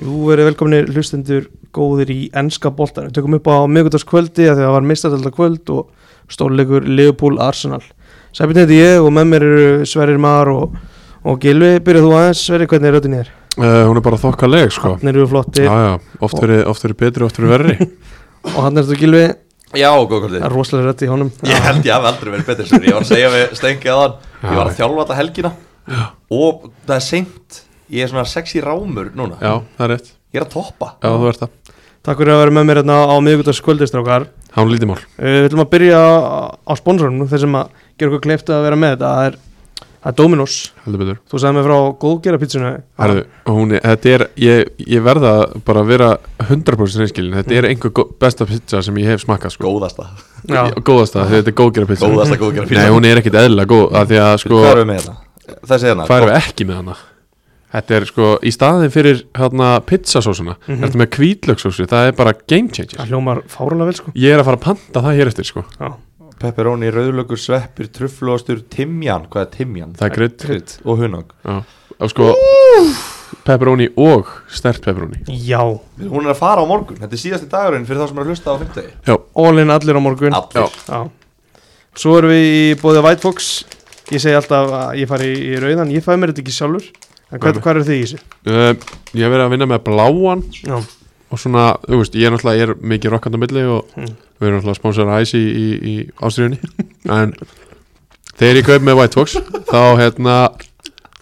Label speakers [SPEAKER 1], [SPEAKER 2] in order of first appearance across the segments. [SPEAKER 1] verið velkominir hlustendur góðir í ennska boltan Við tökum upp á miðgutaskvöldi að því að það var mistatelda kvöld og stórleikur Liverpool Arsenal Sæpinn heiti ég og með mér eru Sverrir Mar og, og Gilvi Byrjað þú aðeins, Sverrir, hvernig er röddinn í þér?
[SPEAKER 2] Uh, hún er bara þokkaleg sko
[SPEAKER 1] Hvernig eru flottir
[SPEAKER 2] Já, já, oft verið, oft verið betri, oft verið verri
[SPEAKER 1] og hann er þú Gilvi,
[SPEAKER 3] Já, góð kvöldið
[SPEAKER 1] það er rosalega rödd í honum
[SPEAKER 3] Ég held ég hafi aldrei verið betur sér Ég var að segja við Stengi aðan Ég var að þjálfa alla helgina Og það er seint Ég er svona sexy rámur núna
[SPEAKER 2] Já, það er rétt,
[SPEAKER 3] Ég er að toppa
[SPEAKER 2] já þú ert það
[SPEAKER 1] Takk fyrir að vera með mér hérna á miðgutaskvöldi, strákar
[SPEAKER 2] Hán lítið mál,
[SPEAKER 1] Uh, Við ætlum að byrja á- á sponsorunum þeir sem að gera okkur kleift að vera með þetta það er, það er Dominos,
[SPEAKER 2] heldur betur
[SPEAKER 1] þú sagði mig frá góðgerapítsuna
[SPEAKER 2] Herðu, hún er, þetta er, ég, ég verða bara að vera 100% reynskilin Þetta
[SPEAKER 3] Mm.
[SPEAKER 2] er einhver gó- besta pizza sem ég hef smakkað sko
[SPEAKER 3] Góðasta
[SPEAKER 1] Já.
[SPEAKER 2] Í- Góðasta, því þetta er góðgera pizza
[SPEAKER 3] Góðasta góðgjara pizza.
[SPEAKER 2] Nei, hún er ekkit eðlilega góð, af því að sko
[SPEAKER 3] Hvað erum við með hérna? Þessi hérna
[SPEAKER 2] Hvað erum við ekki með hana? Þetta er sko, í staðin fyrir hérna pizzasósuna mm
[SPEAKER 3] Mhm.
[SPEAKER 2] -hmm. Þetta með kvítlöksósu, það er bara game changer
[SPEAKER 1] það hljómar fárulega vel sko
[SPEAKER 2] Ég er að fara að panta það hér eftir sko
[SPEAKER 1] Já.
[SPEAKER 3] Pepperoni, rauðlökur, sveppir, trufflóstur, timjan Hvað er timjan?
[SPEAKER 2] Það er krydd
[SPEAKER 3] Krydd og hunang
[SPEAKER 2] Já, og sko pepperoni og stert pepperoni
[SPEAKER 1] Já,
[SPEAKER 3] Hún er að fara á morgun Þetta er síðasti dagurinn fyrir þá sem er að hlusta á fimmtegi
[SPEAKER 2] Já,
[SPEAKER 1] all in allir á morgun
[SPEAKER 2] já,
[SPEAKER 3] Allir
[SPEAKER 1] Já. Svo erum við í bóðið White Fox ég segi alltaf að ég fari í rauðan ég fæ mér þetta ekki sjálfur en hvað,
[SPEAKER 2] Nei.
[SPEAKER 1] hvað er þið í þessu?
[SPEAKER 2] uh, ég hef verið að vinna með bláan
[SPEAKER 1] Já,
[SPEAKER 2] og svona, þú veist, ég er náttúrulega, ég er mikið rokkand á milli og
[SPEAKER 1] Mm.
[SPEAKER 2] við erum náttúrulega sponsor Ice í, í, í Ástriðunni en þegar ég kaup með White Fox þá hérna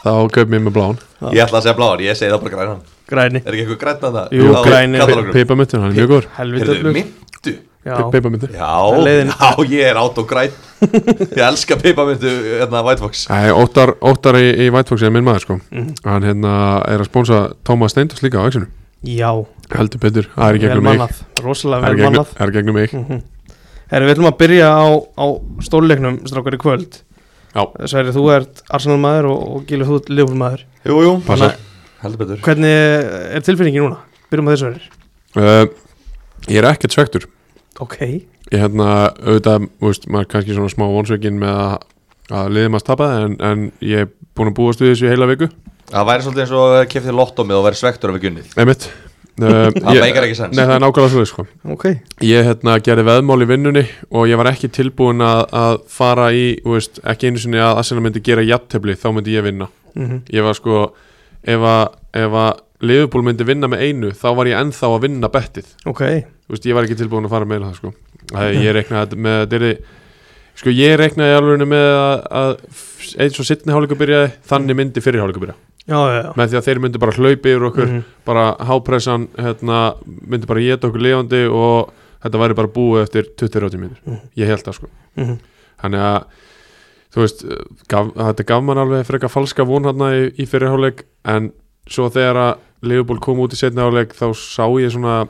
[SPEAKER 2] þá kaup mér með bláan
[SPEAKER 3] Ég ætla að segja bláðan, ég segi það bara grænan
[SPEAKER 1] græni
[SPEAKER 3] Er ekki eitthvað grænan að það?
[SPEAKER 1] Jú, græni.
[SPEAKER 2] Pipamöntur, hann er mjög góður
[SPEAKER 1] helvita
[SPEAKER 3] Hérðu,
[SPEAKER 1] blöð
[SPEAKER 3] myndu
[SPEAKER 1] Já,
[SPEAKER 2] Pipamöntur
[SPEAKER 3] Já,
[SPEAKER 1] leiðin.
[SPEAKER 3] já, ég er átt og græn Ég elska pipamintu hérna White Fox
[SPEAKER 2] Æ, Óttar, Óttar í, í White Fox er minn maður sko
[SPEAKER 1] Hmm.
[SPEAKER 2] hann hérna er að sponsa Tómas Steindus líka á vexinu
[SPEAKER 1] já
[SPEAKER 2] heldur betur, það er í
[SPEAKER 1] vel
[SPEAKER 2] gegnum mig
[SPEAKER 1] mannað, rosalega
[SPEAKER 2] Það
[SPEAKER 1] vel
[SPEAKER 2] er gegnum-
[SPEAKER 1] mannað Hmm.
[SPEAKER 2] það er gegnum mig
[SPEAKER 1] Herri, við ætlum að byrja á, á stórleiknum strákar í kvöld
[SPEAKER 2] Já.
[SPEAKER 1] Sverri, þú ert Arsenal maður og, og Gilur, þú ert Liverpool maður
[SPEAKER 3] Jú, jú,
[SPEAKER 2] Passar.
[SPEAKER 3] heldur betur
[SPEAKER 1] Hvernig er tilfinningin núna? Byrjum á þessu verður
[SPEAKER 2] uh, Ég er ekkert svektur
[SPEAKER 1] Ok
[SPEAKER 2] Ég hérna, auðvitað, þú veist, maður er kannski svona smá vonsveikin með að, að liðið maður tapaði en, en ég er búin að búast við þessu í heila viku
[SPEAKER 3] Það væri svolítið eins og kefti lottómið og væri svektur af ekki unnið
[SPEAKER 2] Einmitt uh,
[SPEAKER 3] Það meikar ekki sens.
[SPEAKER 2] Nei, það er nákvæmlega svoleið sko
[SPEAKER 1] Ok
[SPEAKER 2] Ég hérna gerði veðmál í vinnunni og ég var ekki tilbúin að, að fara í, þú veist, ekki einu sinni að Arsenal myndi gera jattefli, þá myndi ég vinna
[SPEAKER 1] mm
[SPEAKER 2] Ég var sko, ef að, ef að Liverpool myndi vinna með einu, þá var ég ennþá að vinna bettið
[SPEAKER 1] Ok
[SPEAKER 2] Þú veist, ég var ekki tilbúin að fara meira það sko það, ég reiknaði með að þetta er sko ég reiknaði alveg með að, að f- eins og sittni hálíku byrjaði þannig myndi fyrir hálíku byrja
[SPEAKER 1] Já, já, já
[SPEAKER 2] með því að þeir myndi bara hlaupi yfir okkur
[SPEAKER 1] Mhm.
[SPEAKER 2] bara hápressan hérna, myndi bara geta okkur lifandi og þetta væri bara búið eftir 20-30 mínir
[SPEAKER 1] Mhm.
[SPEAKER 2] ég held það sko
[SPEAKER 1] mm -hmm.
[SPEAKER 2] þannig að þú veist, gaf, þetta gaf mann alveg frekar falska von hérna í, í fyrirháleik en svo þegar að Leopold kom út í setna háleik þá sá ég svona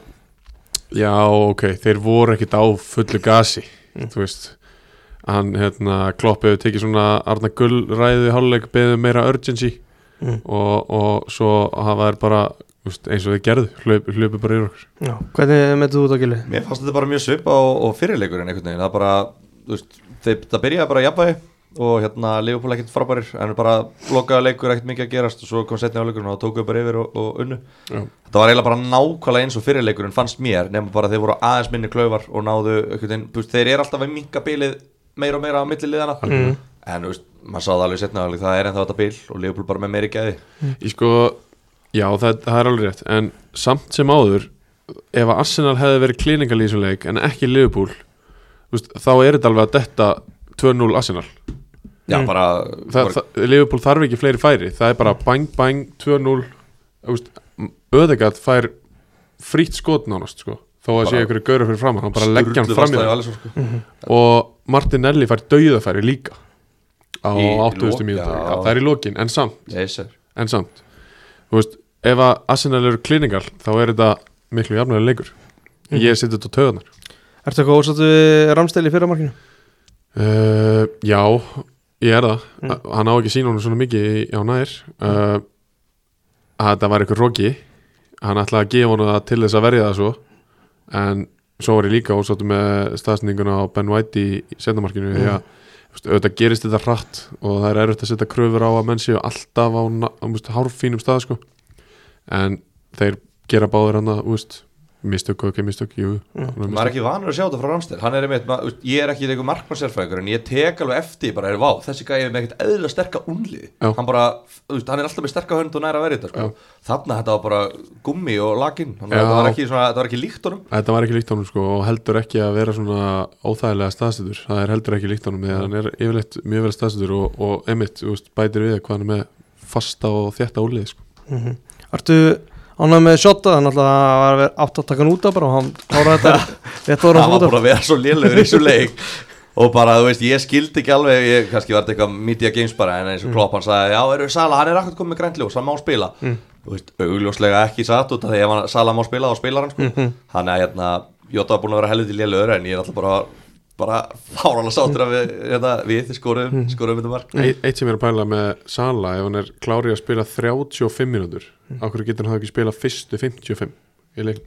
[SPEAKER 2] já ok, þeir voru ekkit á fullu gasi
[SPEAKER 1] Mm.
[SPEAKER 2] þú veist hann hérna kloppiðu tekið svona Arna Gull ræðu í háluleik beðið um meira urgency
[SPEAKER 1] Mm.
[SPEAKER 2] og, og svo hafa þær bara þú veist, eins og þeir gerðu, hlaupi, hlaupi bara yfir okkur
[SPEAKER 1] Já, hvernig metur þú þetta Gilur?
[SPEAKER 3] Mér fannst þetta bara mjög svipa og, og fyrirleikurinn einhvern veginn Það bara, þú veist, þeir, það byrjaði bara jafnvægi og hérna Leopold ekkert frábærir en bara blokkaði leikur ekkert mikið að gerast og svo kom setni áleikurinn og tókuðu bara yfir og, og unnu
[SPEAKER 2] Já.
[SPEAKER 3] Þetta var eiginlega bara nákvæmlega eins og fyrirleikurinn fannst mér nema bara þeir voru aðeins minni klaufar og náðu einhvern veginn, þú veist, þeir eru alltaf að minka bilið meira og meira á milli liðana
[SPEAKER 1] Algjörlega.
[SPEAKER 3] en þú veist, maður sá það alveg setna alveg, það er ennþá þetta bil og Leopold bara með meiri gæði
[SPEAKER 2] Ég sko, já það, það er alveg rétt En samt sem áður Ef að Arsenal hefði verið klíningal í þessum leik En ekki Liverpool veist, Þá er þetta alveg að detta 2-0 Arsenal
[SPEAKER 3] Já,
[SPEAKER 1] Mm.
[SPEAKER 3] bara,
[SPEAKER 2] Þa,
[SPEAKER 3] bara
[SPEAKER 2] það, Liverpool þarf ekki fleiri færi Það er bara bang bang 2-0 Þú veist, Öðegard fær Frýtt skot nánast sko Þó að
[SPEAKER 3] Bara-
[SPEAKER 2] sé ykkur gaurur fyrir framann Hann bara leggja hann
[SPEAKER 3] Sturlu
[SPEAKER 2] fram í
[SPEAKER 3] fastlaði
[SPEAKER 2] það
[SPEAKER 3] Alisson, sko.
[SPEAKER 2] Og Martinelli fær dauðafæri líka Á
[SPEAKER 3] Í
[SPEAKER 2] 80.
[SPEAKER 3] lok-
[SPEAKER 2] mínútur
[SPEAKER 3] já.
[SPEAKER 2] Það er í lokin, en samt
[SPEAKER 3] Yes, sir.
[SPEAKER 2] en samt þú veist, ef að Arsenal eru kliningal þá er þetta miklu jafnlega leikur
[SPEAKER 1] Mhm.
[SPEAKER 2] ég seti þetta á töðunar
[SPEAKER 1] Ertu eitthvað ósáttu við Ramstæli í fyrramarkinu?
[SPEAKER 2] uh, já, ég er það
[SPEAKER 1] Mm.
[SPEAKER 2] mm. hann á ekki sína honum svona mikið í- á nær uh, að þetta var eitthvað roki hann ætlaði að gefa honum það til þess að verja það svo en svo var ég líka ósáttu með staðsninguna á Ben White í
[SPEAKER 1] Mm.
[SPEAKER 2] setnamarkinu því að þú veist, auðvitað gerist þetta hratt og það er erfitt að setja kröfur á að menn séu alltaf á, na- á þú veist, hárfínum stað sko. en þeir gera báður hann að, úst, mistök og ekki mistök, jú
[SPEAKER 1] Mm.
[SPEAKER 2] alveg
[SPEAKER 3] maður er
[SPEAKER 2] mistök.
[SPEAKER 3] ekki vanur að sjá þetta frá Ramstil hann er einmitt, maður, veist, ég er ekki einhver markmannsérfræðingur en ég tek alveg eftir, bara er vá þessi gæði með ekkert eðlilega sterka unlið
[SPEAKER 2] Já.
[SPEAKER 3] hann bara, þú veist, hann er alltaf með sterka hönd og næra verið þetta, sko. þarna þetta var bara gummi og lakin, þannig
[SPEAKER 2] Já.
[SPEAKER 3] að þetta var ekki, svona, þetta var ekki líkt honum
[SPEAKER 2] Þetta var ekki líkt honum sko og heldur ekki að vera svona óþægilega staðsettur það er heldur ekki líkt honum því að hann er yfirleitt mjög vel staðsettur og, og emitt úst, bætir við hvað hann er með fasta og þétta úlið sko.
[SPEAKER 1] mm Ertu ánægð með shotta hann alltaf var átt að taka hann út af bara og hann kláraði þetta rétt voru
[SPEAKER 3] hann
[SPEAKER 1] hann
[SPEAKER 3] var
[SPEAKER 1] út af
[SPEAKER 3] búin að vera svo lélugur í þessu leik og bara, þú veist, ég skildi ekki alveg ég, kannski var þetta eitthvað media games bara en eins og Klopp hann sagði, já, eru Sala, hann er akkur komið með grænt ljós, hann má spila þú veist, augljóslega ekki satt út af því ef hann, Sala má spila, þá spilar hann sko þannig að, hérna, Jota var búin að vera helviti lélugur en ég er alltaf bara bara fáran að sáttur að við, hérna, við skorum, skorum þetta mark
[SPEAKER 2] Eitt eitt sem ég er að pæla með Sala ef hann er klárið að spila 35 mínútur af hverju getur hann þá ekki spila fyrstu 55 í leik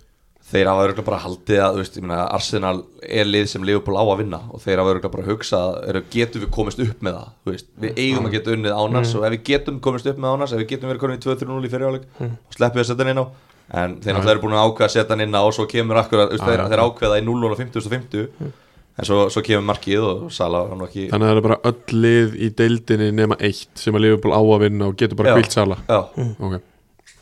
[SPEAKER 3] þeir hafa örgulega bara haldið að, þú veist, ég meina, Arsenal er lið sem Liverpool á að vinna og þeir hafa örgulega bara hugsað, eru, getum við komist upp með það, þú veist,
[SPEAKER 2] Mm.
[SPEAKER 3] við eigum að geta unnið ánars og ef við getum komist upp með ánars, ef við getum verið konum í 2-3-0 í fyrirjáleik
[SPEAKER 2] Mm.
[SPEAKER 3] og sleppum við að setja hann inn á, en þeir náttúrulega eru búin að ákveða að setja hann inn á og svo kemur akkur, þú veist,
[SPEAKER 2] Já,
[SPEAKER 3] þeir,
[SPEAKER 2] já. Mm.
[SPEAKER 3] þeir ákveða í 0 og 50 og 50 en svo, svo kemur markið og Sala hann var ekki,
[SPEAKER 2] þannig að það er bara öll lið í deildinni nema eitt sem að Liverpool á að vinna og getur bara
[SPEAKER 3] Já.
[SPEAKER 2] kvilt Sala
[SPEAKER 3] já,
[SPEAKER 2] ok,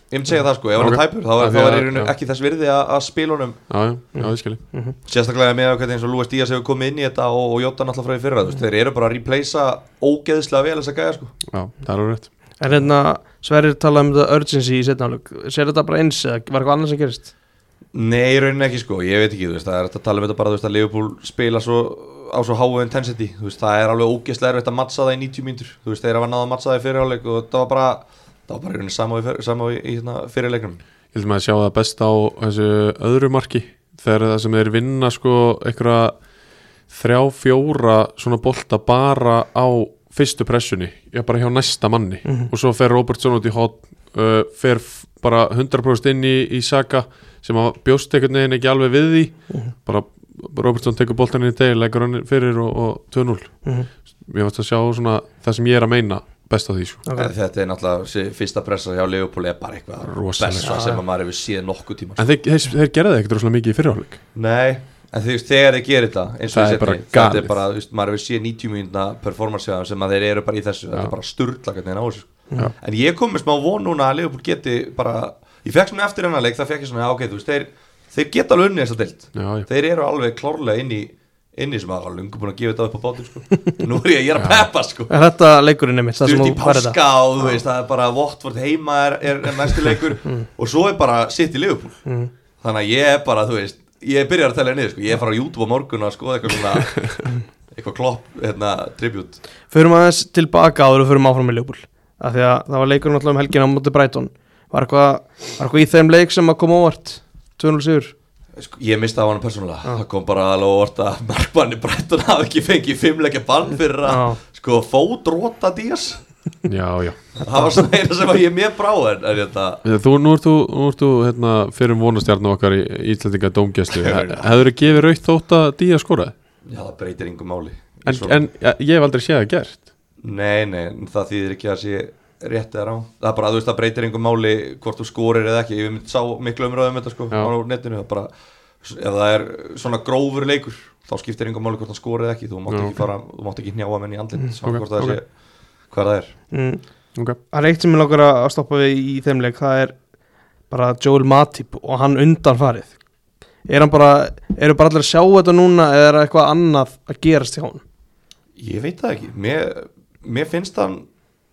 [SPEAKER 3] ég myndi segja það sko, ef hann
[SPEAKER 2] Ok.
[SPEAKER 3] er tæpur, þá var,
[SPEAKER 2] Af því
[SPEAKER 3] þá var í
[SPEAKER 2] að-
[SPEAKER 3] rauninu
[SPEAKER 2] já.
[SPEAKER 3] ekki þess virði að, að spila honum
[SPEAKER 2] já, já, já, ég skilji
[SPEAKER 3] Sérstaklega með að hvernig eins og Lúi Stías hefur komið inn í þetta og, og Jóta náttúrulega frá því fyrra þú veist, Þeir eru bara að replacea ógeðslega vel þessa gæja sko
[SPEAKER 2] já, það er á rétt
[SPEAKER 1] en hérna Sverrir talaði um þetta urgency í setna hálfleik sér þetta bara eins eða var eitthvað annað sem gerist
[SPEAKER 3] Nei, í rauninni ekki sko, ég veit ekki, þú veist, það er þetta að tala um þetta bara, þú veist, að Liverpool spila svo á svo háu intensity Þú veist, það er alveg ógeðslega erfitt að matza það í 90 mínútur Þú veist, þeir hafa náða að matza það í fyrirháleik og það var bara, það var bara í rauninni sama, við, sama í, í hérna, fyrirleiknum
[SPEAKER 2] Ég held maður að sjá það best á þessu öðru marki þegar það sem þeir vinna sko einhverja þrjá fjóra svona bolta bara á fyrstu pressunni, já bara hjá næsta manni
[SPEAKER 1] Mm.
[SPEAKER 3] Mhm.
[SPEAKER 2] og svo fer Robertson út í hot uh, fer f- bara 100% inn í, í Saka sem að bjóst einhvern veginn ekki alveg við því bara Robertson tekur boltan inn í deg leggur hann fyrir og, og 2-0
[SPEAKER 1] Mhm.
[SPEAKER 2] ég vart að sjá svona það sem ég er að meina best á því sko.
[SPEAKER 1] Ok.
[SPEAKER 3] okay. Þetta er náttúrulega, þessi fyrsta pressa hjá Liverpool er bara eitthvað
[SPEAKER 2] Rosaleg.
[SPEAKER 3] besta sem að maður hefur séð nokkuð tíma
[SPEAKER 2] en þeir, þeir, þeir gerði ekkert rosalega mikið í fyrirháleik
[SPEAKER 3] Nei, en þú veist, þegar þeir gerir þetta eins og
[SPEAKER 2] Það
[SPEAKER 3] í
[SPEAKER 2] er bara
[SPEAKER 3] seinni, þetta
[SPEAKER 2] galið.
[SPEAKER 3] er bara, þú veist, maður hefur séð 90 mínúna performance hjá þeim sem að þeir eru bara í þessu þetta er bara sturla hvernig þeir á þessu sko.
[SPEAKER 2] Já.
[SPEAKER 3] en ég kom með smá von núna að Liverpool geti bara, ég fekk svona eftir hennar leik það fekk ég svona, já, ok, þú veist, þeir, þeir geta alveg unni þessa deilt,
[SPEAKER 2] já, já.
[SPEAKER 3] þeir eru alveg klárlega inn í inn í sem að það var lungu búin að gefa þetta upp á bátum sko. nú er ég, ég er að peppa sko
[SPEAKER 1] er þetta leikurinn einmitt það sem
[SPEAKER 3] stutt í
[SPEAKER 1] þú færði þetta
[SPEAKER 3] páska og þú veist það er bara Votvort heima er, er, er næsti leikur
[SPEAKER 2] Mm.
[SPEAKER 3] og svo er bara sitt í Liverpool
[SPEAKER 1] Mhm.
[SPEAKER 3] þannig að ég er bara þú veist ég byrjar að tella niður sko, ég er fara á YouTube á morgun og skoða eitthvað svona eitthvað klopp, hérna, tribut
[SPEAKER 1] förum aðeins tilbaka áður og förum áfram með Leopold af því að það var leikurinn alltaf um helgina á móti Brighton var eitthvað, var eitthvað í þeim leik sem að koma óvart 2-0 sigur
[SPEAKER 3] sko, ég mista á hann persónulega, það kom bara alveg orð að margbanni brettur hafa ekki fengið fimmleikja bann fyrir að
[SPEAKER 1] Já.
[SPEAKER 3] sko fótróta dís
[SPEAKER 2] já, já
[SPEAKER 3] það var svona eina sem að ég er mér brá en, hérna, en þetta
[SPEAKER 2] Þú, nú ert þú, nú ert þú hérna, fyrir vonastjarnu okkar í Íslandinga dómgæslu Hefur þú gefið raukt þótt að dýja skoraði?
[SPEAKER 3] já það breytir engum máli
[SPEAKER 2] En,
[SPEAKER 3] Svo-
[SPEAKER 2] en ja, ég hef aldrei séð það gert
[SPEAKER 3] Nei, nei, en það þýðir ekki að sé rétt eða rá Það er bara, þú veist, það breytir einhver máli hvort þú skorir eða ekki Ég mynd, sá miklu umröðum þetta sko
[SPEAKER 2] Já.
[SPEAKER 3] á netinu það bara, Ef það er svona grófur leikur þá skiptir einhver máli hvort hann skorir eða ekki Þú mátt
[SPEAKER 2] Já,
[SPEAKER 3] ekki,
[SPEAKER 2] ok.
[SPEAKER 3] fara, þú mátt ekki hnjáa menn í andlit mm,
[SPEAKER 2] ok,
[SPEAKER 3] hvort það
[SPEAKER 2] ok.
[SPEAKER 3] sé hvað það er
[SPEAKER 1] mm.
[SPEAKER 2] okay.
[SPEAKER 1] Það er eitt sem ég langar að að stoppa við í þeim leik það er bara Joel Matip og hann undanfarið er hann bara, eru bara allir að sjá þetta núna eða er eitthvað annað að gerast hjá hann
[SPEAKER 3] Ég veit það ekki, mér, mér finnst hann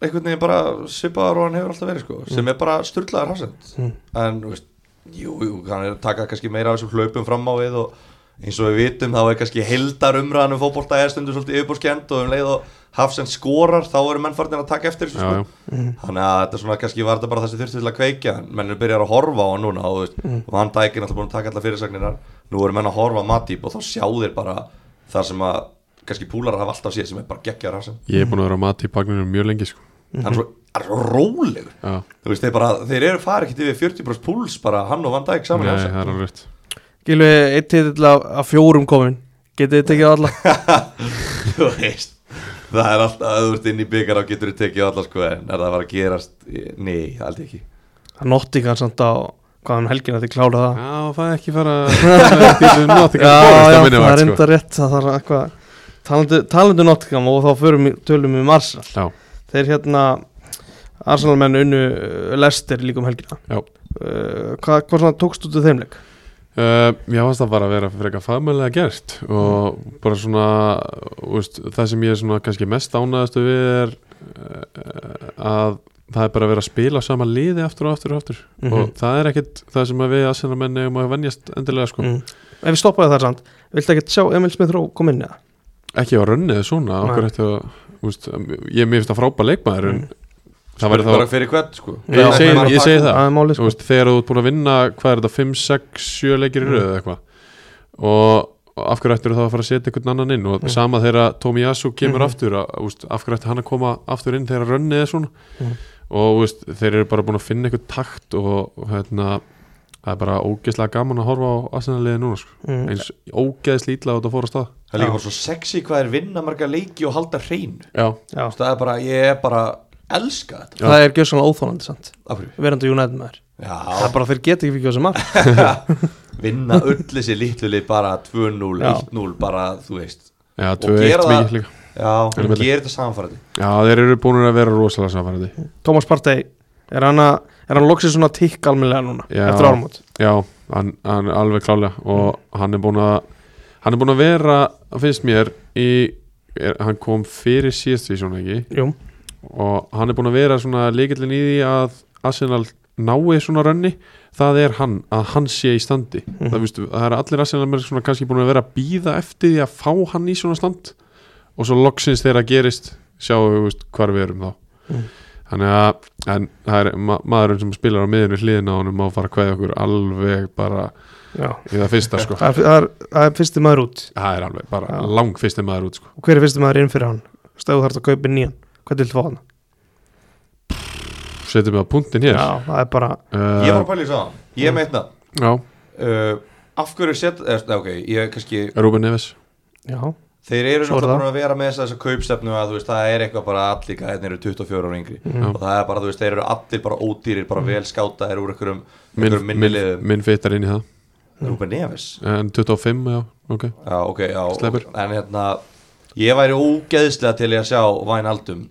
[SPEAKER 3] einhvern veginn bara svipaðar og hann hefur alltaf verið sko,
[SPEAKER 2] Mm.
[SPEAKER 3] sem er bara styrlaðar hafsend
[SPEAKER 1] Mm.
[SPEAKER 3] en þú veist, jú, jú, hann er að taka kannski meira af þessum hlaupum fram á við og eins og við vitum þá er kannski heldar umræðan um fótbolta er stundum svolítið yfirbórskend og um leið og hafsend skorar þá eru menn farnir að taka eftir þessu
[SPEAKER 2] já, já.
[SPEAKER 3] sko. þannig að þetta er svona kannski var þetta bara það sem þurfti til að kveikja en menn eru byrjar að horfa á hann núna og þú veist, mm. Van Dijk er náttúrulega búin að taka alla fyrirsagninar nú eru menn að horfa á Matip og þá sjá þeir bara það sem að kannski púlarar hafa alltaf séð sem er bara geggjar hans
[SPEAKER 2] Ég hef búin að vera að mati í bagninu mjög lengi sko.
[SPEAKER 3] hann er svo, hann er svo rólegur
[SPEAKER 2] Já,
[SPEAKER 3] þú veist, þeir, bara, þeir eru farið ekkert yfir 40% púls bara hann og Van Dijk
[SPEAKER 2] nei,
[SPEAKER 3] saman í
[SPEAKER 2] það er alveg rétt
[SPEAKER 1] Gilvi, eitt titill af, af fjórum komin getið þið tekið á alla
[SPEAKER 3] þú veist það er alltaf, ef þú ert inn í byggar á getur þú tekið alla sko en er það bara að gerast, nei, aldrei ekki
[SPEAKER 1] hann notti hann samt á hvað hann helgin að þið klára það
[SPEAKER 2] Já, það er ekki fara Fyrir Nottingham Forest á minni
[SPEAKER 1] það er
[SPEAKER 2] vakt sko.
[SPEAKER 1] enda rétt það þarf eitthvað talandi, talandi um Nottingham og þá förum við tölum við um Arsenal
[SPEAKER 2] Já,
[SPEAKER 1] þeir hérna Arsenal menn unnu uh, Lester líka um helgina
[SPEAKER 2] Já.
[SPEAKER 1] uh, hvað, hvað svona tókst út af þeimleik?
[SPEAKER 2] Uh, ég fannst það bara að vera frekar fagmælega gert og bara svona þú veist, það sem ég er svona kannski mest ánæðastu við er uh, að það er bara að vera að spila á sama liði aftur og aftur og aftur
[SPEAKER 1] Mhm.
[SPEAKER 2] og það er ekkit það sem að við aðsennarmenni um að venjast endilega sko
[SPEAKER 1] Mm. Ef við stoppaði þar samt, viltu ekki sjá Emil Smith Rowe kom inn eða?
[SPEAKER 2] ekki á runnið svona
[SPEAKER 1] Nei.
[SPEAKER 2] okkur eftir að þú veist, ég mér finnst það frábæð leikmaður en
[SPEAKER 1] Mm.
[SPEAKER 2] það væri
[SPEAKER 3] bara
[SPEAKER 2] þá
[SPEAKER 3] fyrir hvern sko
[SPEAKER 1] Já, ég segi-
[SPEAKER 2] ég segi það.
[SPEAKER 1] er málið
[SPEAKER 2] þú
[SPEAKER 1] sko.
[SPEAKER 2] veist, þegar þú ert búin að vinna hvað er þetta, 5, 6, 7
[SPEAKER 1] Mm.
[SPEAKER 2] leikir í röðu eða eitthvað og og af hverju ættir þá að fara að setja einhvern annan inn og
[SPEAKER 1] Mm.
[SPEAKER 2] sama þegar Tómi Jassu kemur
[SPEAKER 1] Mhm.
[SPEAKER 2] aftur að, úst, af hverju ætti hann að koma aftur inn þegar rönnið er svona
[SPEAKER 1] Mhm.
[SPEAKER 2] og úst, þeir eru bara búin að finna einhvern takt og hérna, það er bara ógeðslega gaman að horfa á aðsennarliði núna sko.
[SPEAKER 1] Mm.
[SPEAKER 2] eins ógeðslega ítla á þetta fór að stað
[SPEAKER 3] það er líka
[SPEAKER 1] Já.
[SPEAKER 3] bara svo sexy hvað er vinna marga leiki og halda hreinu
[SPEAKER 2] Já,
[SPEAKER 1] Já,
[SPEAKER 3] það er bara, ég er bara elska þetta
[SPEAKER 1] það er gjössanlega óþólandi samt,
[SPEAKER 3] af hverju,
[SPEAKER 1] verandi United maður Það
[SPEAKER 3] já,
[SPEAKER 1] er bara að þeir geta ekki fyrir gjössum marg
[SPEAKER 3] vinna öll þessi lítluli bara 2-0,
[SPEAKER 1] Já.
[SPEAKER 3] 1-0 bara, þú veist
[SPEAKER 2] já
[SPEAKER 3] Og
[SPEAKER 2] 2-1
[SPEAKER 3] gera það-
[SPEAKER 2] mikið líka
[SPEAKER 3] já,
[SPEAKER 2] Erum við-
[SPEAKER 3] gerir þetta samanfærandi
[SPEAKER 2] Já, þeir eru búin að vera rosalega samanfærandi
[SPEAKER 1] Thomas Partey, er hann, að- er hann loksins svona tikk almennilega núna,
[SPEAKER 2] Já.
[SPEAKER 1] eftir áramót
[SPEAKER 2] Já, hann, hann alveg klálega og hann er búin að hann er búin að vera, finnst mér í, er, hann kom fyrir síðast því svona ekki
[SPEAKER 1] Jú,
[SPEAKER 2] og hann er búin að vera svona leikillin í því að Arsenal nái svona rönni það er hann, að hann sé í standi
[SPEAKER 1] Mhm.
[SPEAKER 2] það, vistu, það er allir Arsenal menn svona kannski búin að vera að býða eftir því að fá hann í svona stand og svo loksins þegar það gerist sjáum við viðst, hvar við erum þá
[SPEAKER 1] Mhm.
[SPEAKER 2] þannig að en, það er ma maðurinn sem spilar á miðinu hliðina á honum má fara að kveða okkur alveg bara
[SPEAKER 1] já
[SPEAKER 2] í það fyrsta sko
[SPEAKER 1] Það er, það er, það er fyrsti maður út
[SPEAKER 2] það er alveg bara
[SPEAKER 1] Já.
[SPEAKER 2] lang fyrsti maður út sko
[SPEAKER 1] og hver er fyrsti maður inn fyrir hann? Stæðu þarf að kaupa nýjan, hvað til tvo hann?
[SPEAKER 2] setjum við á punktin hér
[SPEAKER 1] Já, það er bara,
[SPEAKER 3] ég var
[SPEAKER 2] uh,
[SPEAKER 3] að pæla í þessu áðan, ég er með einna
[SPEAKER 2] já,
[SPEAKER 3] uh, af hverju set eh, nei, ok, ég kannski
[SPEAKER 2] Rúben Neves
[SPEAKER 1] já,
[SPEAKER 3] þeir eru
[SPEAKER 1] Svo er það.
[SPEAKER 3] náttúrulega búin að vera með þess að þessa kaupstefnu að þú veist, það er eitthvað bara allir gæðin eru 24 ára yngri
[SPEAKER 1] Mhm.
[SPEAKER 3] og það er bara, þú veist, þeir eru allir bara ódýrir
[SPEAKER 1] Mm.
[SPEAKER 3] bara vel skáta, úr einhverjum,
[SPEAKER 2] minn,
[SPEAKER 3] einhverjum
[SPEAKER 2] minn,
[SPEAKER 3] minnilegum
[SPEAKER 2] minn fyttar inn í það
[SPEAKER 3] Rúben Neves
[SPEAKER 2] En 25, já, ok
[SPEAKER 3] já, ok, já,
[SPEAKER 2] Sleppur.
[SPEAKER 3] en hérna ég væri ógeðslega til í að sjá Væn Aldum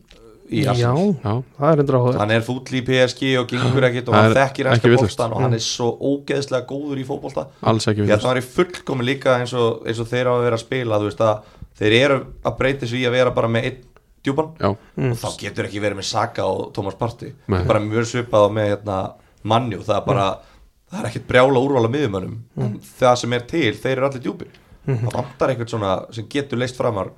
[SPEAKER 3] í
[SPEAKER 1] já,
[SPEAKER 3] Arsenal
[SPEAKER 2] Já,
[SPEAKER 1] það er endur áhuga
[SPEAKER 3] hann er fúll í PSG og gengur ekkit og
[SPEAKER 2] Það
[SPEAKER 3] hann
[SPEAKER 2] er
[SPEAKER 3] þekkir
[SPEAKER 2] ekki
[SPEAKER 3] hanska
[SPEAKER 2] vitlaust.
[SPEAKER 3] bólstan og hann er svo ógeðslega góður í fótbolta
[SPEAKER 2] alls ekki
[SPEAKER 3] ég
[SPEAKER 2] við
[SPEAKER 3] held að það væri fullkomi líka eins og, eins og þeir á að vera að spila þú veist að þeir eru að breyta sér í að vera bara með einn djúpan
[SPEAKER 2] Já,
[SPEAKER 1] Mm.
[SPEAKER 3] og þá getur ekki verið með Saka og Thomas Partey
[SPEAKER 2] Nei.
[SPEAKER 3] Nei. bara mjög svipað á með hérna, manni og það er bara það er ekkert brjála úrvala miðumönnum mm. það sem er til, þeir eru allir djúpir
[SPEAKER 1] Mhm.
[SPEAKER 3] það vantar einhvern svona sem getur leist framar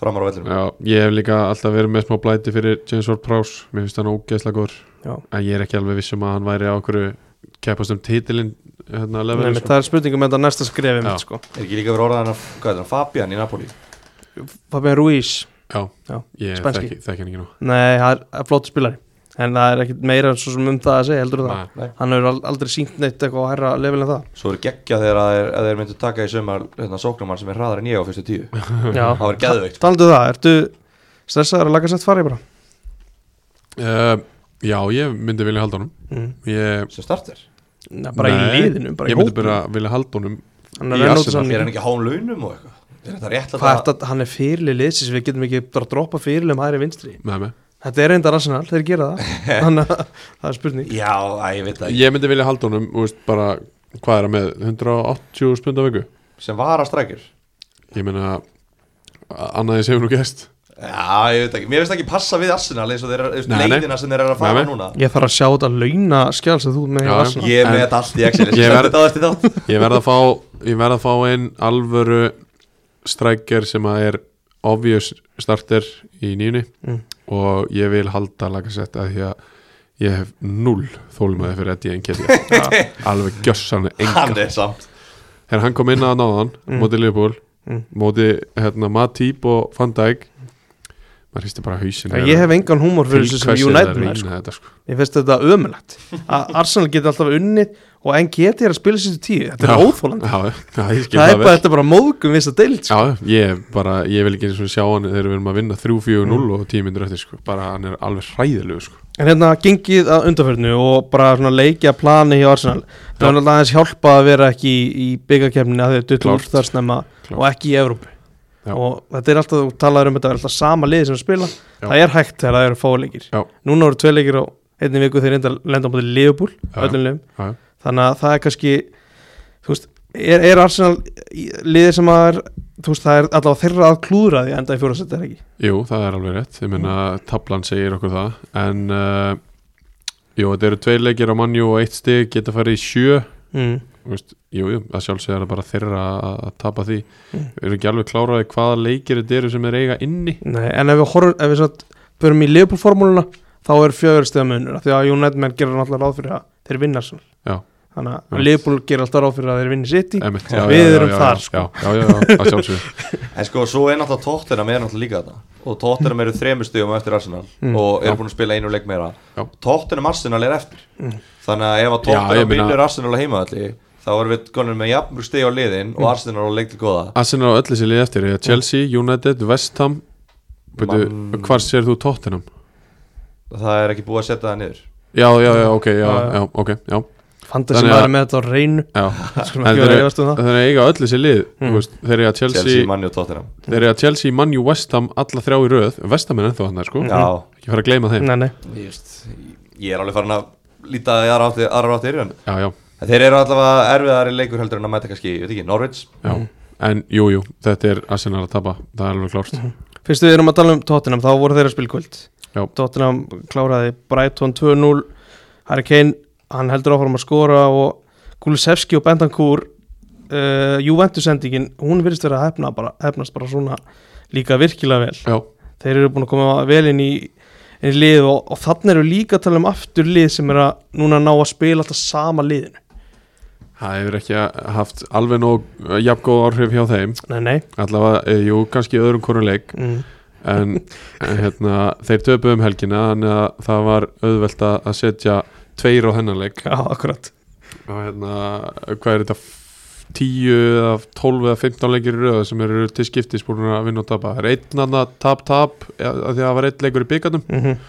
[SPEAKER 3] framar á vellinu
[SPEAKER 2] já, ég hef líka alltaf verið með smá blæti fyrir James Ward Prowse Mér finnst hann ógeðslega góður
[SPEAKER 1] Já.
[SPEAKER 2] En ég er ekki alveg viss um að hann væri á okkur keppast um titilinn hérna,
[SPEAKER 1] Nei,
[SPEAKER 2] level,
[SPEAKER 1] mitt, það er spurningum með þetta næsta skrefi
[SPEAKER 2] Já.
[SPEAKER 1] mitt, sko.
[SPEAKER 3] er ekki líka verið orðan að, hvað er það, Fabian í Napoli
[SPEAKER 1] Fabian Ruiz
[SPEAKER 2] Já,
[SPEAKER 1] Já,
[SPEAKER 2] ég
[SPEAKER 1] spænski.
[SPEAKER 2] þekki, þekki hann ekki nú
[SPEAKER 1] Nei, það er- það er flott spilari En það er ekkit meira svo sem um það að segja heldur það
[SPEAKER 2] Nei.
[SPEAKER 1] Hann hefur al- aldrei sínt neitt eitthvað að herra level en það
[SPEAKER 3] svo er geggja þegar að þeir, að þeir myndu taka í sömar hérna, sóknumann sem er hraðar en ég á fyrstu tíu
[SPEAKER 1] Já,
[SPEAKER 3] það var geðveikt
[SPEAKER 1] taldu um það, ertu stressaður að laga sett farið bara
[SPEAKER 2] uh, Já, ég myndi vilja halda honum
[SPEAKER 1] mm.
[SPEAKER 2] Ég,
[SPEAKER 3] sem starter
[SPEAKER 1] Nei, Bara í
[SPEAKER 2] Nei,
[SPEAKER 1] liðinu, bara í
[SPEAKER 2] ég myndi
[SPEAKER 1] hópinu
[SPEAKER 2] bara vilja halda honum
[SPEAKER 1] Hann
[SPEAKER 2] í
[SPEAKER 1] er enn út af
[SPEAKER 2] Arsenal.
[SPEAKER 3] er hann
[SPEAKER 1] samning
[SPEAKER 3] ekki hán launum og eitthvað er þetta rétt að
[SPEAKER 1] Hvað er þetta, hann er fyrirlið liðsins Við getum ekki bara að droppa fyrirlið um hægri vinstri
[SPEAKER 2] með mig
[SPEAKER 1] Þetta er reyndar arsenal, þeir gera það Þannig að það er spurning
[SPEAKER 3] já, æ, ég veit það ekki
[SPEAKER 2] Ég myndi vilja halda honum, þú veist, bara Hvað er hann með, 180 spunda viku?
[SPEAKER 3] sem var að strækir
[SPEAKER 2] Ég meina, a- annað eins hefur nú gæst
[SPEAKER 3] já, ég veit ekki mér finnst ekki passa við Arsenal eins og þeir eru
[SPEAKER 2] Nei, nei.
[SPEAKER 3] leiðina sem þeir eru að fara
[SPEAKER 2] Nei, nei.
[SPEAKER 3] núna
[SPEAKER 1] Ég þarf að sjá þetta launa skjál sem þú ert með hjá
[SPEAKER 2] Já, já.
[SPEAKER 1] Arsenal.
[SPEAKER 3] ég er með
[SPEAKER 2] En-
[SPEAKER 3] þetta allt í Excel
[SPEAKER 2] Ég
[SPEAKER 3] ég
[SPEAKER 2] verð-
[SPEAKER 3] verði þetta eftir þátt
[SPEAKER 2] Ég verð að fá Ég verð að fá einn alvöru Strækjar sem að er Obvious starter í nýjunni
[SPEAKER 1] Mm.
[SPEAKER 2] Og ég vil halda Lagasett að því að ég hef Null þólmaði fyrir Eddie Enketi Alveg gjössan engan
[SPEAKER 3] hann er samt
[SPEAKER 2] Þegar hann kom inn að náðan
[SPEAKER 1] Mm.
[SPEAKER 2] Móti Liverpool
[SPEAKER 1] Mm.
[SPEAKER 2] Móti hérna, Matip og Van Dijk maður hristi bara hausin
[SPEAKER 1] Ég hef engan húmor fyrir þessu sem United maður, sko.
[SPEAKER 2] þetta, sko.
[SPEAKER 1] Ég finnst þetta ömulegt að Arsenal geti alltaf unnið og en geti er að spila sér til tíu Þetta er
[SPEAKER 2] Já,
[SPEAKER 1] óþólandi
[SPEAKER 2] já, já, ég skil
[SPEAKER 1] Það er
[SPEAKER 2] það
[SPEAKER 1] bara,
[SPEAKER 2] vel
[SPEAKER 1] þetta er bara móðgum viss að deild sko.
[SPEAKER 2] Já, ég, bara, ég vil ekki eins og sjá hann þegar við erum að vinna 3-4-0
[SPEAKER 1] Mm.
[SPEAKER 2] og 10 minnur eftir sko. bara hann er alveg hræðilegu sko.
[SPEAKER 1] En hérna gengið að undanförnu og bara svona leikja plani hjá Arsenal Það var náttúrulega aðeins hjálpa að vera ekki í, í byggakefninu að þau duttum
[SPEAKER 2] Klárt.
[SPEAKER 1] úr þar snemma
[SPEAKER 2] Klárt.
[SPEAKER 1] og ekki í Evrópu
[SPEAKER 2] Já.
[SPEAKER 1] og þetta er alltaf, þú talaður um þetta, það er alltaf sama liði sem við spila
[SPEAKER 2] Já.
[SPEAKER 1] Það er hægt þegar það eru fáleikir
[SPEAKER 2] Já.
[SPEAKER 1] Núna eru tvei leikir á einni viku þegar reynda lenda á móti Leopold,
[SPEAKER 2] Já.
[SPEAKER 1] öllum liðum
[SPEAKER 2] Já, já.
[SPEAKER 1] Þannig að það er kannski, þú veist, er, er Arsenal í- liðið sem að er, þú veist, það er allavega þeirra að klúðra því að enda í fjóraðsett er það ekki
[SPEAKER 2] Jú, það er alveg rétt, ég meina tablan segir okkur það, en uh, jú, þetta eru tveir leikir á mannjú og eitt stig geta farið í sjö
[SPEAKER 1] mm.
[SPEAKER 2] Þú veist, jú, jú, að sjálfsögða er það bara þeirra að að tapa því
[SPEAKER 1] Mm.
[SPEAKER 2] við erum ekki alveg kláraði hvaða leikir þetta eru sem er eiga inni
[SPEAKER 1] Nei, en ef við horfum, ef við svona börum í Leopold-formúluna, þá er fjögur stöða munur, af því að United menn gerir náttúrulega ráð fyrir að þeir vinna svona.
[SPEAKER 2] Já.
[SPEAKER 1] Þannig
[SPEAKER 2] Já.
[SPEAKER 1] að Leopold gerir alltaf ráð fyrir að þeir vinni sitt í.
[SPEAKER 2] Einmitt,
[SPEAKER 3] Já,
[SPEAKER 1] við erum þar,
[SPEAKER 2] já,
[SPEAKER 1] sko.
[SPEAKER 2] já, já, já, að sjálfsögða
[SPEAKER 3] En sko, svo er náttúrulega Tottenham er náttúrulega líka þetta Og Tottenham eru þremur stíðum eftir Arsenal
[SPEAKER 1] Mm.
[SPEAKER 3] Og
[SPEAKER 2] Já.
[SPEAKER 3] eru búin að spila einu leik meira
[SPEAKER 2] Já. Mm.
[SPEAKER 3] Tottenham Arsenal er eftir Þannig að
[SPEAKER 2] Já,
[SPEAKER 3] ef að
[SPEAKER 2] ég
[SPEAKER 3] Tottenham
[SPEAKER 2] meina-
[SPEAKER 3] vinnur Arsenal á heimaðalli Þá erum við konur með jafnur stíð á liðin
[SPEAKER 2] Mm.
[SPEAKER 3] Og Arsenal á leik til goða
[SPEAKER 2] Arsenal og öll þessi lið eftir, eiga Chelsea, United, West Ham Beidu,
[SPEAKER 3] Man-
[SPEAKER 2] hvar sér þú Tottenham?
[SPEAKER 3] Það er ekki búið að setja það niður
[SPEAKER 2] Já, já, já, ok, já,
[SPEAKER 1] Já, já.
[SPEAKER 2] já, ok, já,
[SPEAKER 1] Fantasi
[SPEAKER 2] Þannig að-
[SPEAKER 1] maður er með þetta á reynu,
[SPEAKER 2] já.
[SPEAKER 1] skulum
[SPEAKER 2] En
[SPEAKER 1] ekki
[SPEAKER 2] þeir
[SPEAKER 1] vera að
[SPEAKER 2] eru-
[SPEAKER 1] gefast um það.
[SPEAKER 2] Þannig að eiga öll þessi lið, þú veist, þeir eiga
[SPEAKER 3] Hmm. Chelsea, Manni og Tottenham
[SPEAKER 2] Þeir eru að Chelsea, Manju, Westham, alla þrjá í röð Westham er ennþá hann sko
[SPEAKER 3] Já,
[SPEAKER 2] Ekki fara að gleyma þeim
[SPEAKER 1] Nei, nei,
[SPEAKER 3] Just, ég er alveg farin að líta í aðra áttir, aðra áttir en
[SPEAKER 2] Já, já,
[SPEAKER 3] en þeir eru allavega erfiðari leikur heldur en að mæta kannski, ég veit ekki, Norwich
[SPEAKER 2] já
[SPEAKER 1] Hmm.
[SPEAKER 2] En jú, jú, þetta er Arsenal að tapa Það er alveg klárt
[SPEAKER 1] Hmm. fyrst við erum að tala um Tottenham, þá voru þeirra spilkvöld.
[SPEAKER 2] Já.
[SPEAKER 1] Tottenham kláraði Brighton 2-0, Harry Kane, hann heldur áfram að skora og Kulusevski og Bentancur, uh, Juventus-sendingin, hún virðist vera að hefna bara, hefnast bara svona líka virkilega vel.
[SPEAKER 2] Já,
[SPEAKER 1] þeir eru búin að koma vel inn í, inn í lið og, og þannig eru líka að tala um aftur lið sem er að núna ná að spila alltaf sama liðinu
[SPEAKER 2] það hefur ekki haft alveg nóg eh, jafn góð áhrif hjá þeim
[SPEAKER 1] nei, nei,
[SPEAKER 2] Allavega, eh, jú, kannski í öðrum konur leik
[SPEAKER 1] mm.
[SPEAKER 2] En en hérna, þeir töpuðu um helgina Þannig að það var auðvelt að að setja Tveir á hennan leik
[SPEAKER 1] já, akkurat
[SPEAKER 2] Og hérna, hvað er þetta f- 10 eða 12 eða 15 leikir í röða sem eru til skiptis búin að vinna og tapa Það er einn annað tap-tap e, af því að það var einn leikur í byggarnum
[SPEAKER 1] mm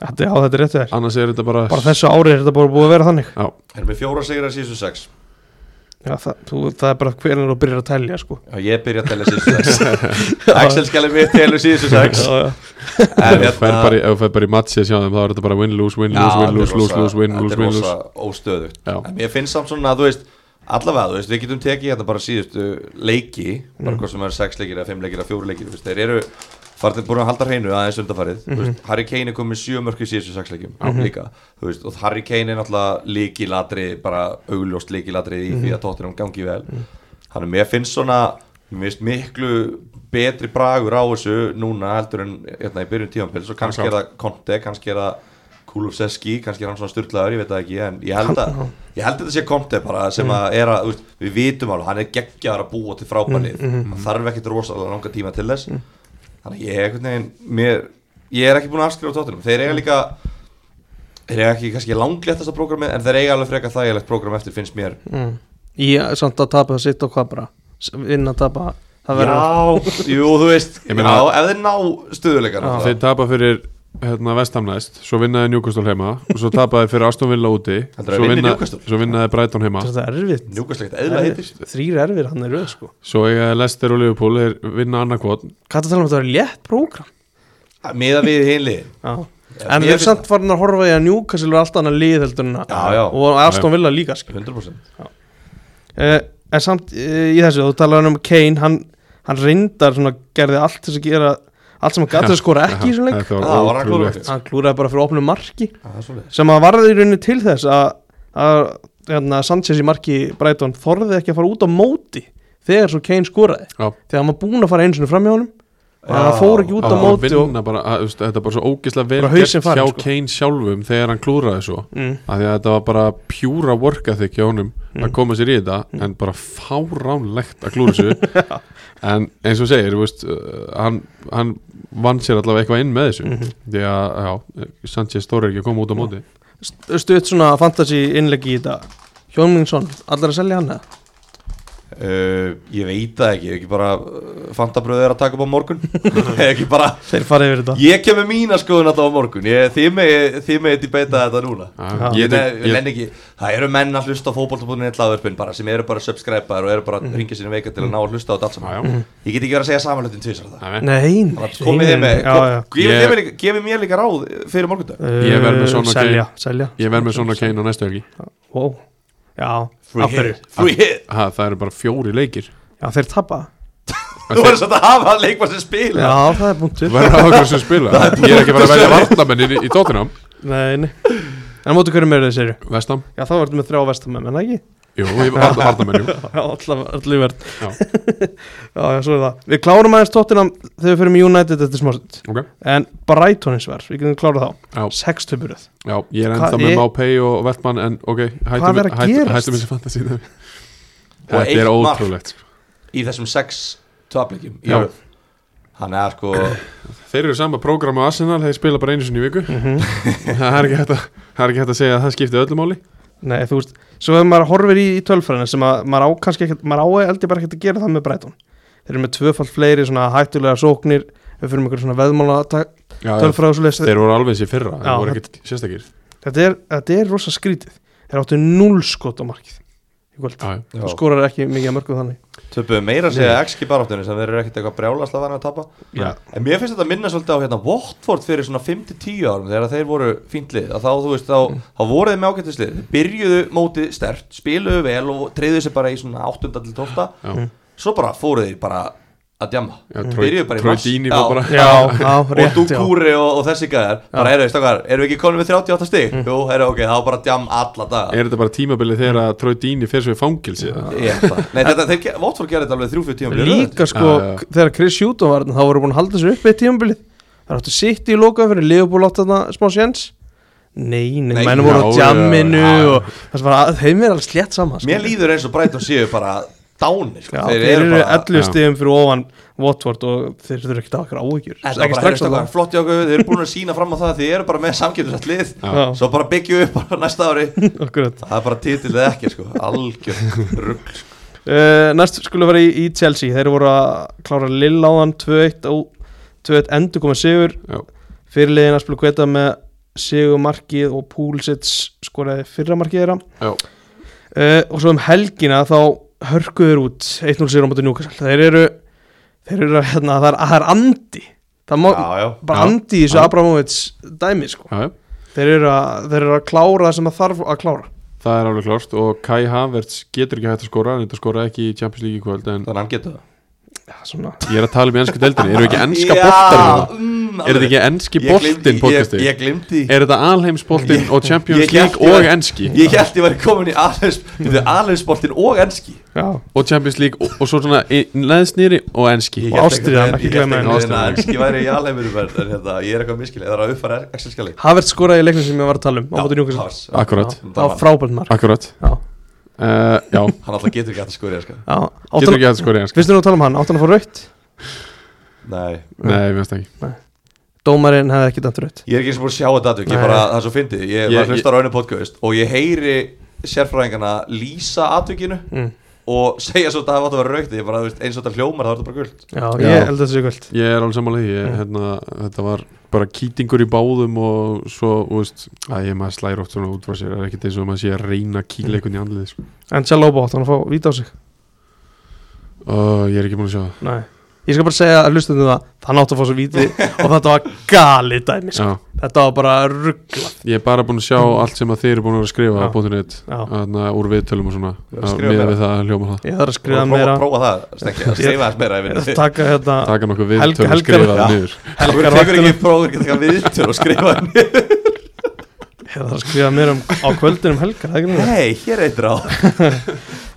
[SPEAKER 1] þetta, já, þetta er rétt þér
[SPEAKER 2] annars er þetta bara,
[SPEAKER 1] bara þessu ári er þetta bara búið að vera þannig
[SPEAKER 2] Já,
[SPEAKER 3] erum við fjóra sigrar síðustu sex
[SPEAKER 1] já, það, þú, það er bara hvernig þú byrjar að telja sko.
[SPEAKER 3] og ég byrja að tella síðustu sex Axel skalli mitt telur síðustu sex
[SPEAKER 1] Já, já.
[SPEAKER 3] en hérna-
[SPEAKER 2] ef þú fer bara í- ef þú fer bara í matsi að sjá þeim þá er þetta bara win-lose, win-lose, win-lose, lose-lose, win-lose, win-lose
[SPEAKER 3] óstöðu
[SPEAKER 2] Já.
[SPEAKER 3] en mér finnst samt svona að þú veist allavega, þú veist, við getum tekið hérna bara síðustu leiki, bara hvort sem er sex leikir eða fimm leikir eða fjóru leikir, þú veist, þeir eru farið búin að halda hreinu aðeins undarfarið mm veist, Harry Kane er komið sjö mörk í síðustu sex leikjum líka, þú veist, og Harry Kane er náttúrulega líkilatri, bara augljóst líkilatri í því að tóttir hún gangi vel þannig mér finnst svona mér finnst miklu betri bragur á þessu núna heldur en hérna, í byrjun tímanpils og kannski er það Conte, kannski er það Kulusevski, kannski er hann svona styrlaður, ég veit það ekki en ég held að, ég held að þetta sé Conte bara sem
[SPEAKER 1] Mm.
[SPEAKER 3] að er að, þú veist, við vitum alveg hann er geggjaður að búa til frábælið
[SPEAKER 1] Mm,
[SPEAKER 3] hann þarf ekkit rosalega langa tíma til þess þannig að ég, einhvern veginn, mér ég er ekki búin að afskrifa tóttunum, þeir
[SPEAKER 1] Mm.
[SPEAKER 3] eiga líka þeir eiga ekki kannski langléttasta prógrami en þeir eiga alveg frekar þægilegt prógram eftir finnst mér
[SPEAKER 1] mm. ég samt að tapa það sitt og hvað bara S- vinna að tapa það verður
[SPEAKER 3] já, jú, þú veist
[SPEAKER 2] Ég meina-
[SPEAKER 3] já, ef þeir ná
[SPEAKER 1] Já.
[SPEAKER 3] stöðuleikar
[SPEAKER 2] Þeir
[SPEAKER 3] náttúrulega.
[SPEAKER 2] tapa fyrir hérna vestamnæst svo vinnaði Newcastle heima og svo tapaði fyrir Aston Villa úti
[SPEAKER 3] Heldur að
[SPEAKER 2] svo,
[SPEAKER 3] vinni
[SPEAKER 2] vinna,
[SPEAKER 3] Newcastle?
[SPEAKER 2] svo vinnaði Brighton heima
[SPEAKER 1] þetta er erfitt
[SPEAKER 3] njúkastlegt eðla heitir
[SPEAKER 1] þrýr erfir hann er röð sko.
[SPEAKER 2] svo eiga Leicester og Liverpool þeir vinna annarkot
[SPEAKER 1] hvað það tala um að þetta er létt prógram
[SPEAKER 3] miða við hinliðin
[SPEAKER 1] Já. En
[SPEAKER 3] Já, mér
[SPEAKER 1] við erum
[SPEAKER 3] finnst
[SPEAKER 1] samt farin að horfa í að Newcastle er allt annað lið heldur en
[SPEAKER 3] Já, já.
[SPEAKER 1] að og Aston Villa líka skil.
[SPEAKER 3] 100%
[SPEAKER 1] uh, En samt uh, í þessu, þú talaði um Kane hann, hann reyndar svona gerði allt þess að gera allt sem hann gæti að skora ekki í þessum leik
[SPEAKER 2] Þetta
[SPEAKER 3] Já,
[SPEAKER 2] var
[SPEAKER 3] var hann
[SPEAKER 2] ótrúlegt
[SPEAKER 3] klóruð.
[SPEAKER 1] Hann klúraði bara fyrir opnum marki
[SPEAKER 3] það er svolítið
[SPEAKER 1] sem að varði í rauninni til þess að, að hérna, Sanchez í marki Brighton þorði ekki að fara út á móti þegar svo Kane skoraði
[SPEAKER 2] Já.
[SPEAKER 1] þegar hann var búin að fara einu sinni fram hjá honum en
[SPEAKER 3] Já.
[SPEAKER 1] hann fór ekki út á
[SPEAKER 2] að
[SPEAKER 1] móti og,
[SPEAKER 2] vinna bara, að, þú veist, þetta er bara svo ógislega vel
[SPEAKER 1] Bara
[SPEAKER 2] gert
[SPEAKER 1] hausinn farinn,
[SPEAKER 2] hjá
[SPEAKER 1] sko.
[SPEAKER 2] Kane sjálfum þegar hann klúraði svo
[SPEAKER 1] mm,
[SPEAKER 2] af því að þetta var bara pjúra work ethic hjá honum að koma sér í þetta en bara fáránlegt að klúra sér en eins og segir, þú veist, uh, hann, hann vann sér allavega eitthvað inn með þessu því að, já, Sanchez Stóri er ekki að koma út á móti
[SPEAKER 1] St- stutt svona fantasy innleggi í þetta Hjómingsson, allar að selja hann eða?
[SPEAKER 3] uh, Ég veit það ekki, er ekki bara uh, Fantabröð er að taka upp á morgun Er ekki bara
[SPEAKER 1] þeir fara yfir þetta
[SPEAKER 3] Ég kem með mína skoðun þetta á morgun ég, Þið megið með þetta í beita þetta núna
[SPEAKER 2] Já,
[SPEAKER 3] ég,
[SPEAKER 2] Ah, ég tek-
[SPEAKER 3] ég,
[SPEAKER 2] ég-
[SPEAKER 3] nenni ekki, Það eru menn að hlusta á fótbolta.net hlaðvörpin bara sem eru bara subscriber og eru bara að ringja sinni veika til að ná að hlusta á þetta allt
[SPEAKER 2] Já, já.
[SPEAKER 3] saman Ég get ekki verið að segja samanlutin tvisar það
[SPEAKER 2] Nei,
[SPEAKER 1] nei,
[SPEAKER 2] nei.
[SPEAKER 1] nei,
[SPEAKER 3] Þannig að komið þið með,
[SPEAKER 1] já, já.
[SPEAKER 3] gefið
[SPEAKER 2] Ég-
[SPEAKER 3] þið mér líka- gefið mér líka ráð fyrir morgundag
[SPEAKER 2] Ég verð með
[SPEAKER 1] Uh,
[SPEAKER 2] Son og
[SPEAKER 1] selja,
[SPEAKER 2] Kane.
[SPEAKER 1] selja
[SPEAKER 2] ég verð með svona Kane á næstu helgi
[SPEAKER 1] wow. já,
[SPEAKER 3] Free
[SPEAKER 1] af hverju
[SPEAKER 3] hit, free hit
[SPEAKER 2] ha, það eru bara fjóri leikir
[SPEAKER 1] já, þeir tapa
[SPEAKER 3] Þú verður svolítið að hafa leikmann sem spila
[SPEAKER 1] já, það er punktur
[SPEAKER 2] verður á okkur sem spila ég er ekki bara að velja vartamennin í, í tóttunum
[SPEAKER 1] nei, nei. en á móti hverjum eru þeir séru
[SPEAKER 2] vestam,
[SPEAKER 1] já, þá verðum við þrjá vestamenn, en það ekki
[SPEAKER 2] jú, ég- varna- varnamenn jú.
[SPEAKER 1] Já, allavega- allir verð
[SPEAKER 2] Já.
[SPEAKER 1] já, já, svo er það Við klárum aðeins tóttina þegar við fyrir með United eftir smástund
[SPEAKER 2] ok,
[SPEAKER 1] En Brighton eins verð, við getum klárað þá
[SPEAKER 2] já,
[SPEAKER 1] 6 töpuröð
[SPEAKER 2] já ég er
[SPEAKER 1] Hvað
[SPEAKER 2] ennþá með
[SPEAKER 1] er-
[SPEAKER 2] Mápei og Vertmann en ok,
[SPEAKER 1] Hvað
[SPEAKER 2] hættum
[SPEAKER 1] er að
[SPEAKER 2] hættum-
[SPEAKER 1] gerast?
[SPEAKER 2] hættum þessi fantasi
[SPEAKER 3] Og
[SPEAKER 2] þetta er
[SPEAKER 3] eitt mark.
[SPEAKER 2] ótrúlegt sko.
[SPEAKER 3] í þessum sex töfleikum
[SPEAKER 2] Já.
[SPEAKER 3] Þannig að sko
[SPEAKER 2] þeir eru sama prógram á Arsenal, þeir spila bara einu sinni í viku það er ekki hægt að það er ekki hægt að segja að það skipti öllu máli
[SPEAKER 1] Nei, þú veist, svo ef maður horfir í, í tölfræðina sem að maður á kannski ekkert, maður á eldi bara ekkert að gera það með Brighton Þeir eru með tvöfald fleiri svona hættulega sóknir Við fyrir með einhver svona veðmála
[SPEAKER 2] já,
[SPEAKER 1] tölfræð og svoleiðis.
[SPEAKER 2] þeir voru alveg sér fyrra,
[SPEAKER 1] Já,
[SPEAKER 2] þeir voru ekkit sérstakir
[SPEAKER 1] þetta, er, þetta er rosa skrítið Þeir áttu 0 skot á markið í kvöld
[SPEAKER 2] já, já.
[SPEAKER 1] Þú
[SPEAKER 3] sko,
[SPEAKER 1] skorar ekki mikið að mörgum þannig
[SPEAKER 3] Töpuðu meira að segja XG baráttunni sem þeir eru ekkert eitthvað brjálast að vera að tapa
[SPEAKER 1] Já.
[SPEAKER 3] En mér finnst þetta minna svolítið á hérna Watford fyrir svona 5-10 árum þegar þeir voru fíntlið að þá þú veist þá,
[SPEAKER 1] Mm.
[SPEAKER 3] þá voru þeir með ágættislið þeir byrjuðu mótið stert, spiluðu vel og treyðuðu sér bara í svona 8-12
[SPEAKER 2] Já.
[SPEAKER 1] Mm.
[SPEAKER 3] svo bara fóruðu þeir bara að djamma,
[SPEAKER 2] Já,
[SPEAKER 3] byrjuðu bara í
[SPEAKER 2] Troy
[SPEAKER 3] mars.
[SPEAKER 2] Deeney
[SPEAKER 3] Já.
[SPEAKER 2] var bara
[SPEAKER 1] Já, já,
[SPEAKER 3] og
[SPEAKER 1] rétt já.
[SPEAKER 3] Dukúri og, og þessi gæðar bara eru, stakar, eru við ekki komin með 38 stig?
[SPEAKER 1] Mm.
[SPEAKER 3] Jú, eru ok, þá bara djam alla daga
[SPEAKER 2] er þetta bara tímabilið þegar að Troy Deeney fer svo í fangilsi eða?
[SPEAKER 3] Ég held það. Nei, þetta, þeir, ge- Watford gerði þetta alveg 3-4 tíma
[SPEAKER 1] Líka sko,
[SPEAKER 2] Já, já.
[SPEAKER 1] þegar Chris Hjúton var þarna, þá voru búin að halda þessu upp eitt tímabilið Það áttu sitt í loka fyrir Leopold átt þarna smá séns Nei, nei,
[SPEAKER 3] Nei,
[SPEAKER 1] menn voru á
[SPEAKER 2] já,
[SPEAKER 1] jamminu
[SPEAKER 2] já, já.
[SPEAKER 1] og það sem var að þeim er alveg slétt saman sko.
[SPEAKER 3] Mér líður eins og Brighton séu bara dánir sko.
[SPEAKER 1] Já, þeir, eru
[SPEAKER 3] bara
[SPEAKER 1] 11
[SPEAKER 2] Já.
[SPEAKER 1] stíðum fyrir ofan Watford og þeir þurfa ekki að hafa áhyggjur
[SPEAKER 3] Þetta var
[SPEAKER 1] Ekki
[SPEAKER 3] bara
[SPEAKER 1] strax
[SPEAKER 3] heyrðist
[SPEAKER 1] á
[SPEAKER 3] okkar
[SPEAKER 1] það
[SPEAKER 3] flott hjá okkur, þeir eru búin að sína fram á það þeir eru bara með samkjöfnisætt lið
[SPEAKER 1] Já.
[SPEAKER 3] svo bara byggju upp bara næsta ári
[SPEAKER 1] Akkurat.
[SPEAKER 3] það er bara titillið ekki sko, algjör rugg sko.
[SPEAKER 1] Uh, Næst skulum vera í, í Chelsea Þeir voru að klára Lill áðan 2-1 og 2-1 endur komið sigur
[SPEAKER 2] Já.
[SPEAKER 1] Fyrirliðina spilum kveta með sigurmarkið og Púlsits skoraði fyrra markið þeirra
[SPEAKER 2] Já.
[SPEAKER 1] uh, og svo um helgina þá hörkuður út 1-0 sigur á móti Newcastle þeir eru, þeir eru að- hérna, það, er, það er andi það má,
[SPEAKER 3] já, já.
[SPEAKER 1] bara
[SPEAKER 2] Já.
[SPEAKER 1] andi í þessu
[SPEAKER 2] Já.
[SPEAKER 1] Abramovits dæmi sko.
[SPEAKER 2] Já, já.
[SPEAKER 1] þeir, eru að, þeir eru að klára það sem það þarf að klára
[SPEAKER 2] það er alveg klart og Kai Havertz getur ekki hægt að skora en þetta skora ekki í Champions League í kvöld en
[SPEAKER 3] þannig að hann getur það
[SPEAKER 1] Já, svona.
[SPEAKER 2] ég er að tala um í ennska deildinni, eru ekki ennska boltar
[SPEAKER 3] mm,
[SPEAKER 2] er þetta ekki ennski boltin
[SPEAKER 3] ég,
[SPEAKER 2] podcasti
[SPEAKER 3] ég glimti
[SPEAKER 2] er þetta alheimsboltin og Champions
[SPEAKER 3] ég hélt
[SPEAKER 2] League
[SPEAKER 3] ég
[SPEAKER 2] og
[SPEAKER 3] var-
[SPEAKER 2] ennski
[SPEAKER 3] ég held ég væri komin í alheimsboltin og enski
[SPEAKER 1] Já.
[SPEAKER 2] og Champions League og, og svo svona leðsnýri og ennski
[SPEAKER 3] Ég
[SPEAKER 1] Og
[SPEAKER 3] hélt
[SPEAKER 1] ástríðan,
[SPEAKER 3] einhvern
[SPEAKER 1] ekki
[SPEAKER 3] veginn-
[SPEAKER 1] gleyma
[SPEAKER 3] ég hélt
[SPEAKER 2] henni.
[SPEAKER 3] einhvern veginn að enski væri í alheimur en hérna, ég er eitthvað miskileg, það er að uppfæra Excel-skjali
[SPEAKER 1] Havertz skoraði í leiknum sem ég var að tala um á móti Newcastle
[SPEAKER 3] Havertz.
[SPEAKER 2] akkurat,
[SPEAKER 1] Já, það var frábært mark
[SPEAKER 2] akkurat
[SPEAKER 1] Já.
[SPEAKER 2] uh, já,
[SPEAKER 3] hann alltaf getur ekki hægt að skori sko.
[SPEAKER 1] Já.
[SPEAKER 2] getur
[SPEAKER 1] Áttan-
[SPEAKER 2] ekki hægt að skora í ennska
[SPEAKER 1] Fyrstu nú að tala um hann, áttan að fá raut
[SPEAKER 3] nei
[SPEAKER 2] nei, við veist ekki
[SPEAKER 1] Dómarinn hefði ekki dæmt raut
[SPEAKER 3] Ég er ekki eins og búin að sjá þetta atvik, ég
[SPEAKER 1] Nei.
[SPEAKER 3] bara, það er svo fyndið Ég,
[SPEAKER 2] Ég-
[SPEAKER 3] ég var að hlusta á raunum podcast og ég heyri sérfræðingana lýsa atvikinu
[SPEAKER 1] mm.
[SPEAKER 3] og segja svo að það var að vera raukt Ég bara, þú veist, eins og þetta hljómar, það var þetta bara guld
[SPEAKER 1] Já,
[SPEAKER 2] Já.
[SPEAKER 1] ég held að þessu kvöld
[SPEAKER 2] Ég er alveg sammála því, ég,
[SPEAKER 1] Mm.
[SPEAKER 2] hérna, þetta var bara kýtingur í báðum og svo, þú veist, að ég maður slæri oft svona út frá sér, það er ekkert eins og maður sé að reyna að kýla einhvern í andlið, sko.
[SPEAKER 1] En Jalóbo áttan að fá víta á sig
[SPEAKER 2] Uh, ég er ekki búin að sjá það.
[SPEAKER 1] Nei. Ég skal bara segja að hlustundum það Það nátt að fá svo víti og þetta var gali dæmi sko.
[SPEAKER 2] Já,
[SPEAKER 1] Þetta var bara ruggla
[SPEAKER 2] ég er bara búin að sjá allt sem að þið eru búin að vera að skrifa
[SPEAKER 1] Já.
[SPEAKER 2] á bóttunett,
[SPEAKER 1] Já.
[SPEAKER 2] þarna úr viðtölum og svona,
[SPEAKER 3] Já,
[SPEAKER 2] að
[SPEAKER 3] skrifa
[SPEAKER 2] miða
[SPEAKER 3] meira.
[SPEAKER 2] við það að hljóma það.
[SPEAKER 1] Ég þarf að
[SPEAKER 3] Prófa,
[SPEAKER 1] skrifa meira
[SPEAKER 3] prófa það, stengi, að skrifa þess meira yfir Þú
[SPEAKER 1] Taka hérna
[SPEAKER 2] Taka nokkuð
[SPEAKER 1] Helga-
[SPEAKER 2] viðtöl og
[SPEAKER 1] Helga-
[SPEAKER 2] skrifa
[SPEAKER 3] Já.
[SPEAKER 2] það niður.
[SPEAKER 1] helgar
[SPEAKER 3] tekur
[SPEAKER 1] vaktina.
[SPEAKER 3] ekki prófur, getur ekki að viðtur og skrifa henni
[SPEAKER 1] Ég þarf að skrifa meira um, á kvöldinum helgar það er ekki neitt.
[SPEAKER 3] Hei, hér er eitt ráð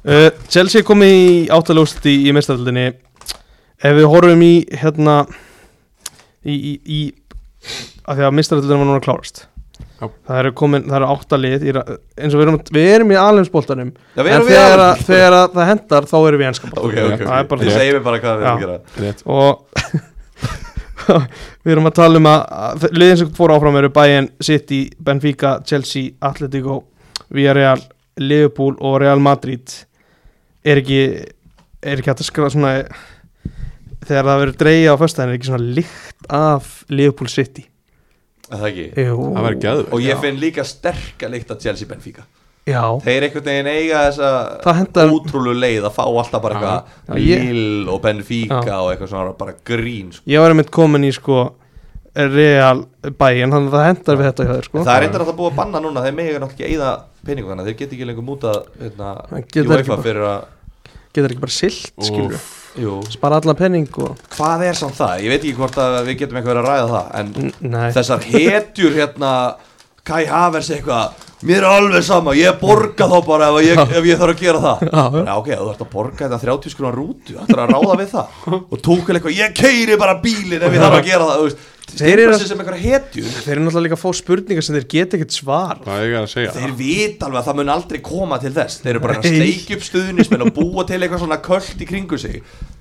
[SPEAKER 1] uh, Chelsea komi í áttaljóst í, í mestaraldinni Ef við horfum í hérna í, í, í að því að mestaraldinni var núna að klárast
[SPEAKER 2] Já.
[SPEAKER 1] Það eru komin, það eru áttalið eins og við erum, við erum í alheimsbóltanum
[SPEAKER 3] Já, við
[SPEAKER 1] En
[SPEAKER 3] erum við
[SPEAKER 1] þegar,
[SPEAKER 3] að
[SPEAKER 1] að, þegar að það hendar þá erum við í enska
[SPEAKER 3] Ok, ok,
[SPEAKER 2] Já,
[SPEAKER 1] það er
[SPEAKER 3] ok,
[SPEAKER 1] bara
[SPEAKER 3] þið
[SPEAKER 1] það.
[SPEAKER 3] segir mér bara hvað við erum að
[SPEAKER 1] Já.
[SPEAKER 3] gera
[SPEAKER 2] Rétt.
[SPEAKER 1] og við erum að tala um að- að liðin sem fór áfram eru Bayern, City, Benfica, Chelsea, Atletico, Villarreal, Liverpool og Real Madrid er ekki er ekki hægt að skra svona þegar það verður dreigja á föstæðin er ekki svona lykt af Liverpool City
[SPEAKER 3] Er Það ekki
[SPEAKER 1] Jú.
[SPEAKER 2] Það væri geðveikt.
[SPEAKER 3] Og
[SPEAKER 1] Já.
[SPEAKER 3] ég finn líka sterka líkt að Chelsea Benfica
[SPEAKER 1] Já,
[SPEAKER 3] Þeir einhvern veginn eiga þessa
[SPEAKER 1] það hendar
[SPEAKER 3] ótrúlu leið að fá alltaf bara
[SPEAKER 1] Já.
[SPEAKER 3] eitthvað
[SPEAKER 1] Já, ég-
[SPEAKER 3] Lill og Benfica
[SPEAKER 1] Já.
[SPEAKER 3] og eitthvað svona bara grín sko.
[SPEAKER 1] Ég var einmitt komin í sko Real Bayern, þannig að það hendar við þetta hjá þér sko
[SPEAKER 3] En Það er eitthvað að búið að banna núna Þeir megi náttúrulega ekki eigða penningu þannig að Þeir geti ekki lengur mútað hérna,
[SPEAKER 1] Það
[SPEAKER 3] í
[SPEAKER 1] geta ekki
[SPEAKER 3] UEFA
[SPEAKER 1] bara-
[SPEAKER 3] fyrir að
[SPEAKER 1] Getur ekki bara silt,
[SPEAKER 2] Úff.
[SPEAKER 1] skilur
[SPEAKER 3] Jú.
[SPEAKER 1] Spara allan penning og
[SPEAKER 3] Hvað er samt það? Ég veit ekki hvort að við getum eitthvað verið að ræða það En
[SPEAKER 1] N- Nei,
[SPEAKER 3] þessar hetjur hérna Kai Havers eitthvað Mér er alveg sama, ég borga þá bara ef ég, ef ég þarf að gera það
[SPEAKER 1] Já, já.
[SPEAKER 3] Já, ok, þú ert að borga þetta 30 skrónar rútu Þú ert að ráða við það Og tókul eitthvað, ég keiri bara bílinn ef ég þarf að gera það Þú veist,
[SPEAKER 1] Þeir eru-
[SPEAKER 3] stýpa sér sem eitthvað hetjur
[SPEAKER 1] þeir eru náttúrulega líka að fá spurningar sem þeir geta ekkert svar
[SPEAKER 2] Hvað er ég að segja?
[SPEAKER 3] Þeir vita alveg að það mun aldrei koma til þess Þeir eru bara að
[SPEAKER 1] Nei.
[SPEAKER 3] sleikja upp stuðnismenn og búa til eitthvað svona költ í kringu sig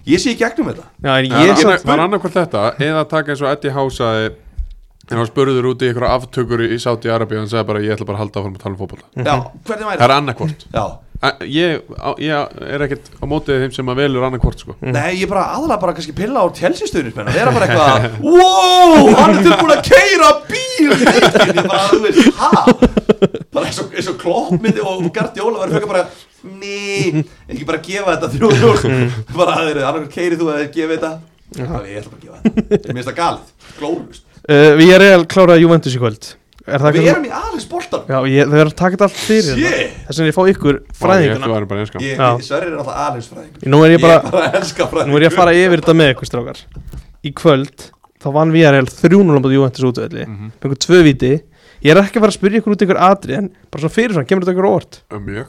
[SPEAKER 3] Ég sé í gegnum þetta
[SPEAKER 1] Já, en ég
[SPEAKER 2] Það var annað-
[SPEAKER 1] samt
[SPEAKER 2] var annarkvæmt þetta eða að taka eins og Eddie House að en hann spurður út í einhverja aftökur í Saudi Arabia og hann sagði bara ég ætla bara að halda áfram að tala um fótbolta
[SPEAKER 3] Já, hvernig
[SPEAKER 2] Það er
[SPEAKER 3] væri það?
[SPEAKER 2] annarkvort
[SPEAKER 3] Já,
[SPEAKER 2] ég, á- ég er ekkert á mótið þeim sem að velur annarkvort sko.
[SPEAKER 1] Mhm.
[SPEAKER 3] Nei, ég bara aðalega bara kannski pilla á tjelsistuðnir spenna Þeir eru bara eitthvað Wow, hann er tilbúin að keira bíl í leikinn." Ég bara, þú veist, ha? Bara eins og, eins og kloppmyndi og Gardi Ólafur Fökka bara, ný Ekki bara gefa þetta þrjú þrjú
[SPEAKER 1] Mhm.
[SPEAKER 3] Bara að þeir, annarkur keiri þú að þeir gefi þetta Já, ég ætla bara að gefa þetta Mér finnst það galið, glóðlust
[SPEAKER 1] uh, Við erum real kláraði Juventus í kvöld Er það
[SPEAKER 3] Við
[SPEAKER 1] eitthvað sem-
[SPEAKER 3] erum í aðeins boltan
[SPEAKER 1] Já, ég, þau eru að taka þetta allt fyrir
[SPEAKER 3] Shit.
[SPEAKER 1] hérna. Þess vegna ég fá ykkur
[SPEAKER 2] Ég- þú
[SPEAKER 1] fræðinguna
[SPEAKER 2] væri bara enskan.
[SPEAKER 3] Ég,
[SPEAKER 1] Já.
[SPEAKER 3] Sverrir er alltaf aðeins fræðing
[SPEAKER 1] Nú er ég bara,
[SPEAKER 3] elska fræðing
[SPEAKER 1] nú er ég að fara yfir þetta með ykkur strákar Í kvöld, þá vann við erum 3-0 búið Juventus útvöldi mm -hmm. Fengur tvö viti Ég er ekki að fara að spyrja ykkur út ykkur atri En bara svona fyrir svona, kemur þetta ykkur á óvart
[SPEAKER 2] mjög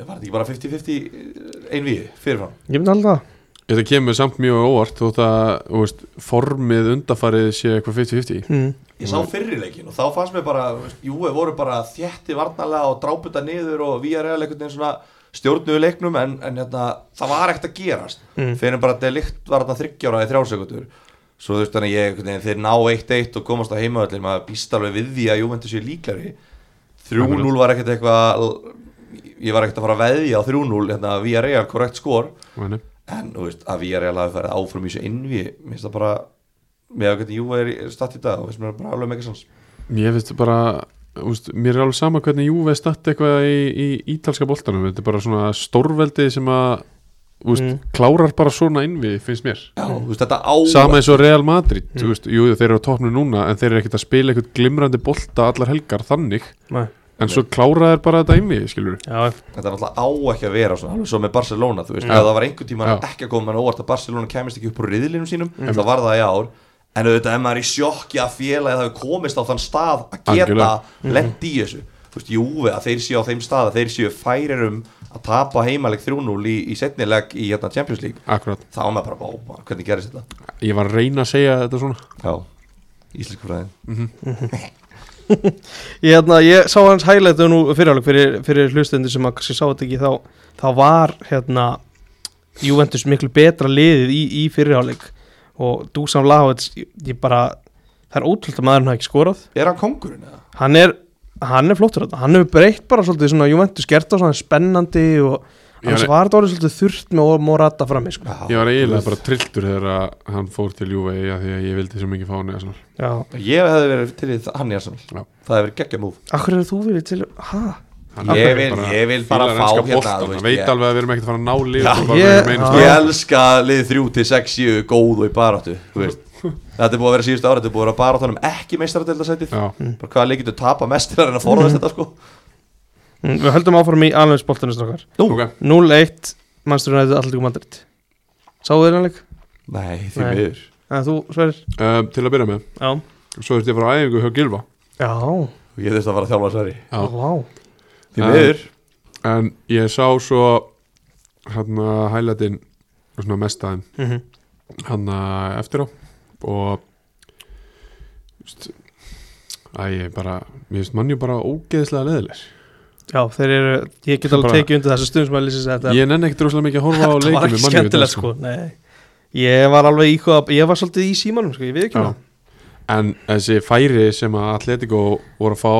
[SPEAKER 3] Var þetta ekki bara 50-50 einvíði fyrirfram?
[SPEAKER 1] Ég myndi alltaf
[SPEAKER 2] Þetta kemur samt mjög óvart þótt að þú veist, formið undafarið sé eitthvað 50-50
[SPEAKER 1] mm.
[SPEAKER 3] Ég sá fyrirleikin og þá fannst mér bara Jú, við voru bara þjætti varnalega og dráputa niður og við erum eða einhvern veginn svona stjórnuðu leiknum en, en hérna, það var ekkert að gerast
[SPEAKER 1] Mm.
[SPEAKER 3] fyrir bara að delikt var þarna þryggjára í þrjásekundur svo þú veist þannig ég, einhvern veginn, þeir ná 1-1 og komast á heimavöllin maður býst alveg við því að Juventus sé líklari 3-0 var ekkert eitthvað ég var ekkert að fara að veðja á 3-0 hérna, við erum eða korrekt skor
[SPEAKER 1] Mm.
[SPEAKER 2] Þannig.
[SPEAKER 3] en þú veist að við erum að fara áfram í þessu innví mér finnst það bara með að hvernig Júva er í- er statt í dag og finnst mér bara alveg mega sans
[SPEAKER 2] Mér finnst bara þú veist, Mér er alveg sama hvernig Júve statt eitthvað í, í ítalska boltanum Þetta er bara svona stórveldi sem að þú veist,
[SPEAKER 1] Mm.
[SPEAKER 2] klárar bara svona innvið finnst mér
[SPEAKER 3] Já, þú veist þetta á
[SPEAKER 2] Sama eins og Real Madrid þú
[SPEAKER 1] Mm.
[SPEAKER 2] veist, Jú, þeir eru á topnum núna en þeir eru ekkert að spila eitthvað glimrandi bolta allar helgar þannig
[SPEAKER 1] Nei.
[SPEAKER 2] En svo klára þeir bara þetta innvið, skilur
[SPEAKER 1] Já,
[SPEAKER 3] Þetta er náttúrulega á ekki að vera svona, alveg svo með Barcelona þú veist,
[SPEAKER 2] Já.
[SPEAKER 3] ef það var einhvern tíma
[SPEAKER 2] Já.
[SPEAKER 3] ekki að koma en óvart að Barcelona kemist ekki upp úr riðlinum sínum mm. það var það í ár en auðvitað ef maður er í sjokki að félagið hafi komist á þann stað að geta
[SPEAKER 2] Algjörlega. Mm.
[SPEAKER 3] lent í þessu þú veist, júfi að þeir séu á þeim stað að þeir séu færir um að tapa heimaleg 3-0 í, í setnileg í hérna Champions League
[SPEAKER 2] Akkurat,
[SPEAKER 3] þá er maður bara bá, hvernig gerist þetta
[SPEAKER 2] ég var að reyna að segja þetta svona
[SPEAKER 3] Já, íslensku fræðin
[SPEAKER 1] Ég, hérna, ég sá hans highlightu nú fyrirháleik fyrir, fyrir hlustendur sem að kannski sá þetta ekki þá, þá var hérna Juventus miklu betra liðið í, í fyrirháleik og Dusan Lahovits ég, ég bara, það er ótrúld að maðurinn hafi ekki skorað
[SPEAKER 3] Er hann kongurinn eða?
[SPEAKER 1] hann er, hann er flottur þetta, hann hefur breytt bara svolítið svona Juventus gert á svona spennandi og hans
[SPEAKER 2] Já,
[SPEAKER 1] var þetta orðið svolítið þurft með Morata frammi sko.
[SPEAKER 3] Já.
[SPEAKER 2] Ég var eiginlega bara trilltur þegar að hann fór til Júve Því að ég vildi svo mikið fá hann eða svona
[SPEAKER 1] Já,
[SPEAKER 3] Ég hefði verið til í það, hann er svona
[SPEAKER 2] Já.
[SPEAKER 3] Það hefði verið geggja múf
[SPEAKER 1] akkur er þú vilja til, hæ?
[SPEAKER 3] Ég vil- ég vil bara fá hérna, þú
[SPEAKER 2] Það
[SPEAKER 3] veist,
[SPEAKER 2] veit
[SPEAKER 3] ég-
[SPEAKER 2] alveg að við erum ekkert að fara að ná lið
[SPEAKER 3] Já,
[SPEAKER 2] og bara
[SPEAKER 1] ég-
[SPEAKER 2] verðum einu
[SPEAKER 1] Já.
[SPEAKER 2] stað.
[SPEAKER 3] Ég elska að lið 3 til 6 séu góð og í baráttu þú veist. Þetta er búið að vera síðustu ára Þetta er búið að vera baráttanum ekki meistaradeldasætið
[SPEAKER 2] Já.
[SPEAKER 3] Bara hvaða lið getur tapa mest til að reyna að forðast þetta sko
[SPEAKER 1] Mm, Við höldum áfram í alveg spoltanist okkar
[SPEAKER 3] Nú,
[SPEAKER 2] Ok.
[SPEAKER 1] 0-1, mannsturinn ætti allir Madrid Sáðu þeir hannleik?
[SPEAKER 3] nei
[SPEAKER 1] Nei.
[SPEAKER 3] því miður
[SPEAKER 1] En þú, Sverrir?
[SPEAKER 2] Um, Til að byrja með,
[SPEAKER 1] Já
[SPEAKER 2] svo þurfti ég að fara á æfingu hjá Gilva
[SPEAKER 1] Já,
[SPEAKER 3] Og ég þurfti að fara að þjálfa sverri
[SPEAKER 1] já. Vá.
[SPEAKER 3] Því
[SPEAKER 2] Já.
[SPEAKER 3] miður
[SPEAKER 2] En ég sá svo hann að hælætin svona mestaðin
[SPEAKER 1] Mhm.
[SPEAKER 2] hann að eftir á og þú veist, Æ, ég bara, mér finnst mannjú bara ógeðslega leðileg
[SPEAKER 1] já, þeir eru Ég get alveg
[SPEAKER 2] Bara-
[SPEAKER 1] tekið undir þessu stundum sem að lýsa sér þetta
[SPEAKER 2] Ég nenni ekkert rosalega mikið að horfa á
[SPEAKER 1] Þetta
[SPEAKER 2] leikið
[SPEAKER 1] var
[SPEAKER 2] með
[SPEAKER 1] ekki
[SPEAKER 2] mannjú
[SPEAKER 1] skemmtilegt sko Nei Ég var alveg íkvað, ég var svolítið í símanum sko, ég við ekki
[SPEAKER 2] Já. En þessi færi sem að Atletico voru að fá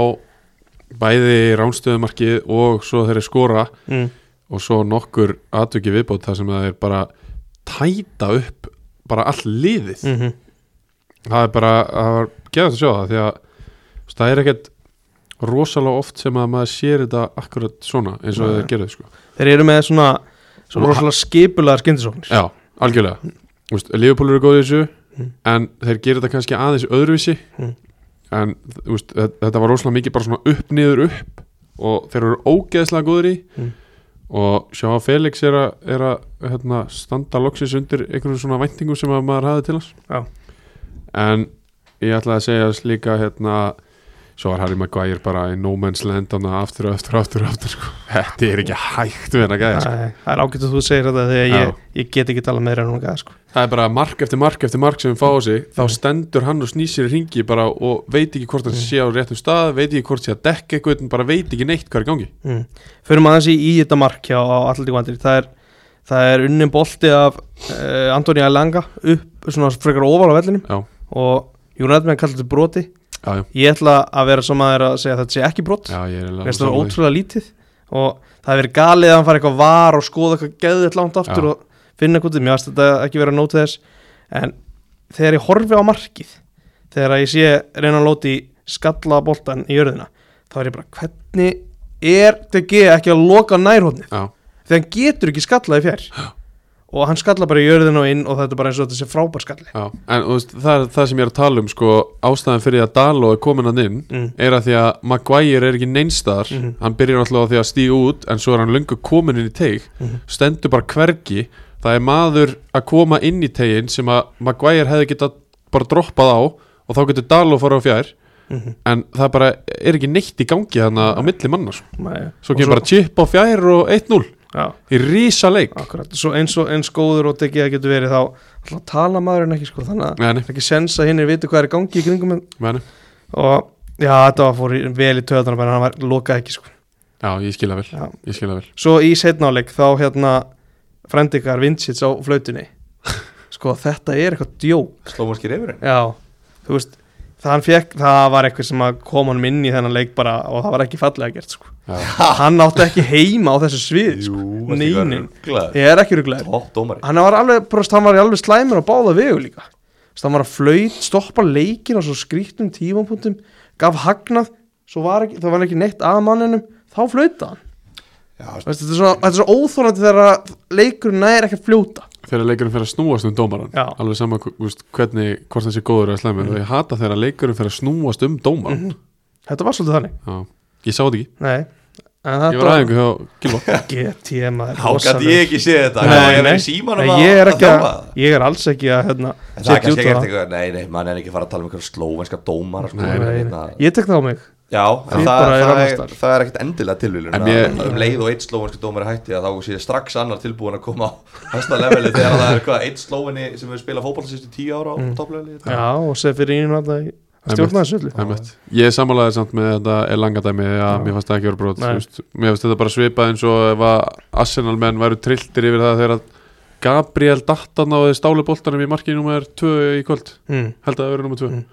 [SPEAKER 2] bæði ránstöðumarkið og svo þeirri skora
[SPEAKER 1] mm.
[SPEAKER 2] og svo nokkur atvöki viðbót þar sem það er bara tæta upp bara all liðið
[SPEAKER 1] mm -hmm.
[SPEAKER 2] það er bara að geðast að sjá það því að þú veist, það er ekkert rosalega oft sem að maður sér þetta akkurat svona eins og
[SPEAKER 1] Nei.
[SPEAKER 2] það gerðu sko.
[SPEAKER 1] Þeir eru með svona, svona
[SPEAKER 2] Og-
[SPEAKER 1] rosalega skipulegar skyndisóknir
[SPEAKER 2] já, algjörlega Þú veist, Liverpool eru góðið þessu
[SPEAKER 1] Mm.
[SPEAKER 2] en þeir gerir þetta kannski aðeins öðruvísi
[SPEAKER 1] Mm.
[SPEAKER 2] en þú veist, þe- þetta var rosalega mikið bara svona upp, niður, upp og þeir eru ógeðslega góður í
[SPEAKER 1] Mm.
[SPEAKER 2] og sjá að Felix er að, er að hérna, standa loksins undir einhverjum svona væntingum sem að maður hafði til hans
[SPEAKER 1] Já.
[SPEAKER 2] en ég ætla að segja þess líka hérna svo var Harry Maguire bara í no man's land hann aftur og aftur og aftur, og aftur sko. þetta er ekki hægt við hann að gæða sko.
[SPEAKER 1] Æ, Það er ágætt að þú segir þetta þegar
[SPEAKER 2] Já.
[SPEAKER 1] ég, ég get ekki talað meira en hún gæða sko.
[SPEAKER 2] það er bara mark eftir mark eftir mark sem við fá á sig þá stendur hann og snýsir í ringi bara og veit ekki hvort hann
[SPEAKER 1] Mm.
[SPEAKER 2] sé á réttum stað veit ekki hvort sé að dekka eitthvað en bara veit ekki neitt hvað er í gangi
[SPEAKER 1] mm. Fyrir maður þessi í þetta mark hjá Atlético Madrid það er, það er unnin bolti af uh, Antoni Alanga upp svona frekar óval á vellinum
[SPEAKER 2] já,
[SPEAKER 1] og Júnaðar með að kalla þetta broti
[SPEAKER 2] já, já,
[SPEAKER 1] Ég ætla að vera svo maður að segja að þetta sé ekki brot
[SPEAKER 2] já ég
[SPEAKER 1] Mér
[SPEAKER 2] er eiginlega
[SPEAKER 1] finnst það
[SPEAKER 2] sammála því.
[SPEAKER 1] ótrúlega lítið og það hefur verið galið að hann fara eitthvað var og skoða eitthvað geðið langt aftur
[SPEAKER 2] Já.
[SPEAKER 1] og finna eitthvað, mér finnst þetta ekki verið að nóta þess en þegar ég horfi á markið þegar ég sé reyna að lóti skalla boltan í jörðina þá er ég bara, hvernig er DG ekki að loka nærhóðnið
[SPEAKER 2] já,
[SPEAKER 1] þegar hann getur ekki skallað í fjær og hann skalla bara í jörðina og inn og þetta er bara eins og þetta sé frábær skalli
[SPEAKER 2] já, en þú veist, það er það sem ég er að tala um sko, ástæðan fyrir að Daló er komin hann inn
[SPEAKER 1] mm.
[SPEAKER 2] er að því að Maguire er ekki neinstar
[SPEAKER 1] Mhm.
[SPEAKER 2] hann byrjar alltaf á því að stíga út en svo er hann löngu komin inn í teig
[SPEAKER 1] Mhm.
[SPEAKER 2] stendur bara hvergi það er maður að koma inn í tegin sem að Maguire hefði getað bara droppað á og þá getur Daló fara á fjær
[SPEAKER 1] Mhm.
[SPEAKER 2] en það bara er ekki neitt í gangi þannig á milli manna sko.
[SPEAKER 1] Maður-
[SPEAKER 2] svo
[SPEAKER 1] og
[SPEAKER 2] kemur bara chip á fjær og 1-0
[SPEAKER 1] já,
[SPEAKER 2] í rísa leik
[SPEAKER 1] akkurat, svo eins og eins góður og DG getur verið þá alltaf tala maðurinn ekki sko þannig að
[SPEAKER 2] Nei, nei,
[SPEAKER 1] það er ekki sens að hinn er viti hvað er í gangi í kringum hann.
[SPEAKER 2] nei, nei.
[SPEAKER 1] og já, þetta var fór í- vel í töðan en hann var lokað ekki sko
[SPEAKER 2] já, ég skilja vel,
[SPEAKER 1] já.
[SPEAKER 2] ég skilja vel
[SPEAKER 1] svo í setnáleik þá hérna frendikar vinsits á flautunni sko þetta er eitthvað djó
[SPEAKER 3] Slómanski reyfurinn
[SPEAKER 1] já, þú veist það, hann fekk, það var eitthvað sem að kom hann inn í þennan leik bara og það var ekki fallega gert sko.
[SPEAKER 2] já,
[SPEAKER 1] hann átti ekki heima á þessu svið sko.
[SPEAKER 3] Jú,
[SPEAKER 1] Nei, nei.
[SPEAKER 3] Glæður
[SPEAKER 1] ég er ekki ruglaður
[SPEAKER 3] Topp dómari
[SPEAKER 1] hann var alveg, brúst, hann var alveg slæmur á báða vegu líka Þess, hann var að flaut, stoppa leikin á svo skrýttum tímapunktum gaf hagnað, svo var ekki, það var ekki neitt að manninum, þá flauta hann
[SPEAKER 3] Já,
[SPEAKER 1] Veistu, þetta, er svo, þetta er svo óþólandi þegar að leikurinn næri ekki að fljóta
[SPEAKER 2] þegar leikurinn fyrir að snúast um dómaran
[SPEAKER 1] Já. Mhm.
[SPEAKER 2] alveg sama hv- þú veist, hvernig, hvort þessi góður er slæmur og ég hata þegar leikurinn fyrir að snúast um dómaran
[SPEAKER 1] þetta var svolítið þannig
[SPEAKER 2] Já, ég sá þetta ekki,
[SPEAKER 1] Nei, en
[SPEAKER 2] ég
[SPEAKER 1] þetta
[SPEAKER 2] var aðeins hjá Gilva
[SPEAKER 1] get ég maður
[SPEAKER 3] Þá gæti ég ekki séð þetta
[SPEAKER 1] Nei,
[SPEAKER 3] Ég
[SPEAKER 1] nei.
[SPEAKER 3] er í símanum
[SPEAKER 1] Nei,
[SPEAKER 3] að-
[SPEAKER 1] ég, er
[SPEAKER 3] að
[SPEAKER 1] ekki að,
[SPEAKER 3] þjálfa.
[SPEAKER 1] ég er alls ekki að hérna,
[SPEAKER 3] En Það er
[SPEAKER 1] setja út á
[SPEAKER 3] kannski ekkert
[SPEAKER 1] það.
[SPEAKER 3] eitthvað, nei, nei, mann er ekki að fara að tala um einhverja slóvenska dómar sko,
[SPEAKER 2] Nei,
[SPEAKER 3] en
[SPEAKER 1] Nei,
[SPEAKER 3] hérna-
[SPEAKER 1] nei. ég tek það á mig
[SPEAKER 3] Já, en
[SPEAKER 1] Þið
[SPEAKER 3] það,
[SPEAKER 1] bara er
[SPEAKER 3] það,
[SPEAKER 1] annars
[SPEAKER 3] er,
[SPEAKER 1] staðar.
[SPEAKER 3] það er ekkert endilega tilvílun
[SPEAKER 2] En
[SPEAKER 3] að
[SPEAKER 2] ég-
[SPEAKER 3] að um leið og eitt slóvenski dómar er hætti að þá sé strax annar tilbúin að koma á hæsta leveli þegar það er hvað, eitt slóveni sem hefur spilað fótball sístu tíu ára á
[SPEAKER 1] Mm.
[SPEAKER 3] mm. topplegli
[SPEAKER 1] já, og sef fyrir ínum að stjórna þessu öllu.
[SPEAKER 2] Ég sammálaði samt með þetta elanga dæmi að
[SPEAKER 1] Já.
[SPEAKER 2] mér fannst það ekki vera brot
[SPEAKER 1] Nei.
[SPEAKER 2] þú veist, Mér fannst þetta bara svipað eins og ef að Arsenal menn væru trilltir yfir það þegar að Gabriel Dattan á stálu boltanum í marki nummer 2 í kvöld
[SPEAKER 1] mm.
[SPEAKER 2] held að það verið nummer 2
[SPEAKER 1] Mm.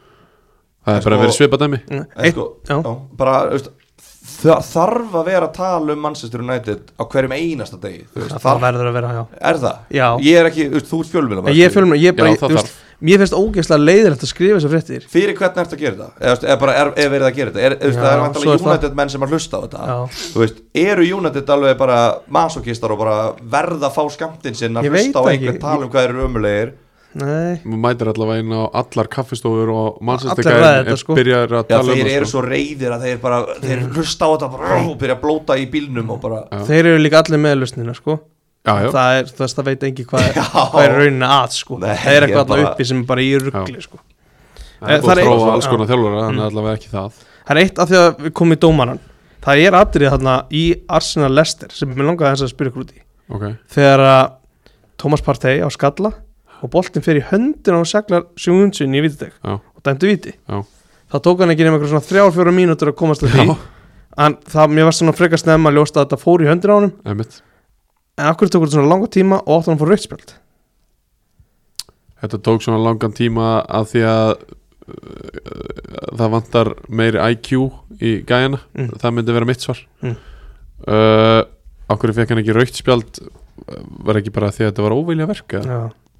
[SPEAKER 2] Það
[SPEAKER 3] En
[SPEAKER 2] er bara
[SPEAKER 3] sko-
[SPEAKER 2] verið svipað dæmi
[SPEAKER 3] En
[SPEAKER 1] Eitt,
[SPEAKER 3] sko,
[SPEAKER 1] já.
[SPEAKER 3] já, bara, veist, það þarf að vera að tala um Manchester United á hverjum einasta degi þú veist,
[SPEAKER 1] það
[SPEAKER 3] þarf,
[SPEAKER 1] verður að vera já
[SPEAKER 3] Er það?
[SPEAKER 1] Já.
[SPEAKER 3] Ég er ekki, þú veist, þú ert fjölmjöla
[SPEAKER 1] En ég fjölum, ég bara,
[SPEAKER 2] Já, það
[SPEAKER 1] þú veist, mér finnst ógeðslega leiðilegt að skrifa þessar fréttir
[SPEAKER 3] Fyrir hvernig ertu að gera þetta? Eða, þú veist, eða bara er, er verið að gera þetta? Er, já,
[SPEAKER 1] Já,
[SPEAKER 3] það er
[SPEAKER 1] svo er
[SPEAKER 3] vantilega
[SPEAKER 1] það.
[SPEAKER 3] United menn sem að hlusta á þetta
[SPEAKER 1] Já.
[SPEAKER 3] Þú veist, eru United alveg bara masokistar og bara verða að fá skamtinn sinn
[SPEAKER 1] Ég
[SPEAKER 3] að
[SPEAKER 1] veit
[SPEAKER 3] hlusta á
[SPEAKER 1] það
[SPEAKER 3] einhvern
[SPEAKER 1] ekki.
[SPEAKER 3] tala um hvað þeir eru ömulegir
[SPEAKER 1] Nei,
[SPEAKER 2] Maður mætir allavega inn á allar kaffistofur og
[SPEAKER 1] Allar
[SPEAKER 2] mannsætti
[SPEAKER 1] ræða
[SPEAKER 2] gæðin
[SPEAKER 1] þetta, sko.
[SPEAKER 2] byrjar að
[SPEAKER 3] Já,
[SPEAKER 2] tala um
[SPEAKER 3] þeir
[SPEAKER 2] það,
[SPEAKER 3] eru
[SPEAKER 2] sko.
[SPEAKER 3] svo reyðir að þeir bara þeir
[SPEAKER 1] Mm.
[SPEAKER 3] hlusta á þetta bara og byrja að blóta í bílnum og bara
[SPEAKER 2] Já.
[SPEAKER 1] þeir eru líka allir með lausnina, sko
[SPEAKER 2] Já, já.
[SPEAKER 1] Það er, þú veist, það veit engi hvað er,
[SPEAKER 3] Já.
[SPEAKER 1] hvað er rauninni að, sko
[SPEAKER 3] Nei,
[SPEAKER 1] Það er
[SPEAKER 3] ég
[SPEAKER 1] eitthvað allar
[SPEAKER 3] bara-
[SPEAKER 1] uppi sem er bara í ruggli, sko
[SPEAKER 2] Það
[SPEAKER 1] Eh,
[SPEAKER 2] er búið
[SPEAKER 1] það
[SPEAKER 2] að
[SPEAKER 1] er-
[SPEAKER 2] prófa alls
[SPEAKER 1] Já. Mm.
[SPEAKER 2] konar þjálfara þannig að allavega ekki það
[SPEAKER 1] Það er eitt af því að við komum í dómaran Það er atrið þarna í Arsenal Leicester sem mér langaði eins að spyrja ykkur út í
[SPEAKER 2] okay.
[SPEAKER 1] Þegar að Thomas Partey á skalla og boltinn fer í höndina og seglar sjúnsun í vituteg
[SPEAKER 2] Já.
[SPEAKER 1] og dæmdu viti
[SPEAKER 2] Já.
[SPEAKER 1] Það tók hann ekki nema eitthvað svona þrjár, fjóra mínútur að komast að því
[SPEAKER 2] Já,
[SPEAKER 1] en það, mér var svona frekar snemma að ljósta að þetta fór í höndina á honum
[SPEAKER 2] einmitt
[SPEAKER 1] en akkur tók þetta svona langa tíma og átti hann að fá rauðspjöld
[SPEAKER 2] þetta tók svona langan tíma að því að uh, það vantar meiri IQ í gæjana
[SPEAKER 1] Mm.
[SPEAKER 2] það myndi vera mitt svar
[SPEAKER 1] Mm.
[SPEAKER 2] uh, okkur fekk hann ekki raukt spjald uh, var ekki bara því að þetta var óvilja verka
[SPEAKER 1] Já,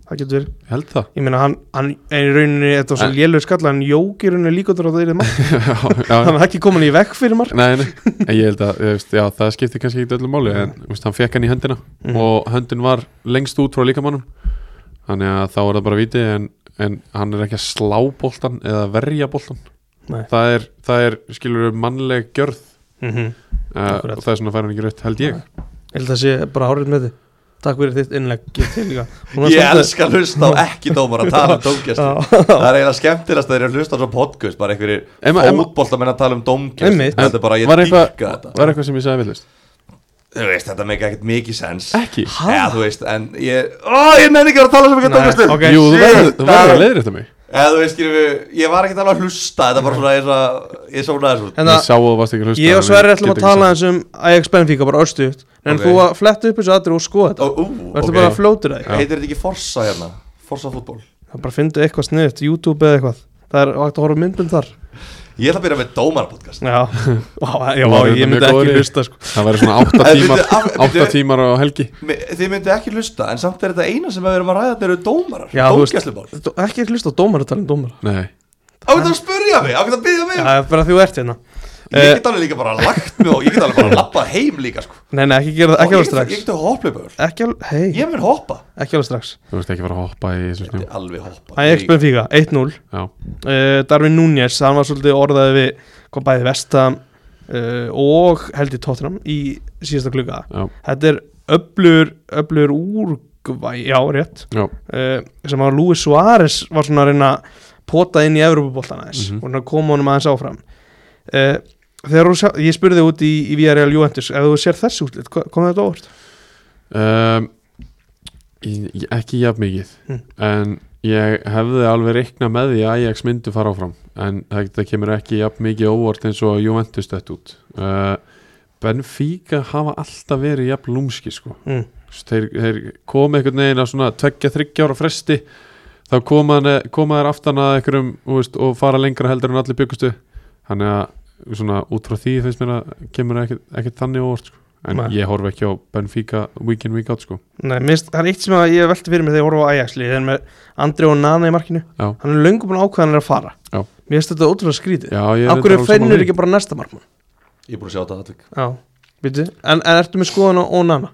[SPEAKER 1] það getur verið
[SPEAKER 2] ég held það
[SPEAKER 1] Ég meina hann, hann er í rauninni Þetta var svo
[SPEAKER 2] En-
[SPEAKER 1] lélur skalla Hann jók í rauninni líkundur á það yfir mark
[SPEAKER 2] já, já,
[SPEAKER 1] Hann er ekki komin í vekk fyrir mark
[SPEAKER 2] Nei, nei, en ég held að, ég veist, já, það skipti kannski ekki öllu máli, en þú veist, hann fekk hann í höndina
[SPEAKER 1] Mhm.
[SPEAKER 2] og höndin var lengst út frá líkamannum, þannig að þá er það bara viti, en, en hann er ekki að slá boltan eða verja boltan
[SPEAKER 1] Nei.
[SPEAKER 2] það er, það er, skilur mannleg gjörð,
[SPEAKER 1] mm
[SPEAKER 2] uh,
[SPEAKER 1] Akkurat.
[SPEAKER 2] og það er svona fær hann ekki rautt, held ég
[SPEAKER 1] Ég held að sé bara árið með þið Takk fyrir þitt innlegg Ég til líka Hún er
[SPEAKER 3] Ég
[SPEAKER 1] samt-
[SPEAKER 3] elska að hlusta á ekki dómar að tala um dómgæslu
[SPEAKER 1] Já.
[SPEAKER 3] Það er eiginlega skemmtilegast að þeir eru að hlusta á svo podcast bara einhverjir
[SPEAKER 2] Emma- Emma-
[SPEAKER 3] fótbolta menn að tala um dómgæslu
[SPEAKER 1] Einmitt.
[SPEAKER 3] Þetta er bara, ég
[SPEAKER 2] Var
[SPEAKER 3] dýrka
[SPEAKER 2] eitthvað-
[SPEAKER 3] þetta
[SPEAKER 2] var eitthvað sem ég sagði villist,
[SPEAKER 3] Þú veist, þetta meik ekkert mikið sens
[SPEAKER 2] ekki
[SPEAKER 1] Ha?
[SPEAKER 3] Eða þú veist, en ég Ó, ég nenni ekki að vera að tala svo mikið
[SPEAKER 1] Nei,
[SPEAKER 3] dómgæslu
[SPEAKER 1] ok.
[SPEAKER 2] Jú, þú
[SPEAKER 3] shit,
[SPEAKER 2] verður þú verður
[SPEAKER 3] það-
[SPEAKER 2] að leiðir þetta mig
[SPEAKER 3] Eða þú veist, skiljum við Ég var ekkert alveg að hlusta Þetta er bara svona, ég, svo, ég svona þessu
[SPEAKER 1] En
[SPEAKER 2] Ég
[SPEAKER 1] það
[SPEAKER 2] sá að þú varst ekki að hlusta
[SPEAKER 1] Hérna, Ég og
[SPEAKER 2] þannig
[SPEAKER 1] Sverri
[SPEAKER 2] ég
[SPEAKER 1] ætlum
[SPEAKER 2] get
[SPEAKER 1] að
[SPEAKER 2] ekki
[SPEAKER 1] tala
[SPEAKER 2] sagt.
[SPEAKER 1] eins um Ajax Benfica bara örstu En
[SPEAKER 3] Ok.
[SPEAKER 1] þú að fletta upp þessu aðri og skoða þetta
[SPEAKER 3] Ó, ú,
[SPEAKER 1] Verður
[SPEAKER 3] ok.
[SPEAKER 1] bara að flótur það
[SPEAKER 3] Heitir þetta ekki Forsa hérna? Forsa fútból
[SPEAKER 1] Það bara fyndu eitthvað sniðut, YouTube eða eitthvað Það er hægt að horfa á myndum þar
[SPEAKER 3] Ég ætla að byrja með dómarpodcast
[SPEAKER 1] Já, Vá, já,
[SPEAKER 2] Þú
[SPEAKER 1] já
[SPEAKER 2] verður
[SPEAKER 1] ég
[SPEAKER 2] mjög
[SPEAKER 1] myndi
[SPEAKER 2] góður
[SPEAKER 1] ekki
[SPEAKER 2] í-
[SPEAKER 1] hlusta sko.
[SPEAKER 2] Það væri svona átta
[SPEAKER 3] En
[SPEAKER 2] tímar,
[SPEAKER 3] byrju, af-
[SPEAKER 2] átta
[SPEAKER 3] byrju-
[SPEAKER 2] tímar á helgi
[SPEAKER 3] Þið myndi ekki hlusta, en samt er þetta eina sem við erum að ræða Þetta eru dómarar,
[SPEAKER 1] Já, þú veist-
[SPEAKER 3] dómgæslubál
[SPEAKER 1] Þú- Ekki hlusta á dómar að tala um dómar
[SPEAKER 2] Nei,
[SPEAKER 3] Á þetta að spyrja mig, á þetta að byggja mig
[SPEAKER 1] Já, það er bara því þú ert hérna
[SPEAKER 3] Ég get alveg líka bara lagt mig og ég get alveg bara lappað heim líka sko.
[SPEAKER 1] Nei, nei, ekki gera það,
[SPEAKER 3] Og
[SPEAKER 1] ekki alveg
[SPEAKER 3] ég get- Ég
[SPEAKER 1] strax
[SPEAKER 3] get að hoppa upp öll
[SPEAKER 1] Ekki alveg, hei,
[SPEAKER 3] Ég mun hoppa
[SPEAKER 1] ekki alveg strax
[SPEAKER 2] þú veist ekki fara að hoppa í þessu snjó
[SPEAKER 3] Ég Alveg hoppa
[SPEAKER 1] Ajax Benfica, 1-0
[SPEAKER 2] Já,
[SPEAKER 1] uh, Darwin Núñez, hann var svolítið orðaði við kom bæði vestam uh, og held í Tottenham í síðasta kluka
[SPEAKER 2] já,
[SPEAKER 1] þetta er öblur, öblur úrgvæ já, rétt
[SPEAKER 2] já
[SPEAKER 1] uh, sem var Luis Suárez var svona að reyna að pota inn í Evropaboltan aðeins
[SPEAKER 2] Mhm.
[SPEAKER 1] og hann koma honum aðeins áfram uh, þegar þú sjá, ég spurði út í, í VRL Juventus, ef þú sér þessi útlit kom þetta á óvart?
[SPEAKER 2] um, í- í- ekki jafn mikið
[SPEAKER 1] Mm.
[SPEAKER 2] en ég hefði alveg reikna með því að Ajax myndu fara áfram en það, það kemur ekki jafn mikið óvart eins og Juventus þetta út uh, Benfica hafa alltaf verið jafn lúmski sko
[SPEAKER 1] Mm.
[SPEAKER 2] Svo þeir, þeir komu einhvern veginn á svona tveggja, þryggja ára fresti þá koma, hann- koma þeir aftan að einhverjum þú veist, og fara lengra heldur en allir byggustu þannig að svona út frá því finnst mér að kemur ekkert, ekkert þannig óvart sko. en
[SPEAKER 1] Nei.
[SPEAKER 2] ég horf ekki á Benfica week in week out sko.
[SPEAKER 1] Nei, minnst, það er eitt sem að ég velti fyrir mig þegar ég horfa á Ajaxli þegar með Andri og Nana í markinu
[SPEAKER 2] Já.
[SPEAKER 1] hann er löngum búin ákvæðan er að fara
[SPEAKER 2] Já.
[SPEAKER 1] mér finnst þetta ótrúlega skrítið
[SPEAKER 2] Já, ég er
[SPEAKER 1] Akkur
[SPEAKER 2] reyndar alveg
[SPEAKER 1] fennur
[SPEAKER 2] sammála
[SPEAKER 1] ekki bara næsta markmann
[SPEAKER 3] Ég er búin að sjá þetta atvik
[SPEAKER 1] Já, býtu En, en ertu með skoðan og Nana?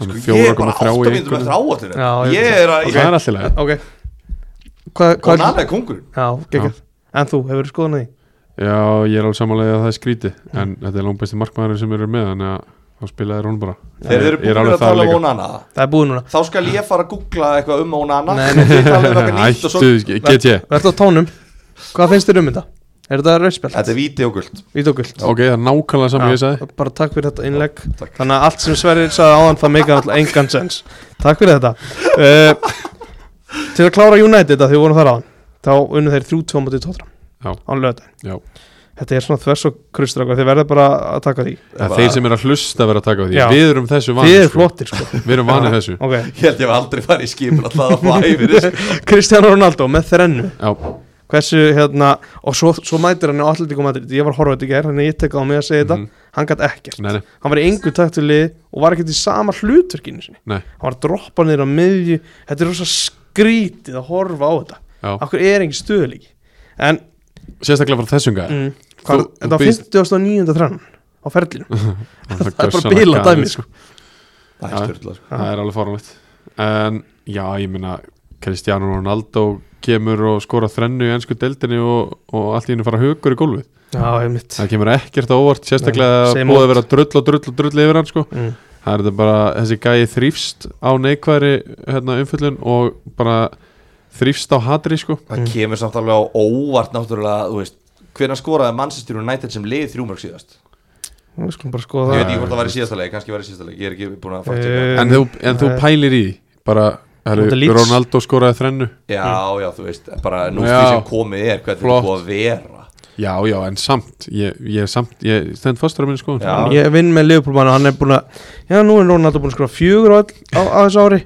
[SPEAKER 2] Hann er
[SPEAKER 3] Sko, Ég er bara
[SPEAKER 2] 4,3 í
[SPEAKER 3] 8 mínútur
[SPEAKER 2] einhverju.
[SPEAKER 3] eftir áallinu
[SPEAKER 1] Já, ég
[SPEAKER 3] Ég
[SPEAKER 1] veit
[SPEAKER 3] er að
[SPEAKER 2] Og
[SPEAKER 3] ég-
[SPEAKER 2] það er allt í lagi
[SPEAKER 1] Ok Hvað,
[SPEAKER 3] Og
[SPEAKER 1] hvað
[SPEAKER 3] hann er kongurinn
[SPEAKER 1] Já, geggjað En þú, hefur skoðan að því?
[SPEAKER 2] Já, ég er alveg samanlega að það er skrítið en þetta er langbæsti markmaður sem eru með þannig að þá spilaði hún bara Ég-
[SPEAKER 3] Þegar þeir eru
[SPEAKER 2] ég er
[SPEAKER 3] búin
[SPEAKER 2] alveg
[SPEAKER 3] að
[SPEAKER 2] þar
[SPEAKER 3] tala um
[SPEAKER 2] líka.
[SPEAKER 3] Onana
[SPEAKER 1] Það er búið núna
[SPEAKER 3] Þá skal ég fara að googla eitthvað um Onana
[SPEAKER 1] Nei,
[SPEAKER 3] nei Þið tala um eitthvað nýtt og svo
[SPEAKER 2] Ættu, get ég
[SPEAKER 1] Vertu á tónum Hvað finnst þér um þetta? Er þetta rauðspjald?
[SPEAKER 3] Þetta er víti og guld
[SPEAKER 1] Vít og gult
[SPEAKER 2] Ok, það er nákvæmlega saman ég sagði
[SPEAKER 1] Bara takk fyrir þetta innlegg
[SPEAKER 3] takk.
[SPEAKER 1] Þannig að allt sem Sverrir sagði áðan það meika alltaf engan sens Takk fyrir þetta uh, Til að klára United að því við vorum þar áðan Þá unnu þeir 3-2 mútið
[SPEAKER 2] Já.
[SPEAKER 1] tóttra Án lögðan
[SPEAKER 2] Já.
[SPEAKER 1] Þetta er svona þvers og krustrakar Þið verða bara að taka því
[SPEAKER 2] Það er þeir sem eru að hlusta vera að taka á því
[SPEAKER 1] Já.
[SPEAKER 2] Við erum þessu
[SPEAKER 1] Þið
[SPEAKER 2] vanir
[SPEAKER 1] eru flottir sko
[SPEAKER 2] Við erum vanir þessu
[SPEAKER 1] okay.
[SPEAKER 3] Ég held ég hef aldrei farið í skipin að hlaða að fæ yfir þessu
[SPEAKER 1] Cristiano Ronaldo með þrennu
[SPEAKER 2] Já,
[SPEAKER 1] hversu hérna og svo, svo mætir hann á Atletico Madrid ég var horfðið í gær, þannig að ég tekka á mig að segja þetta
[SPEAKER 2] Mhm.
[SPEAKER 1] hann gæti ekkert,
[SPEAKER 2] nei, nei,
[SPEAKER 1] hann var í engu taktulið og var ekkert í sama hlutverkinu sinni
[SPEAKER 2] Nei.
[SPEAKER 1] hann var að droppa niður á miðju þetta er rosa skrítið að horfa á þetta
[SPEAKER 2] já
[SPEAKER 1] okkur er engin stöðuleiki en
[SPEAKER 2] Sérstaklega frá þessum gæði
[SPEAKER 1] mm, hvað,
[SPEAKER 2] þú
[SPEAKER 1] þetta var
[SPEAKER 2] býst-
[SPEAKER 1] 50 og 9. þrann á ferlinu
[SPEAKER 2] Það
[SPEAKER 1] það er bara bíla dæmi sko.
[SPEAKER 3] Það er
[SPEAKER 2] Já.
[SPEAKER 3] styrla sko
[SPEAKER 2] Það er alveg fórumlegt En já, ég meina Cristiano Ronaldo kemur og skora þrennu í ennsku deildinni og, og allt í hennu fara hugur í gólfið
[SPEAKER 1] já, ég mitt
[SPEAKER 2] Það kemur ekkert á óvart, sérstaklega
[SPEAKER 1] Nei, same
[SPEAKER 2] búið
[SPEAKER 1] old.
[SPEAKER 2] að vera drull og drull og drull yfir hann sko.
[SPEAKER 1] mm.
[SPEAKER 2] Það er þetta bara, þessi gæi þrýfst á neikværi hérna, umfyllun og bara þrýfst á hatri sko.
[SPEAKER 3] Það kemur samt alveg á óvart náttúrulega Þú veist, hvernig skoraði Manchester United sem liði þrjúmörg síðast
[SPEAKER 1] við skulum bara skoða
[SPEAKER 3] Ég
[SPEAKER 1] það
[SPEAKER 3] veit ekki hvort það var í síðasta leik, kannski var í síðasta leik Ég er ekki búin að fakta
[SPEAKER 1] Eh,
[SPEAKER 3] þetta
[SPEAKER 2] En, þú, en þú
[SPEAKER 1] nei.
[SPEAKER 2] pælir í því, bara, heru,
[SPEAKER 1] Móti Leeds.
[SPEAKER 2] Ronaldo skoraði þrennu
[SPEAKER 3] Já, já, þú veist, bara nú
[SPEAKER 2] Já.
[SPEAKER 3] því sem komið er Hvernig
[SPEAKER 2] Flott.
[SPEAKER 3] það búið að vera
[SPEAKER 2] Já, já, en samt, ég, ég, samt, ég stend fastur á minni skoðun
[SPEAKER 3] Já.
[SPEAKER 1] ég vinn með Liverpool mann og hann er búin að já nú er Ronaldo búin að skrifa fjögur á, all- á, á þessu ári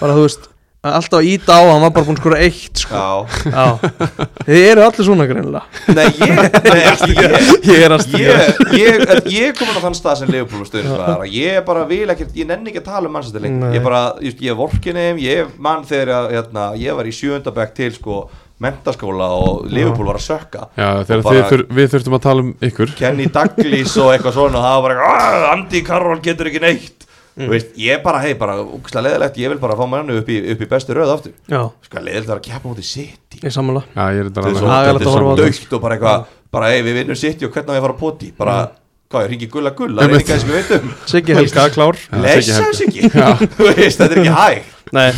[SPEAKER 1] bara þú veist alltaf að íta á hann var bara búin að skora eitt sko.
[SPEAKER 3] Já,
[SPEAKER 1] Já. þið eru allir svona greinilega
[SPEAKER 3] nei ég, nei ekki ég
[SPEAKER 1] ég er alltaf
[SPEAKER 3] Ég, ég, en ég er komin á þann stað sem Leopold stöðnir það er að ég bara vil ekkert, ég nenni ekki að tala um mannsætti lengur,
[SPEAKER 1] Nei.
[SPEAKER 3] ég bara, ég, ég vorkinni þeim, ég mann þegar að, hérna, ég var í sjöndabæk til sko mentaskóla og Leopold var að sökka
[SPEAKER 2] Já, þegar
[SPEAKER 3] Og bara-
[SPEAKER 2] þið þur, við þurftum að tala um ykkur
[SPEAKER 3] Kenny Douglas og eitthvað svona það var bara, eitthvað, "Ah, Andy Carroll getur ekki neitt Þú veist, ég bara, hei, bara úkslega leðilegt, ég vil bara fá mannu upp í, upp í bestu röð aftur,
[SPEAKER 1] já,
[SPEAKER 3] sko leðilegt að keppa mútið City,
[SPEAKER 1] ég sammála
[SPEAKER 2] Já, ég er þetta
[SPEAKER 3] þetta er
[SPEAKER 2] alveg
[SPEAKER 3] svo
[SPEAKER 1] Agalegt
[SPEAKER 3] þetta er
[SPEAKER 1] að
[SPEAKER 3] svo
[SPEAKER 1] horfa á þetta.
[SPEAKER 3] dögt og bara eitthvað, bara, hei, við vinnum City og hvernig á ég að fara á poti, bara, hvað, ég ringi gulla gulla, það er
[SPEAKER 2] Einmitt.
[SPEAKER 3] eitthvað sem við veitum
[SPEAKER 1] Siggi Helga klár
[SPEAKER 2] Já, Siggi
[SPEAKER 3] lesa
[SPEAKER 2] Helga.
[SPEAKER 3] hans ekki, þú veist, þetta er ekki hægt
[SPEAKER 1] Nei,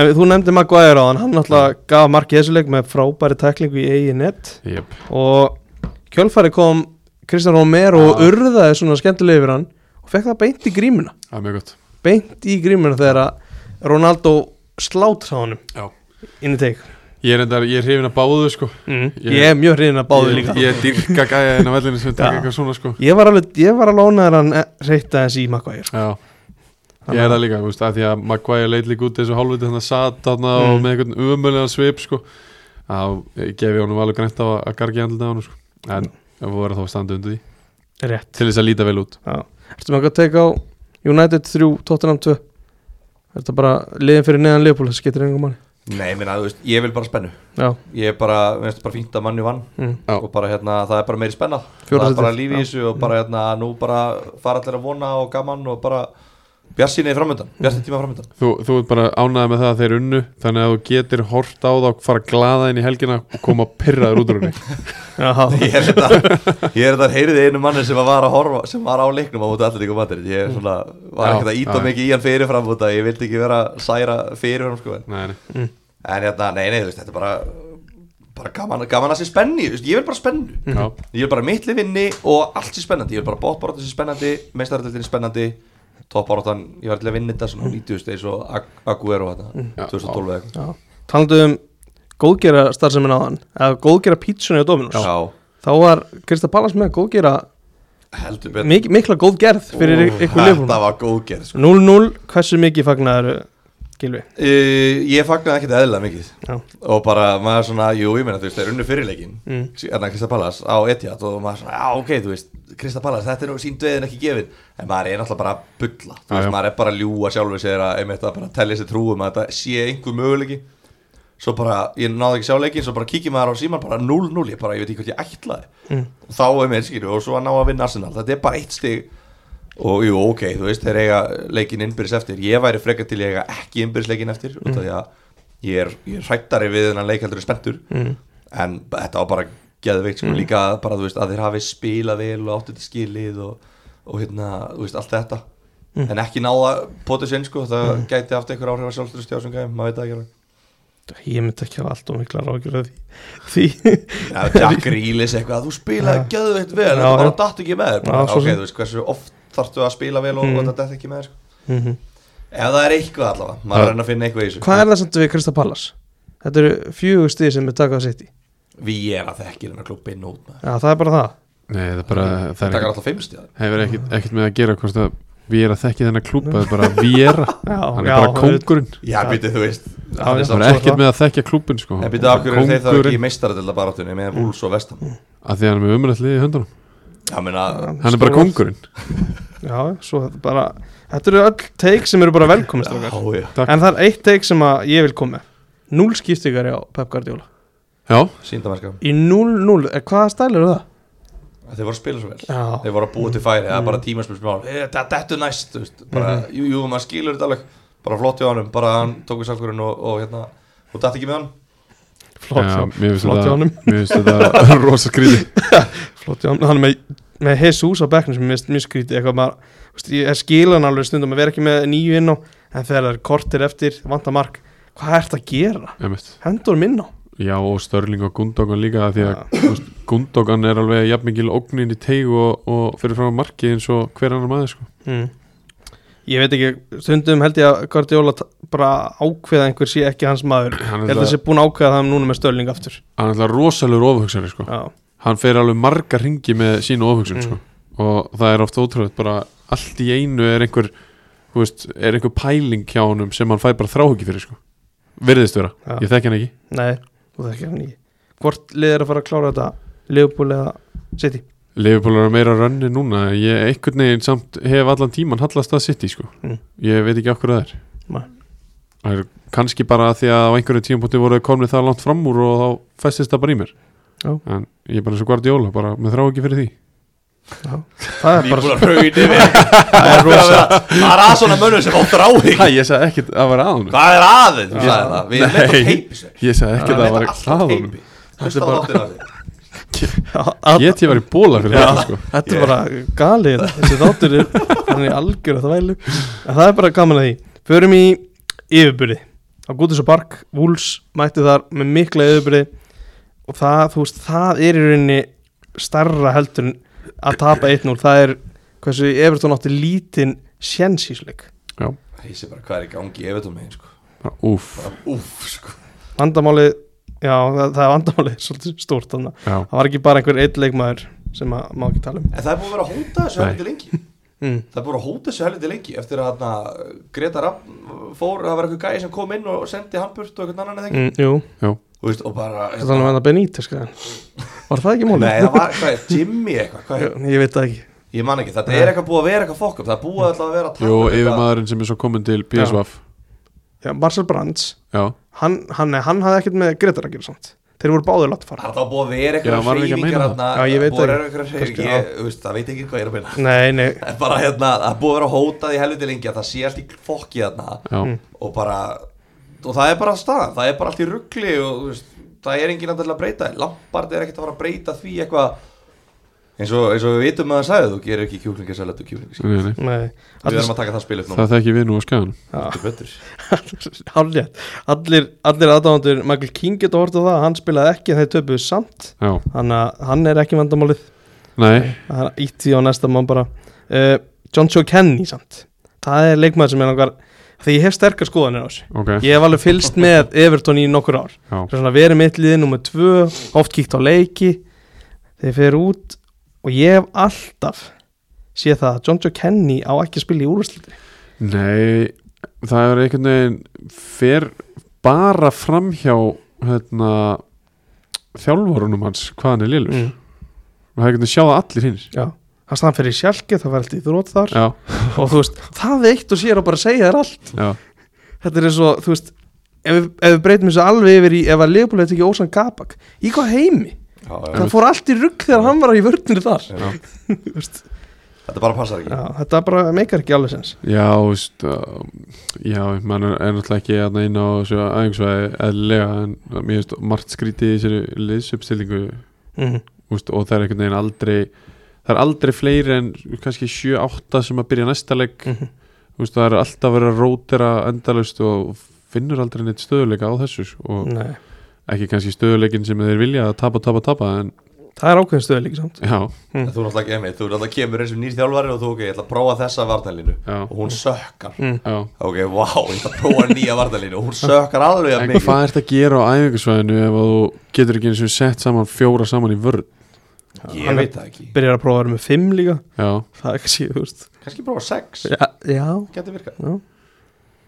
[SPEAKER 1] en þú nefndi Maguire á hann hann náttúrulega gaf markið þessu leik með frábæri tæklingu í eigin net
[SPEAKER 2] Jep.
[SPEAKER 1] og kjölfæri kom Kristján Romero og urðaði svona skemmtileg yfir hann og fekk það beint í grímuna
[SPEAKER 2] Það er mjög gott
[SPEAKER 1] beint í grímuna þegar að Ronaldo slátt á honum
[SPEAKER 2] Já.
[SPEAKER 1] inn í teik
[SPEAKER 2] Ég er þetta, ég er hrifin að báðu sko
[SPEAKER 1] mm.
[SPEAKER 2] Ég-
[SPEAKER 1] ég er mjög hriðin að báðu
[SPEAKER 2] Ég-
[SPEAKER 1] líka
[SPEAKER 2] Ég dyrka gæja inn á vellinu sem taka
[SPEAKER 1] Já.
[SPEAKER 2] eitthvað svona sko
[SPEAKER 1] ég var alveg, ég var alveg ánæður hann reyta þessi í Maguire
[SPEAKER 2] Já Ég er það líka, þú veist, að því að Maguire leit líka út þessu hálfviti þannig að sat þarna og
[SPEAKER 1] Mm.
[SPEAKER 2] með einhvern umöðlega svip sko þá gefi honum alveg grænt á að að gargi andlita á honum sko en við verðum þá að standa undir því
[SPEAKER 1] rétt
[SPEAKER 2] til þess að líta vel út
[SPEAKER 1] Já. ertu með eitthvað að teka á United 3, Tottenham 2 er þetta bara liðin fyrir neðan Leopold þessi getur einhver manni
[SPEAKER 3] nei, minna, þú veist, ég vil bara spennu
[SPEAKER 1] já,
[SPEAKER 3] ég er bara, mér finnst bara fínt að manni vann
[SPEAKER 1] mm.
[SPEAKER 2] Já.
[SPEAKER 3] og bara hérna, það er bara meiri spenna
[SPEAKER 1] Fjóra
[SPEAKER 3] það er bara
[SPEAKER 1] sætið.
[SPEAKER 3] líf í
[SPEAKER 1] Já.
[SPEAKER 3] þessu og bara hérna, nú bara fara allir að vona og gaman og bara bjarsinni er framöndan, bjarsinni tíma framöndan
[SPEAKER 2] Þú, þú ert bara ánægð með það að þeir unnu þannig að þú getur hort á þá fara glaða inn í helgina og koma pyrraður út úr henni
[SPEAKER 1] já,
[SPEAKER 3] ég er þetta, ég er þetta heyrið einu manni sem að var að horfa, sem var á leiknum á móti allir líka matur, ég er svona var
[SPEAKER 2] Já,
[SPEAKER 3] ekkert að íta
[SPEAKER 2] já.
[SPEAKER 3] mikið í hann fyrirfram út að ég vildi ekki vera að særa fyrirfram sko en,
[SPEAKER 2] Nei, nei.
[SPEAKER 3] en hérna, nei, nei, þú veist, þetta er bara bara gaman, gaman að sé spenni, þú veist, ég vil bara spennu
[SPEAKER 2] Já,
[SPEAKER 3] Ég vil bara mittli vinni og allt sé spennandi Ég vil bara bóttbáratan sé spennandi, meistaröldin er spennandi Toppbáratan, ég var til að vinna þetta svona 90 stegs og Aguero hérna,
[SPEAKER 2] Já.
[SPEAKER 3] 2012 eða eitthvað
[SPEAKER 1] já. talandu um góðgera starfsemin á hann eða góðgera pítsunni á Dominus
[SPEAKER 3] Já,
[SPEAKER 1] þá var Krista Pallas með að góðgera
[SPEAKER 3] heldur betur
[SPEAKER 1] mik mikla góðgerð fyrir
[SPEAKER 3] Ó,
[SPEAKER 1] ykkur Leopold
[SPEAKER 3] Þetta var góðgerð sko.
[SPEAKER 1] 0-0, hversu mikið fagnaður Gilvi
[SPEAKER 3] uh, Ég fagnaði ekkert eðlilega mikið
[SPEAKER 1] já,
[SPEAKER 3] Og bara maður svona, jú, ég meina þú veist, þeir unnu fyrirleikin
[SPEAKER 1] Mm.
[SPEAKER 3] Hérna Krista Pallas á Etihad Og maður svona, já, ok, þú veist, Krista Pallas Þetta er nú sín dveðin ekki gefin En maður er náttúrulega bara að bulla Þú
[SPEAKER 2] Já,
[SPEAKER 3] veist,
[SPEAKER 2] já.
[SPEAKER 3] maður er bara að ljúa sjálfur sér að Einmitt að bara tellja sér trúum að þetta sé einhver möguleiki Svo bara, ég náði ekki sjá leikin Svo bara kíkja maður á síman, bara 0-0 Ég bara, ég veit ekki hvað ég ætlaði
[SPEAKER 1] Mm.
[SPEAKER 3] Og þá er mér, skýru, og svo að ná að vinna Arsenal Þetta er bara eitt stig og jú, ok, þú veist, þeir eiga leikin innbyrðis eftir, ég væri frekar til ég eiga ekki innbyrðis leikin eftir, mm.
[SPEAKER 1] Mhm.
[SPEAKER 3] út af því að ég er, ég er hrættari við þennan leik heldur en spenntur,
[SPEAKER 1] Mm.
[SPEAKER 3] en b- þetta var bara geðveikt,
[SPEAKER 1] Mhm.
[SPEAKER 3] sko, líka bara, þú veist, að þeir hafi spilað vel og áttu til skilið og, og hérna, þú veist, allt þetta
[SPEAKER 1] Mhm.
[SPEAKER 3] en ekki náða potu sinn, sko það gæti haft einhver áhrif að sjálfstöðust hjá sem gæm maður veit það ekki alveg,
[SPEAKER 1] ég myndi ekki hafa allt og mikla ráðgjörð af því, því
[SPEAKER 3] ja, Jack Reelis eitthvað, þú spilaði
[SPEAKER 1] Já.
[SPEAKER 3] geðveikt
[SPEAKER 1] Já,
[SPEAKER 3] vel, þetta bara
[SPEAKER 1] já.
[SPEAKER 3] datt ekki með þér bara,
[SPEAKER 1] Já, svo
[SPEAKER 3] ok,
[SPEAKER 1] sem.
[SPEAKER 3] þú veist, hversu oft þarftu að spila vel og,
[SPEAKER 1] Mm.
[SPEAKER 3] og þetta dett ekki með þér, sko
[SPEAKER 1] mhm
[SPEAKER 3] Ef það er eitthvað allavega, maður
[SPEAKER 2] Það-
[SPEAKER 3] er að finna eitthvað í þessu
[SPEAKER 1] Hvað er það samt við Krista Pallas? Þetta eru fjögur stíð sem er takað að sitt í
[SPEAKER 3] Við erum að þekkja hennar klubbi nút maður
[SPEAKER 1] Já, það er bara það
[SPEAKER 2] nei, það er bara
[SPEAKER 3] Það
[SPEAKER 2] það
[SPEAKER 3] takar
[SPEAKER 2] er
[SPEAKER 3] alltaf fimm stíðar
[SPEAKER 2] hefur ekkert, ekkert með að gera hvort að við erum að þekki þennan klúpa það er bara við erum,
[SPEAKER 1] Já,
[SPEAKER 2] hann er
[SPEAKER 1] já,
[SPEAKER 2] bara kóngurinn
[SPEAKER 3] Já,
[SPEAKER 1] Já.
[SPEAKER 3] býttu, þú veist
[SPEAKER 1] já.
[SPEAKER 2] það er ekkert með að þekja klúpin sko
[SPEAKER 3] En býttu, af hverju eru þeir þá ekki í
[SPEAKER 2] kóngurinn,
[SPEAKER 3] meistaradölda baráttunni með Wools og Vestam Já,
[SPEAKER 2] að því að hann er með umræðlið í höndunum
[SPEAKER 3] meina,
[SPEAKER 2] hann er bara
[SPEAKER 1] Stór-
[SPEAKER 2] kóngurinn
[SPEAKER 1] Já, svo bara Þetta eru öll teik sem eru bara velkomist okkar
[SPEAKER 3] já, já,
[SPEAKER 1] En það er eitt teik sem að ég vil koma með. Núl skiptingar á Pep Guardiola
[SPEAKER 2] já,
[SPEAKER 3] síndamerska
[SPEAKER 1] Í 0-0, eh, hvaða stæl eru það?
[SPEAKER 3] Þeir voru að spila svo vel
[SPEAKER 1] Já,
[SPEAKER 3] Þeir voru að búa til færi, það er bara tímaspilsmál Þetta dettu næst, þú veist bara, Jú, jú, maður skilur þetta alveg Bara flott hjá honum, bara hann tók við salkurinn og, og hérna Og datt ekki með hann
[SPEAKER 1] flott
[SPEAKER 2] já,
[SPEAKER 1] hjá
[SPEAKER 2] mér finnst
[SPEAKER 1] flott hjá
[SPEAKER 2] þetta-
[SPEAKER 1] honum.
[SPEAKER 2] mér finnst þetta rosa skrýði
[SPEAKER 1] Flott hjá hann Hann er með, með Jesus á bekknum sem er mjög skrítið Eitthvað maður, veist, ég skila hann alveg stundum að vera ekki með nýju inn á En þegar það er kortir eftir, vanta mark Hvað ert að gera?
[SPEAKER 2] Einmitt.
[SPEAKER 1] Hendur minn á Ah,
[SPEAKER 2] Já og Störling og Gundogan líka af því að þú veist, Gundogan er alveg jafn mikil ógnin í teig og, og fyrir fram að marki eins og hver annar maður sko.
[SPEAKER 1] Mm. Ég veit ekki, stundum held ég að Guardiola ta- bara ákveða einhver sé ekki hans maður Ég
[SPEAKER 2] Hann
[SPEAKER 1] held
[SPEAKER 2] er
[SPEAKER 1] að
[SPEAKER 2] alltaf-
[SPEAKER 1] sé búin að ákveða það núna með Störling aftur
[SPEAKER 2] hann er alltaf rosalegur ofhugsari sko.
[SPEAKER 1] Já,
[SPEAKER 2] hann fer alveg marga ringi með sína ofhugsun
[SPEAKER 1] Mm.
[SPEAKER 2] sko. og það er ofta ótrúlega bara allt í einu er einhver þú veist, er einhver pæling hjá honum sem hann fær bara þráhugi fyrir sko. virðist vera,
[SPEAKER 1] Já.
[SPEAKER 2] ég þekki hann ekki
[SPEAKER 1] Nei, og það er ekki hann í Hvort lið er að fara að klára þetta Leopold eða City
[SPEAKER 2] Liverpool er meira rönni núna ég einhvern veginn samt hef allan tíman hallast að sitt í sko,
[SPEAKER 1] Mm.
[SPEAKER 2] ég veit ekki okkur að það er
[SPEAKER 1] Nei.
[SPEAKER 2] það er kannski bara því að á einhverju tímapunkti voru komni það langt fram úr og þá festist það bara í mér
[SPEAKER 1] Já.
[SPEAKER 2] en ég er bara eins og Guardiola, bara með þrá ekki fyrir því
[SPEAKER 1] Já. Það er bara
[SPEAKER 3] Nýbúlar hraun yfir Það er rosa Það er að svona mönnum sem átt ráðing
[SPEAKER 2] Hæ, ég sagði ekkert að vera aðan
[SPEAKER 3] Hvað er aðeins? Þú sagði það Við erum leitt á
[SPEAKER 2] Nei.
[SPEAKER 3] teipi sér
[SPEAKER 2] ég sagði ekkert að vera aðan
[SPEAKER 3] Hlusta á þáttir af þér
[SPEAKER 1] Þetta
[SPEAKER 2] get ég var í bóla fyrir þetta sko
[SPEAKER 1] er bara galið Þessi þáttur er hann er algjör að það vælu En það er bara gaman að því Förum í yfirbyrði Á Gútis og Bark, Wools mætti þar með mikla yfirbyrði Og það, þú veist, það er í rauninni starra heldur en að tapa 1-0 Það er hversu Evertón átti lítinn sjensísleik
[SPEAKER 3] Ég sé bara hvað er í gangi Ég veit um megin sko
[SPEAKER 2] úf,
[SPEAKER 3] Bara Úff sko
[SPEAKER 1] vandamálið já, það, það er vandamálið svolítið stórt þannig að
[SPEAKER 2] já,
[SPEAKER 1] það var ekki bara einhver eitt leikmaður sem að má ekki tala um
[SPEAKER 3] En það er búin að vera að hóta þessu
[SPEAKER 2] Nei.
[SPEAKER 3] helviti lengi
[SPEAKER 1] mm.
[SPEAKER 3] Það er búin að hóta þessu helviti lengi Eftir að hana, Greta Rapp fór Það var eitthvað gæi sem kom inn og sendi hann burt og eitthvað annan eða ekki
[SPEAKER 1] Mm, jú,
[SPEAKER 3] Þú veist, og bara
[SPEAKER 1] þetta er hann að Benítez sko. var það ekki mólið?
[SPEAKER 3] Nei, það var, hvað er, Jimmy eitthvað hvað er,
[SPEAKER 1] ég, ég veit það ekki
[SPEAKER 3] Ég man ekki, þetta er eitthvað búið að vera eitthvað fokkum Það er búið alltaf að vera að tala
[SPEAKER 2] jú,
[SPEAKER 3] um þetta.
[SPEAKER 2] yfir maðurinn sem er svo komin til PSVF
[SPEAKER 1] já, Marcel Brands,
[SPEAKER 2] já,
[SPEAKER 1] hann, hann, nei, hann hafði ekkert með Gretar að gera samt þeir voru báður látt fara
[SPEAKER 3] Það er þá búið að
[SPEAKER 2] Já,
[SPEAKER 3] vera eitthvað
[SPEAKER 2] var ekki að meina
[SPEAKER 3] hreyfingar
[SPEAKER 2] það.
[SPEAKER 3] hérna,
[SPEAKER 1] Já, ég veit
[SPEAKER 3] búið
[SPEAKER 1] ekki.
[SPEAKER 3] að vera eitthvað
[SPEAKER 1] Kannski,
[SPEAKER 3] hreyfingar Ég, þú veist, það veit ekki hvað ég er að minna
[SPEAKER 1] nei, nei,
[SPEAKER 3] Það er bara hérna, það er búið að vera að hóta því helviti lengi að það sé allt í fokki þarna
[SPEAKER 2] já,
[SPEAKER 1] Mm.
[SPEAKER 3] og bara, og það er bara staðan það er bara allt í ruggli og þú veist, það er enginn að til að breyta, lampart er ekkert að fara að breyta því eitthvað eins og, eins og við vitum að það sagði, þú gerir ekki kjúklingasalat og kjúklingasalat,
[SPEAKER 2] nei, nei
[SPEAKER 1] nei.
[SPEAKER 3] við erum
[SPEAKER 1] Mm. Allir,
[SPEAKER 3] að taka það spil upp nú
[SPEAKER 2] það þekki við nú á skæðan
[SPEAKER 3] Þetta er betur.
[SPEAKER 1] allir, allir, allir aðdáðandur Michael King getur hort á það hann spilaði ekki en þeir töpuðu samt
[SPEAKER 2] já,
[SPEAKER 1] þannig að hann er ekki vandamálið
[SPEAKER 2] nei,
[SPEAKER 1] það er ítt því á næsta mann bara uh, John Joe Kenny samt það er leikmaður sem er okkar því ég hef sterkar skoðanir á þessu
[SPEAKER 2] ok
[SPEAKER 1] ég hef alveg fylst með Everton í nokkur ár
[SPEAKER 2] já,
[SPEAKER 1] Það er svona verið mitt liðið nummer tvö oft kíkt á leiki þeir fer út og ég hef alltaf séð það að John Joe Kenny á ekki að spila í úrvarsleiti
[SPEAKER 2] Nei, það er einhvern veginn fer bara framhjá hérna, þjálfórunum hans hvað hann er lélur
[SPEAKER 1] mm.
[SPEAKER 2] og það er einhvern veginn að sjá það allir hinn
[SPEAKER 1] já Það staðan fyrir sjálki, það var alltaf í þrót þar
[SPEAKER 2] Já,
[SPEAKER 1] og þú veist, það er eitt og sér að bara segja þér allt
[SPEAKER 2] já,
[SPEAKER 1] Þetta er eins og, þú veist, ef við, ef við breytum þessu alveg yfir í, ef að Leopold hefði ekki Ósan Gabak, í hvað heimi?
[SPEAKER 3] Já, já.
[SPEAKER 1] það fór allt í rugg þegar hann var í vörnir þar
[SPEAKER 2] Já.
[SPEAKER 1] Þú veist,
[SPEAKER 3] Þetta bara passar ekki
[SPEAKER 1] já, þetta bara meikar ekki alveg sens
[SPEAKER 2] já, veist, uh, já mann er, er náttúrulega ekki hérna inn á þessu aðeinsvæði eðlilega en mér finnst margt skrítið í þessari liðsuppstillingu
[SPEAKER 1] mm.
[SPEAKER 2] úst, og það er einhvern veginn aldrei það er aldrei fleiri en kannski 7-8 sem að byrja næsta leik
[SPEAKER 1] Mhm.
[SPEAKER 2] úst, það er alltaf verið að rótera endalaust og finnur aldrei neitt stöðuleika á þessu sko, og
[SPEAKER 1] Nei,
[SPEAKER 2] ekki kannski stöðuleikin sem þeir vilja að tapa, tapa, tapa en
[SPEAKER 1] það er ákveðin stöðu líka samt
[SPEAKER 2] já,
[SPEAKER 3] En Þú náttúrulega, emi, þú náttúrulega kemur eins og nýr þjálfari og þú, ok, ég ætla að prófa þessa varnalínu
[SPEAKER 2] já,
[SPEAKER 3] og hún sökkar
[SPEAKER 2] já
[SPEAKER 3] ok, vá, wow, ég ætla að prófa nýja varnalínu og hún sökkar alveg að
[SPEAKER 2] en
[SPEAKER 3] mikið
[SPEAKER 2] hvað ert að gera á æfingarsvæðinu ef að þú getur ekki eins og sett saman fjóra saman í vörð
[SPEAKER 3] ég veit það ekki,
[SPEAKER 1] Byrjar að prófa að vera með fimm líka
[SPEAKER 2] já,
[SPEAKER 1] Það er kannski, þú veist
[SPEAKER 3] kannski prófa sex
[SPEAKER 1] Já, já.
[SPEAKER 3] getur virkað
[SPEAKER 1] já.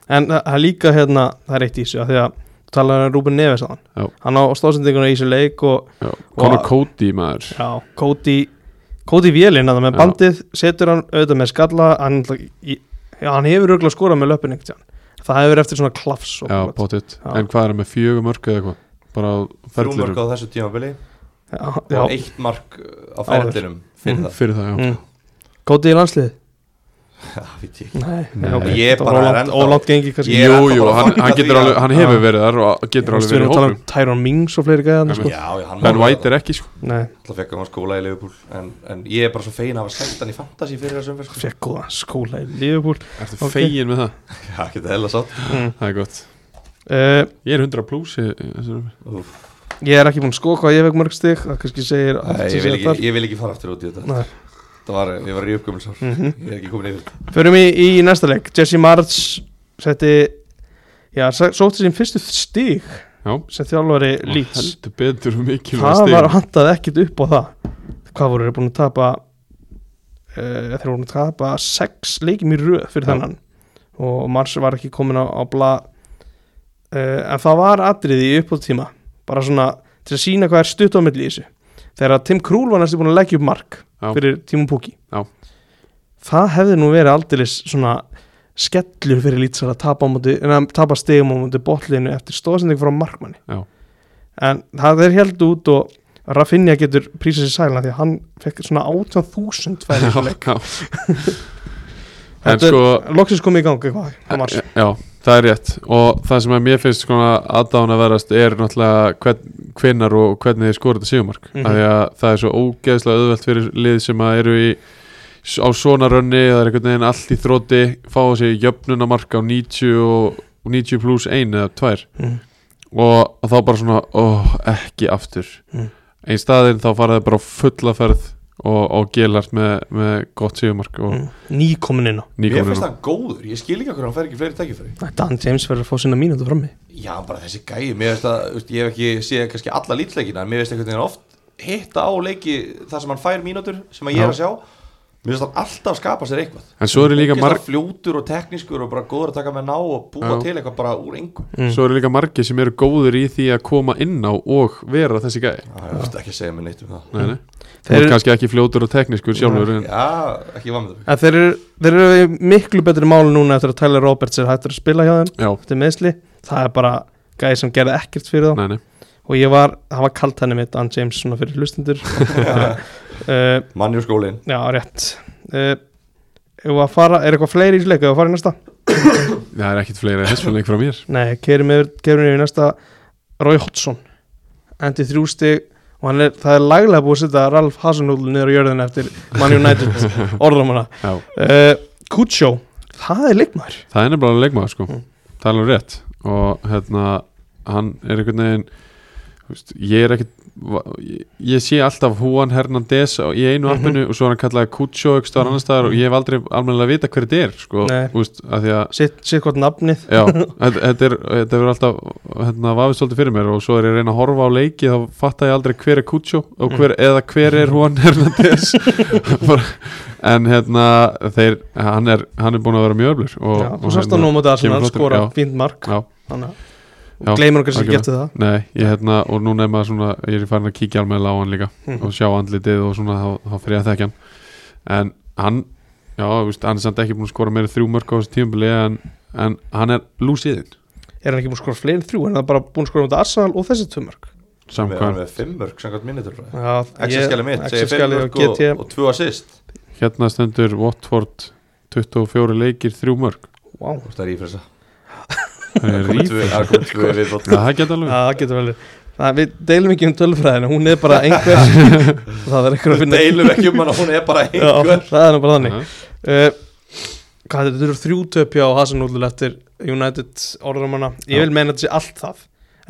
[SPEAKER 1] En það það er líka hérna, það er eitt í þessu af Því að þú talaði um Rúben Neves að
[SPEAKER 2] Já.
[SPEAKER 1] hann Hann á stóðsendinguna í þessu leik og
[SPEAKER 2] já. Conor Cody maður
[SPEAKER 1] já, Cody Cody Vélin að það með
[SPEAKER 2] Já.
[SPEAKER 1] bandið Setur hann auðvitað með skalla Hann, í- já, hann hefur röglega skorað með löpun ekkert Það hefur eftir svona klafs og
[SPEAKER 2] já,
[SPEAKER 1] gott.
[SPEAKER 2] pottitt,
[SPEAKER 1] Já.
[SPEAKER 2] en hvað er hann með fjögur mörg eða eitthvað, bara á
[SPEAKER 3] þrjú mörg
[SPEAKER 2] ferlinum
[SPEAKER 3] á þessu tímabili
[SPEAKER 1] Já, já.
[SPEAKER 3] og eitt mark uh, á ferðinum fyrir það
[SPEAKER 2] fyrir það, já,
[SPEAKER 1] Mm. Kótið í landslið?
[SPEAKER 3] Já, veit ég ekki.
[SPEAKER 1] Nei,
[SPEAKER 2] Nei.
[SPEAKER 1] ok.
[SPEAKER 3] Ég
[SPEAKER 1] Þetta
[SPEAKER 3] bara
[SPEAKER 1] var
[SPEAKER 3] er
[SPEAKER 1] ólangt,
[SPEAKER 3] ennþá-
[SPEAKER 1] ólangt gengi kannski
[SPEAKER 3] Ég er
[SPEAKER 2] jú,
[SPEAKER 3] ennþá
[SPEAKER 2] jú,
[SPEAKER 3] bara að
[SPEAKER 2] hann,
[SPEAKER 3] fagna
[SPEAKER 2] hann,
[SPEAKER 3] því
[SPEAKER 2] getur
[SPEAKER 3] að-
[SPEAKER 2] alveg, hann hefur verið þar og
[SPEAKER 1] Þú
[SPEAKER 2] getur
[SPEAKER 1] veist,
[SPEAKER 2] alveg
[SPEAKER 1] Við
[SPEAKER 2] verið
[SPEAKER 1] erum að tala
[SPEAKER 2] í
[SPEAKER 1] um
[SPEAKER 2] hópum
[SPEAKER 1] Tyrone Mings og fleiri gæðan
[SPEAKER 2] Já,
[SPEAKER 1] sko.
[SPEAKER 3] já, já, hann
[SPEAKER 2] en
[SPEAKER 3] var
[SPEAKER 2] White er ekki sko
[SPEAKER 1] Nei,
[SPEAKER 3] alltaf fekk hann að skóla í Liverpool en, en ég er bara svo fegin að hafa sett hann í fantasy fyrir þessum fyrir
[SPEAKER 1] fekk góða skóla í Liverpool
[SPEAKER 2] ertu
[SPEAKER 1] Ok.
[SPEAKER 2] fegin með það,
[SPEAKER 3] já, getur hella sátt
[SPEAKER 2] það er gott
[SPEAKER 1] uh,
[SPEAKER 2] ég er 100 pluss í- í þessu rúmi.
[SPEAKER 3] Úff.
[SPEAKER 1] Ég er ekki búinn að sko hvað ég vekk mörg stig Það kannski segir
[SPEAKER 3] Æ, ég, vil ekki, ég vil ekki fara aftur út í þetta
[SPEAKER 1] Nei.
[SPEAKER 3] það var, ég var í uppgömminsár ég er ekki komin yfir þetta.
[SPEAKER 1] Mhm. Förum í, í næsta leik Jesse March setti Já, sa- sótti sín fyrstu stig
[SPEAKER 2] já,
[SPEAKER 1] sem þjálfari
[SPEAKER 2] Og
[SPEAKER 1] Leeds
[SPEAKER 2] heldur betur um mikilvæg
[SPEAKER 1] Það var
[SPEAKER 2] stig
[SPEAKER 1] handað ekkit upp á það Hvað voru þeir búin að tapa uh, Þeir voru búin að tapa sex leikim í röð fyrir
[SPEAKER 2] Já.
[SPEAKER 1] þennan og Mars var ekki komin á, á bla uh, en það var atriði í uppbóttíma bara svona til að sína hvað er stutt á milli í þessu þegar að Tim Krúl var næstu búin að leggja upp mark
[SPEAKER 2] Já.
[SPEAKER 1] fyrir Tímon Pukki
[SPEAKER 2] Já.
[SPEAKER 1] það hefði nú verið aldeilis svona skellur fyrir lýtsar að tapa, á móti, en að tapa stegum á móti botlinu eftir stóðsending frá markmanni
[SPEAKER 2] Já.
[SPEAKER 1] en það er held út og Rafinha getur prísað sér sælina því að hann fekk svona 18.000 færi í þessu leik.
[SPEAKER 2] já. En
[SPEAKER 1] Þetta
[SPEAKER 2] sko
[SPEAKER 1] er loksins komið í gang eitthvað á sko, mars
[SPEAKER 2] Já, það er rétt og það sem að mér finnst sko aðdána verast er náttúrulega hvern, hvenar og hvernig þið skora þetta sígumark mm
[SPEAKER 1] Mhm.
[SPEAKER 2] -hmm. því að það er svo ógeðslega auðvelt fyrir lið sem að eru í á svona rönni, það er einhvern veginn allt í þróti fá þessi jöfnunamark á 90 og og 90 pluss 1 eða 2
[SPEAKER 1] Mhm.
[SPEAKER 2] og, og þá bara svona ó, ekki aftur
[SPEAKER 1] Mhm.
[SPEAKER 2] en í staðinn þá fara það bara á fulla ferð og, og gelart með, með gott sígumark og mm.
[SPEAKER 1] nýkomin inn á
[SPEAKER 3] Mér
[SPEAKER 2] nýkomur
[SPEAKER 3] finnst hann góður, ég skil ekki okkur hann fær ekki fleiri tækifæri
[SPEAKER 1] Dan James verður að fá sína mínútu frammi
[SPEAKER 3] Já, bara þessi gæi, mér finnst að, þú veist, ég hef ekki séð kannski alla lýtsleikina En mér finnst einhvern veginn oft hitta á leiki þar sem hann fær mínútur sem að ég er að sjá Mér finnst hann alltaf skapa sér eitthvað
[SPEAKER 2] en svo eru líka
[SPEAKER 3] Ógeðslega
[SPEAKER 2] marg
[SPEAKER 3] fljótur og teknískur og bara góður að taka með ná og búa
[SPEAKER 2] Já.
[SPEAKER 3] til eitthvað bara úr engu
[SPEAKER 1] Mm.
[SPEAKER 2] svo eru líka margir sem eru góður í því að koma inn á og vera þessi gæði
[SPEAKER 3] Já, ég veist ekki að segja mér neitt um það
[SPEAKER 2] nei, nei. þú
[SPEAKER 1] Þeir
[SPEAKER 2] er
[SPEAKER 1] eru-
[SPEAKER 2] kannski ekki fljótur og teknískur sjálfur en,
[SPEAKER 3] Já, ekki vamður
[SPEAKER 1] En þeir eru, þeir eru í miklu betri máli núna eftir að Tyler Roberts er hættur að spila hjá þeim
[SPEAKER 2] já,
[SPEAKER 1] eftir meðsli, það er bara gæði sem gerði ekkert fyrir þá
[SPEAKER 2] nei, nei.
[SPEAKER 1] og ég var, það var kalt henni mitt Dan James svona fyrir hlustundur uh,
[SPEAKER 3] Manni úr skólinn
[SPEAKER 1] Já, rétt uh, Ef að fara, er eitthvað fleiri í þessu leik eða að fara í næsta?
[SPEAKER 2] það er ekkit fleira hessfélning frá mér
[SPEAKER 1] Nei, kerum yfir, kerum yfir í næsta Roy Hodgson endi þrjú stig og hann er, það er laglega búið að setja Ralf Hasenhúl niður á jörðin eftir Man United orðum hana
[SPEAKER 2] já.
[SPEAKER 1] uh, Kutsjó, það er leikmaður
[SPEAKER 2] það er nefnilega leikmaður sko
[SPEAKER 1] Mm.
[SPEAKER 2] það er alveg rétt og hérna, hann er einhvern veginn þú veist, ég er ekkit va- ég, ég sé alltaf Juan Hernández á- í
[SPEAKER 1] Mhm.
[SPEAKER 2] einu
[SPEAKER 1] Mm.
[SPEAKER 2] appinu og svo er hann kallaði Kucho ykkur stóðar annars staðar og ég hef aldrei almennilega vita hver þetta er sko,
[SPEAKER 1] Nei.
[SPEAKER 2] þú veist, af því að
[SPEAKER 1] sitt, sitt hvort nafnið
[SPEAKER 2] Já, þetta þetta er, þetta er alltaf hérna, vafið svolítið fyrir mér og svo er ég að reyna að horfa á leiki þá fattar ég aldrei hver er Kucho og
[SPEAKER 1] Mm.
[SPEAKER 2] hver, eða hver er Juan Hernández Bara- en hérna þeir, hann er, hann er búin að vera mjög öflur og, hérna-
[SPEAKER 1] Já, þú sást það nú á móti Arsenal
[SPEAKER 2] kemur flottur,
[SPEAKER 1] skora
[SPEAKER 2] já.
[SPEAKER 1] fínt mark
[SPEAKER 2] Já.
[SPEAKER 1] þannig
[SPEAKER 2] Já,
[SPEAKER 1] að gleymur okkar sem
[SPEAKER 2] algjörlega.
[SPEAKER 1] getur það
[SPEAKER 2] Nei, ég hérna, og núna er maður svona ég er farin að kíkja alveg á hann líka
[SPEAKER 1] Mhm.
[SPEAKER 2] og sjá andlitið og svona þá, þá fyrir ég að þekja hann en hann, já, þú veist, hann er samt ekki búin að skora meira en þrjú mörg á þessu tímabili en, en hann er lúsiðin
[SPEAKER 1] er hann ekki búin að skora fleiri en þrjú en það er bara búin að skora á móti Arsenal og þessi tvö mark
[SPEAKER 3] Við erum
[SPEAKER 2] samkvæm,
[SPEAKER 3] með fimm mörg, samkvæmt minni tölfræði
[SPEAKER 1] Já, ég-
[SPEAKER 3] Exaskjali mitt, segir sko. fimm
[SPEAKER 1] Excel-skjalið og
[SPEAKER 3] mörg og,
[SPEAKER 1] GT
[SPEAKER 3] og tvö assist
[SPEAKER 2] hérna stendur Watford 24 leikir, þrjú mörg
[SPEAKER 1] Vá.
[SPEAKER 3] Þú veist að rífresa
[SPEAKER 2] það er
[SPEAKER 3] Komið
[SPEAKER 2] ríf
[SPEAKER 3] tvö- það er komið tvö viðbót.
[SPEAKER 2] Já, það
[SPEAKER 1] Já,
[SPEAKER 2] geta alveg
[SPEAKER 1] það getur vel verið. það, við deilum ekki um tölfræðina hún er bara einhver það er einhver að
[SPEAKER 3] Við
[SPEAKER 1] finna
[SPEAKER 3] deilum ekki um hana, hún er bara
[SPEAKER 1] Já,
[SPEAKER 3] einhver
[SPEAKER 1] það er nú bara þannig
[SPEAKER 2] Já.
[SPEAKER 1] uh, Hvað er þetta, þetta eru þrjú töpja á Hasanúlul eftir United orðurumanna Ég
[SPEAKER 2] Já.
[SPEAKER 1] vil meina þetta sé allt það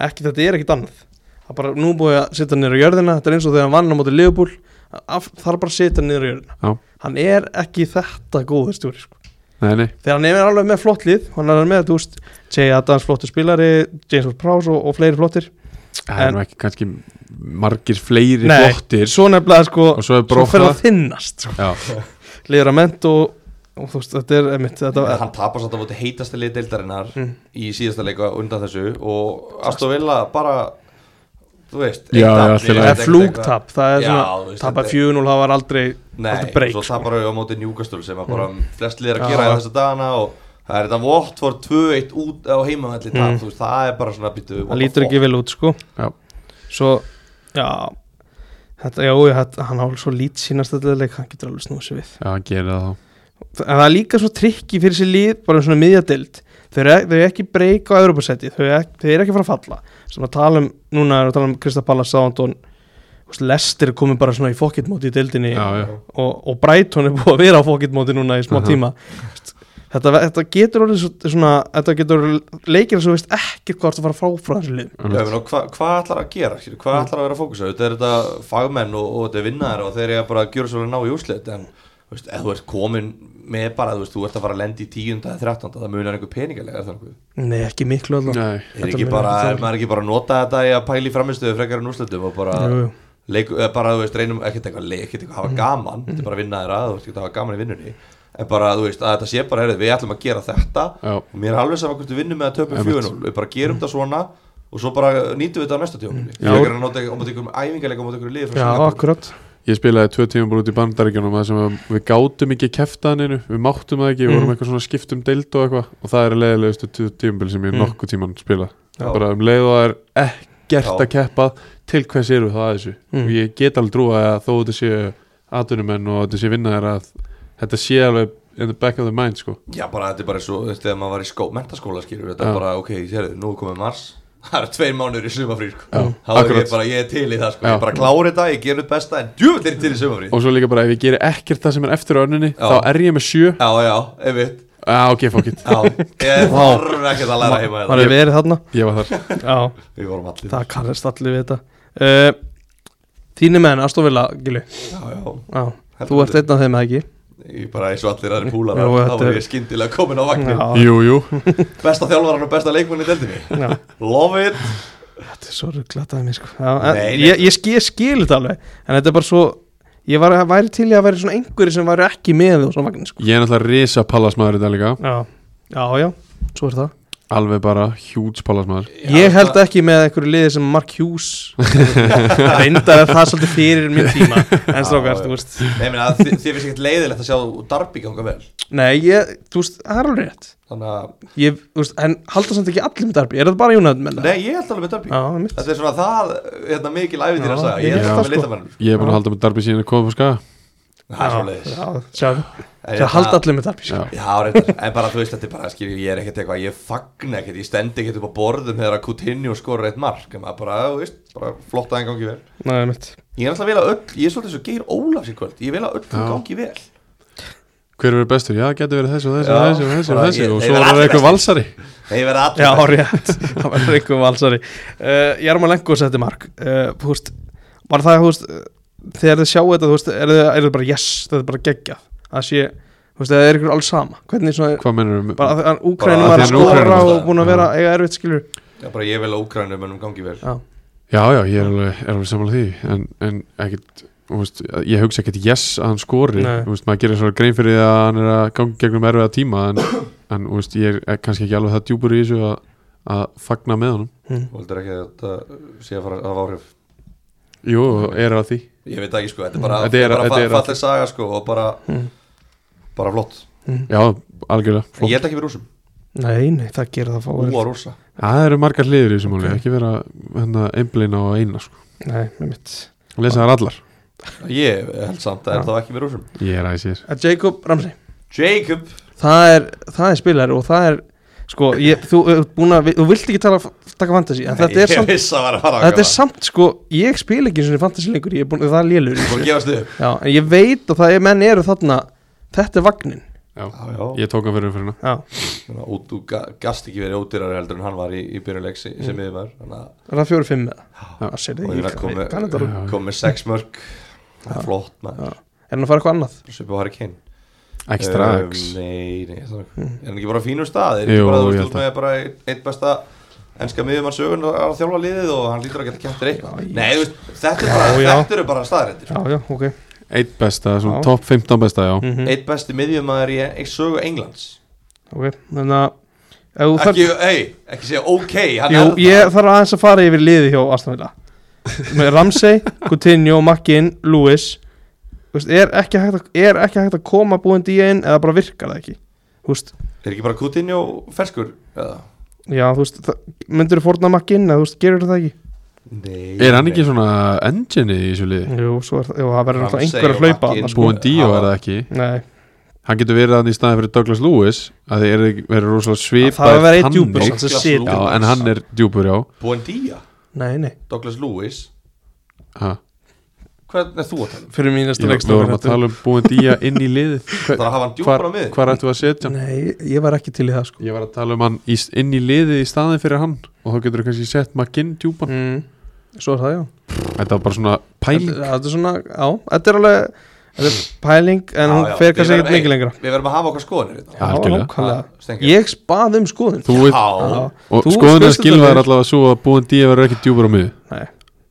[SPEAKER 1] ekki, Þetta er ekkit annað Það er bara nú búið að setja hann niður á jörðina Þetta er eins og þegar hann vann á móti Leopold Það er bara að setja hann niður á jörðina
[SPEAKER 2] Já.
[SPEAKER 1] Hann er ekki þetta góður stjóri sko.
[SPEAKER 2] Nei, nei,
[SPEAKER 1] Þegar hann er alveg með flott lið Hann er með, þú veist, Jay Adams flottur spilari James Ward Prowse og, og fleiri flottir
[SPEAKER 2] það er
[SPEAKER 1] En-
[SPEAKER 2] nú ekki kannski margir fleiri
[SPEAKER 1] Nei.
[SPEAKER 2] flottir
[SPEAKER 1] Svo nefnilega sko,
[SPEAKER 2] og svo er
[SPEAKER 1] svo fer
[SPEAKER 2] brókna
[SPEAKER 1] það þinnast sko.
[SPEAKER 2] Já,
[SPEAKER 1] Liður að ment og, og þú veist, þetta er einmitt, þetta,
[SPEAKER 3] Hann tapar samt að móti heitasta lið deildarinnar
[SPEAKER 1] Mm.
[SPEAKER 3] í síðasta leika undan þessu og Aston Villa bara þú veist
[SPEAKER 2] Já,
[SPEAKER 3] eitt
[SPEAKER 2] já, allt
[SPEAKER 3] afl,
[SPEAKER 2] í lagi.
[SPEAKER 3] eitt
[SPEAKER 1] Það er
[SPEAKER 3] eitthvað-
[SPEAKER 1] flúgtap, það er
[SPEAKER 3] Já, þú
[SPEAKER 1] svona
[SPEAKER 3] veist,
[SPEAKER 1] Tapa
[SPEAKER 3] þetta er-
[SPEAKER 1] 4-0, það var aldrei
[SPEAKER 3] Nei,
[SPEAKER 1] Þetta break,
[SPEAKER 3] svo tapar við á móti njúkastul sem að bara flest liðar að
[SPEAKER 1] Já.
[SPEAKER 3] gera í þessa dagana og það er þetta Watford 2-1 út á heimavalli tap,
[SPEAKER 1] Mm.
[SPEAKER 3] þú veist, það er bara svona býtu
[SPEAKER 1] Það lítur ekki vel út, sko
[SPEAKER 2] Já.
[SPEAKER 1] Svo, já Þetta, já, já, þetta, hann hálf svo lít sínast þetta leik, hann getur alveg snúið sér við
[SPEAKER 2] já, hann gerir það þá
[SPEAKER 1] En það er líka svo trikki fyrir sér lið bara um svona miðjadild Þau eru e-, þau eru ekki breyk á Europasæti, þau, eru ekki- þau eru ekki að fara að falla Sem að tala um, núna erum við að tala um Kristapalla Sándón Lester komið bara svona í fokkitmóti í dildinni
[SPEAKER 2] Já, já,
[SPEAKER 1] og, og Brighton er búið að vera á fókitmóti núna í smá
[SPEAKER 2] Aha.
[SPEAKER 1] tíma þetta, þetta getur orðið svo- svona þetta getur orðið leikir sem þú veist ekkert hvað þú ert að fara að fá frá þessu lið
[SPEAKER 3] Já, menn, og hva, hvað ætlar að gera, skilur,
[SPEAKER 1] Mm.
[SPEAKER 3] hvað ætlar að vera að fókusa þetta er þetta fagmenn og, og þetta er vinnaðar og þeir eru bara að gjöra svolítið ná í úrslit en þú veist, ef þú ert komin með bara, þú veist, þú ert að fara að lenda í tíunda eða þrettanda, það munar einhver peningalega er það nokkuð?
[SPEAKER 1] nei ekki miklu allavega
[SPEAKER 2] Nei,
[SPEAKER 3] er
[SPEAKER 1] Þetta
[SPEAKER 3] ekki
[SPEAKER 1] munar
[SPEAKER 3] bara,
[SPEAKER 1] ekki
[SPEAKER 3] er
[SPEAKER 1] það.
[SPEAKER 3] maður ekki bara að nota þetta í að pæla í framistöðu frekar en úrslitum og bara,
[SPEAKER 1] Jú, jú.
[SPEAKER 2] Mhm.
[SPEAKER 3] leik, eða bara þú veist, reynum ekkert eitthvað leik, ekkert eitthvað hafa gaman, þetta er bara að vinna þeirra, þú veist, ekkert hafa gaman í vinnunni en bara, þú veist, að þetta sé bara, heyrðu, við ætlum að gera þetta
[SPEAKER 2] Já.
[SPEAKER 3] og mér er alveg saman hvort við vinnum með að töpum
[SPEAKER 2] Einmitt. Mhm.
[SPEAKER 3] 4-0 við bara gerum þetta svona og svo bara nýtum við þetta á næsta tjóminu
[SPEAKER 2] Já.
[SPEAKER 3] ég er að nota um að ykkur æfingarleika um að ykkur liði frá
[SPEAKER 1] Já,
[SPEAKER 3] Singapore.
[SPEAKER 1] akkurat
[SPEAKER 2] Ég spilaði tvö tíma bara út í bandaríkjunum þar sem við- við gátum ekki keftaðaninu við máttum það ekki, við
[SPEAKER 1] Mhm.
[SPEAKER 3] Mm.
[SPEAKER 2] vorum eitthvað svona skipt um deild og eitthvað og það er leiðilegustu tímabil sem ég
[SPEAKER 1] Mhm.
[SPEAKER 2] nokkuð tíman spila
[SPEAKER 3] Mm. Já.
[SPEAKER 2] bara um leið og það er ekkert
[SPEAKER 3] Já.
[SPEAKER 2] að keppa til hvers eru það að þessu
[SPEAKER 1] Mm.
[SPEAKER 2] og ég get alveg trúa að þó þetta séu atvinnumenn og þetta sé vinnaðir að þetta sé alveg in the back of the mind sko
[SPEAKER 3] Já, bara þetta er bara svo, þetta er maður var í skó, mentaskóla skilur, þetta
[SPEAKER 2] Já.
[SPEAKER 3] er bara, ok, hérðu, nú er komið mars það eru tveir mánuður í sumafrí sko.
[SPEAKER 2] Já,
[SPEAKER 3] þá er
[SPEAKER 2] Mm. akkurat.
[SPEAKER 3] ég bara, ég er til í það sko.
[SPEAKER 2] Já.
[SPEAKER 3] ég bara klári þetta, ég gerum besta en djúvill er ég til í sumafrí
[SPEAKER 2] og svo líka bara ef ég geri ekkert það sem er eftir á önninni Já. þá er ég með sjö
[SPEAKER 3] Já, já, einmitt
[SPEAKER 2] ah, ok, fuck it,
[SPEAKER 3] Já, ég þarf ekkert að læra heima
[SPEAKER 1] Var
[SPEAKER 3] þetta
[SPEAKER 1] við verið þarna?
[SPEAKER 2] ég var þar
[SPEAKER 1] Já,
[SPEAKER 3] Við vorum allir
[SPEAKER 1] það kannast allir við þetta uh, Þínu menn, Astovilla, Gilu
[SPEAKER 3] Já, já,
[SPEAKER 1] Já, þú ert einn af þeim eða ekki
[SPEAKER 3] ég bara eins og allir aðri púlar
[SPEAKER 1] Jú,
[SPEAKER 3] þá
[SPEAKER 1] þetta
[SPEAKER 3] var
[SPEAKER 1] er-
[SPEAKER 3] ég skyndilega komin á vagnin
[SPEAKER 1] Já,
[SPEAKER 2] jú, jú,
[SPEAKER 3] Besta þjálfaran og besta leikmann í deldinni
[SPEAKER 1] já,
[SPEAKER 3] Love it
[SPEAKER 1] þetta er svo rugglatað mér sko já, en,
[SPEAKER 3] Nei, nei.
[SPEAKER 1] Ég, ég, skil, ég skil þetta alveg En þetta er bara svo Ég var, væri til í að vera svona einhverju sem væri ekki með og svona vagnin sko
[SPEAKER 2] ég er náttúrulega risa pallasmaður í dag líka,
[SPEAKER 1] Já, já, já, svo er það
[SPEAKER 2] alveg bara hjúts pallasmaður
[SPEAKER 1] Ég held ekki með einhverju liði sem Mark Hughes reyndar að það er svolítið fyrir minn tíma en strókar,
[SPEAKER 3] Já,
[SPEAKER 1] þú
[SPEAKER 3] já.
[SPEAKER 1] veist
[SPEAKER 3] Nei, meina, þið, þið finnst ekkert leiðilegt að sjá Darby ganga vel
[SPEAKER 1] Nei, ég, þú veist, það er alveg rétt
[SPEAKER 3] Þannig að,
[SPEAKER 1] ég, þú veist, En halda samt ekki allir með darbi, er það bara Jónat menn?
[SPEAKER 3] nei, ég held alveg með Darby
[SPEAKER 1] Já, mitt
[SPEAKER 3] Þetta er svona það, hérna, mikil æfintir að
[SPEAKER 1] Já,
[SPEAKER 3] sagja Ég
[SPEAKER 1] ég
[SPEAKER 3] er
[SPEAKER 1] held
[SPEAKER 3] alltaf
[SPEAKER 1] það,
[SPEAKER 3] með
[SPEAKER 1] sko.
[SPEAKER 3] litamennum
[SPEAKER 2] ég er búin
[SPEAKER 1] Já.
[SPEAKER 2] að halda með darbi síðan að koma upp á skaga
[SPEAKER 3] Það er svoleiðis
[SPEAKER 1] Já, sjáðu,
[SPEAKER 3] En
[SPEAKER 1] það
[SPEAKER 3] hérna-
[SPEAKER 1] halda allir með darbi
[SPEAKER 2] Já.
[SPEAKER 1] sko.
[SPEAKER 3] Já, reyndar, en bara þú veist, þetta er bara, skiljum, ég er ekkert eitthvað Ég fagna ekkert, ég stendi ekkert upp á borðum Þegar að Coutinho skorur eitt mark En maður bara, þú veist, bara flott að hann gangi vel
[SPEAKER 1] Nei, mitt
[SPEAKER 3] Ég er alltaf vel að öll, ég er svolítið svo geir Ólafs í kvöld Ég vil að öllum
[SPEAKER 2] Já.
[SPEAKER 3] gangi vel
[SPEAKER 2] hver verður bestur, já, getur verið þessi og þessi
[SPEAKER 3] Já,
[SPEAKER 2] og þessi og þessi, og
[SPEAKER 3] bara
[SPEAKER 2] þessi.
[SPEAKER 3] ég-
[SPEAKER 2] og svo
[SPEAKER 3] þeir eru
[SPEAKER 2] var það
[SPEAKER 3] allir
[SPEAKER 2] eitthvað
[SPEAKER 3] bestir.
[SPEAKER 2] valsari
[SPEAKER 3] Nei, ég verða
[SPEAKER 1] Já,
[SPEAKER 3] allir
[SPEAKER 1] rétt, það var einhver valsari uh, Jarmar Lenko setti mark uh, Þú veist, bara það, þú veist eh, Þegar þið sjáu þetta, þú veist, er það bara yes Þetta er bara geggjað Það sé, þú veist, það er ykkur alls sama Hvernig svona,
[SPEAKER 2] hvað mennur um
[SPEAKER 1] bara að Úkrænum
[SPEAKER 3] Bara
[SPEAKER 1] var að
[SPEAKER 2] að því hann er
[SPEAKER 1] skora
[SPEAKER 3] Úkraínu,
[SPEAKER 1] og búin að vera eiga erfitt skilur
[SPEAKER 3] Já, bara ég vil að Úkrænum en gangi vel
[SPEAKER 1] Já,
[SPEAKER 2] já, já, ég er alveg, er alveg sammála því en, en ekkit, þú veist, ég hugsa ekkit yes að hann skori,
[SPEAKER 1] Nei.
[SPEAKER 2] þú veist, maður gerir svolítið grein fyrir því að hann er að gangi gegnum erfiða tíma en, en þú veist, ég er kannski ekki alveg það djúpur í þessu að, að fagna með honum
[SPEAKER 1] Mm.
[SPEAKER 3] Þú heldur ekki að þetta sé að fara að hafa áhrif
[SPEAKER 2] jú, er að því
[SPEAKER 3] Ég veit það ekki, sko, þetta er bara,
[SPEAKER 2] Þetta er-
[SPEAKER 3] bara
[SPEAKER 2] þetta er-
[SPEAKER 3] falleg saga, sko Og bara,
[SPEAKER 1] Mm.
[SPEAKER 3] bara flott
[SPEAKER 2] já, algjörlega,
[SPEAKER 3] En Ég
[SPEAKER 2] flott
[SPEAKER 3] held ekki við rúsum,
[SPEAKER 1] Nei, nei, það gerir það
[SPEAKER 3] ú
[SPEAKER 1] fáið
[SPEAKER 3] að rúsa
[SPEAKER 2] það eru margar hliður í þessu máli, ekki vera hérna, einblina og eina, sko,
[SPEAKER 1] Nei, með mitt
[SPEAKER 2] lesa þar allar
[SPEAKER 3] Ég held samt að
[SPEAKER 1] Já.
[SPEAKER 3] það er ekki við rúsum
[SPEAKER 2] ég er æsir,
[SPEAKER 1] Að Uh, Jacob Ramsey
[SPEAKER 3] Jacob
[SPEAKER 1] Það er, það er spilar og það er Sko, ég, þú ert búin að Þú vilt ekki tala, taka fantasy En þetta er
[SPEAKER 3] Ég
[SPEAKER 1] samt,
[SPEAKER 3] vissi að var að fara
[SPEAKER 1] þetta er samt sko Ég spil ekki svona fantasy lengur Ég er búin, það er lélur
[SPEAKER 3] Búin að gefast upp
[SPEAKER 1] Já, en ég veit og það er menn eru þarna Þetta er vagnin
[SPEAKER 2] já,
[SPEAKER 3] Já, já
[SPEAKER 2] ég tók hann fyrir umfyrirna
[SPEAKER 1] Já,
[SPEAKER 3] Þannig að Útu ga- gast ekki verið ódýrari heldur en hann var í, í byrjuleik sem mm. við var Þannig að
[SPEAKER 1] er það fjóri fimm með það Það sér
[SPEAKER 3] og
[SPEAKER 1] þið
[SPEAKER 3] ég
[SPEAKER 1] í
[SPEAKER 3] kom með-
[SPEAKER 1] Kanada Er
[SPEAKER 2] Já.
[SPEAKER 3] kom með sex mörg Það er flott maður
[SPEAKER 1] hann að fara eitthvað annað?
[SPEAKER 3] Svipið á Harry Kane
[SPEAKER 2] ekstra
[SPEAKER 3] Um,
[SPEAKER 2] x
[SPEAKER 3] Nei, nei það Er er hann ekki bara á fínum stað Er ekki
[SPEAKER 2] Jú,
[SPEAKER 3] bara
[SPEAKER 2] ég
[SPEAKER 3] þú
[SPEAKER 2] held
[SPEAKER 3] veist með bara einn- einn besta Enska miðjumann sögun að þjálfa liðið og hann lítur að geta kæftir eitthvað
[SPEAKER 1] Já, já.
[SPEAKER 3] Nei, þú veist, þetta er bara,
[SPEAKER 1] Já, já.
[SPEAKER 3] þetta eru bara staðrættir
[SPEAKER 1] Já, já, ok
[SPEAKER 2] Eitt besta, svona
[SPEAKER 1] Já.
[SPEAKER 2] topp 15 besta, já
[SPEAKER 1] mm
[SPEAKER 3] Eitt besti miðjumæður í í sögu Englands
[SPEAKER 1] Ok, þannig að ef þú þarft-
[SPEAKER 3] Ekki, ei, ekki segja ok hann
[SPEAKER 1] Jú,
[SPEAKER 3] er það.
[SPEAKER 1] ég þarf aðeins að fara yfir liði hjá Aston Villa með Ramsey, Coutinho, Makin, Lewis Þú veist, er, ekki hægt að, er ekki hægt að koma búin D1 eða bara virkar það ekki Þú veist,
[SPEAKER 3] Er ekki bara Coutinho ferskur? eða?
[SPEAKER 1] já, þú veist, það- myndirðu fórna Makin eða þú veist, gerur það ekki
[SPEAKER 3] Nei,
[SPEAKER 2] Er hann ekki svona engine í þessu liði?
[SPEAKER 1] Jú, svo er það, jú, það verður alltaf
[SPEAKER 3] Ramsey
[SPEAKER 1] einhver
[SPEAKER 3] og
[SPEAKER 1] að hlaupa
[SPEAKER 3] Makin.
[SPEAKER 1] þarna, sko.
[SPEAKER 2] Búin Díó
[SPEAKER 3] hafa-
[SPEAKER 2] er það ekki
[SPEAKER 1] Nei,
[SPEAKER 2] Hann getur verið hann í staðin fyrir Douglas Lewis að þið eru- verður rosalega svipað
[SPEAKER 1] það er verið eitt djúpur sem
[SPEAKER 2] þannig.
[SPEAKER 1] sem
[SPEAKER 3] Douglas
[SPEAKER 1] situr
[SPEAKER 2] Já, en hann er djúpur, já
[SPEAKER 3] Buendia,
[SPEAKER 1] Nei, nei,
[SPEAKER 3] Douglas Lewis
[SPEAKER 2] ha.
[SPEAKER 3] Hvernig er þú að tala um?
[SPEAKER 1] fyrir mín
[SPEAKER 2] Ég,
[SPEAKER 1] næsta
[SPEAKER 2] Við vorum að
[SPEAKER 1] leikstofn
[SPEAKER 2] tala um búin Díó inn í liði
[SPEAKER 3] Það er að hafa hann djúpar á miðin
[SPEAKER 2] Hvar ættu að setja hann?
[SPEAKER 1] Nei, ég var ekki til í það, sko
[SPEAKER 2] Ég var að tala um hann í, inn í liði í staðin fyrir hann og þá getur þú kannski sett McGinn djúpan
[SPEAKER 1] mm, Svo er það, já
[SPEAKER 2] Þetta var bara svona pæling
[SPEAKER 1] Þetta þetta er svona, já, þetta er alveg Þetta er pæling, en hún fer kannski ekkert mikið lengra
[SPEAKER 3] Við verðum að hafa okkar skoðanir hérna.
[SPEAKER 2] Já, algjörlega.
[SPEAKER 1] nákvæmlega.
[SPEAKER 3] Steingrímur.
[SPEAKER 1] Ég spaði um skoðun
[SPEAKER 2] Þú veit
[SPEAKER 3] Já.
[SPEAKER 1] Já.
[SPEAKER 2] Og
[SPEAKER 1] Þú
[SPEAKER 2] skoðun að
[SPEAKER 1] spurst þetta
[SPEAKER 2] skilfa er
[SPEAKER 1] vel.
[SPEAKER 2] allavega svo að búin Díó verður ekki djúpur á miði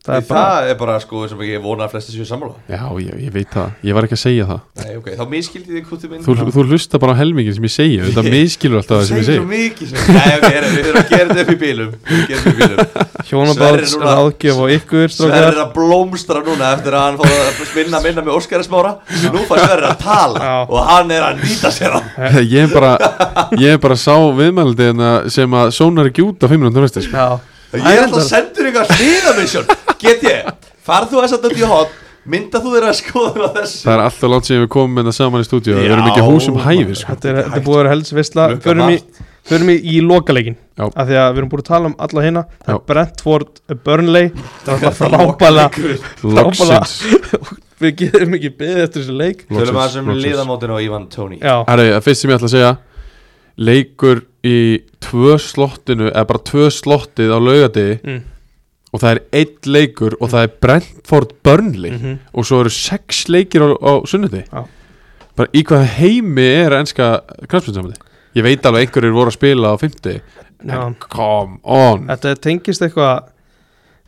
[SPEAKER 1] Nei, það
[SPEAKER 3] það,
[SPEAKER 1] er bara,
[SPEAKER 3] er bara sko sem ég vona að flesti séu sammála
[SPEAKER 2] Já, ég, ég veit það, ég var ekki að segja það
[SPEAKER 3] Nei, ok, þá miskildi þið kútið minn
[SPEAKER 2] Þú, þú hlusta bara á helmingin sem ég segja Þetta miskilur alltaf það sem ég
[SPEAKER 3] segir
[SPEAKER 2] segja
[SPEAKER 3] svo mikið sem... Nei, ok, heyrðu, við þurfum að gera þetta upp í bílum Gera þetta upp í bílum
[SPEAKER 1] hjónabáts
[SPEAKER 3] Sverrir núna-
[SPEAKER 1] ráðgjöf og ykkur
[SPEAKER 3] Sverri er
[SPEAKER 1] strókar
[SPEAKER 3] að blómstra núna eftir að hann fór að minna minna með Óskari smára Nú fær Sverri að tala
[SPEAKER 1] Já.
[SPEAKER 3] og hann er að nýta sér að
[SPEAKER 2] Ég er bara, ég er bara sá viðmældi hérna sem að sónar ekki út á 5 minútur eftir
[SPEAKER 1] Já,
[SPEAKER 3] Ég er alltaf að senda þér eitthvað hliðamisjón Get ég, farð þú þess að döndi í hot Mynda þú þeirra skoðun á þessu
[SPEAKER 2] Það er alltaf langt sem við komum með það saman í stúdíu Við erum
[SPEAKER 3] Já,
[SPEAKER 2] ekki húsum
[SPEAKER 3] maður.
[SPEAKER 2] hæfi sko.
[SPEAKER 1] þetta er, þetta er búið að vera helst visla
[SPEAKER 3] Lukka
[SPEAKER 1] förum í, förum í, í lokaleikin
[SPEAKER 2] Já.
[SPEAKER 1] af því að við erum búin að tala um alla hina það er
[SPEAKER 2] Já.
[SPEAKER 1] Brentford, Burnley það er alltaf frábæla
[SPEAKER 2] Loksins
[SPEAKER 1] við getum ekki beðið eftir þessu leik
[SPEAKER 3] Tölum
[SPEAKER 2] Loksins,
[SPEAKER 3] aðeins um
[SPEAKER 2] loksins.
[SPEAKER 3] liðamótinu og Ivan Tóni
[SPEAKER 1] já,
[SPEAKER 2] Herri, það fyrst sem ég ætla að segja Leikur í tvö slottinu Eða bara tvö slottið á laugardegi
[SPEAKER 1] Mm.
[SPEAKER 2] Og það er eitt leikur Og það er Brentford Burnley
[SPEAKER 1] Mhm.
[SPEAKER 2] Og svo eru sex leikir á, á sunnundi
[SPEAKER 1] Já.
[SPEAKER 2] Bara í hvað heimi er Enska knarspunsamöndi Ég veit alveg einhverjir voru að spila á 50
[SPEAKER 1] já.
[SPEAKER 2] En come on
[SPEAKER 1] þetta tengist eitthvað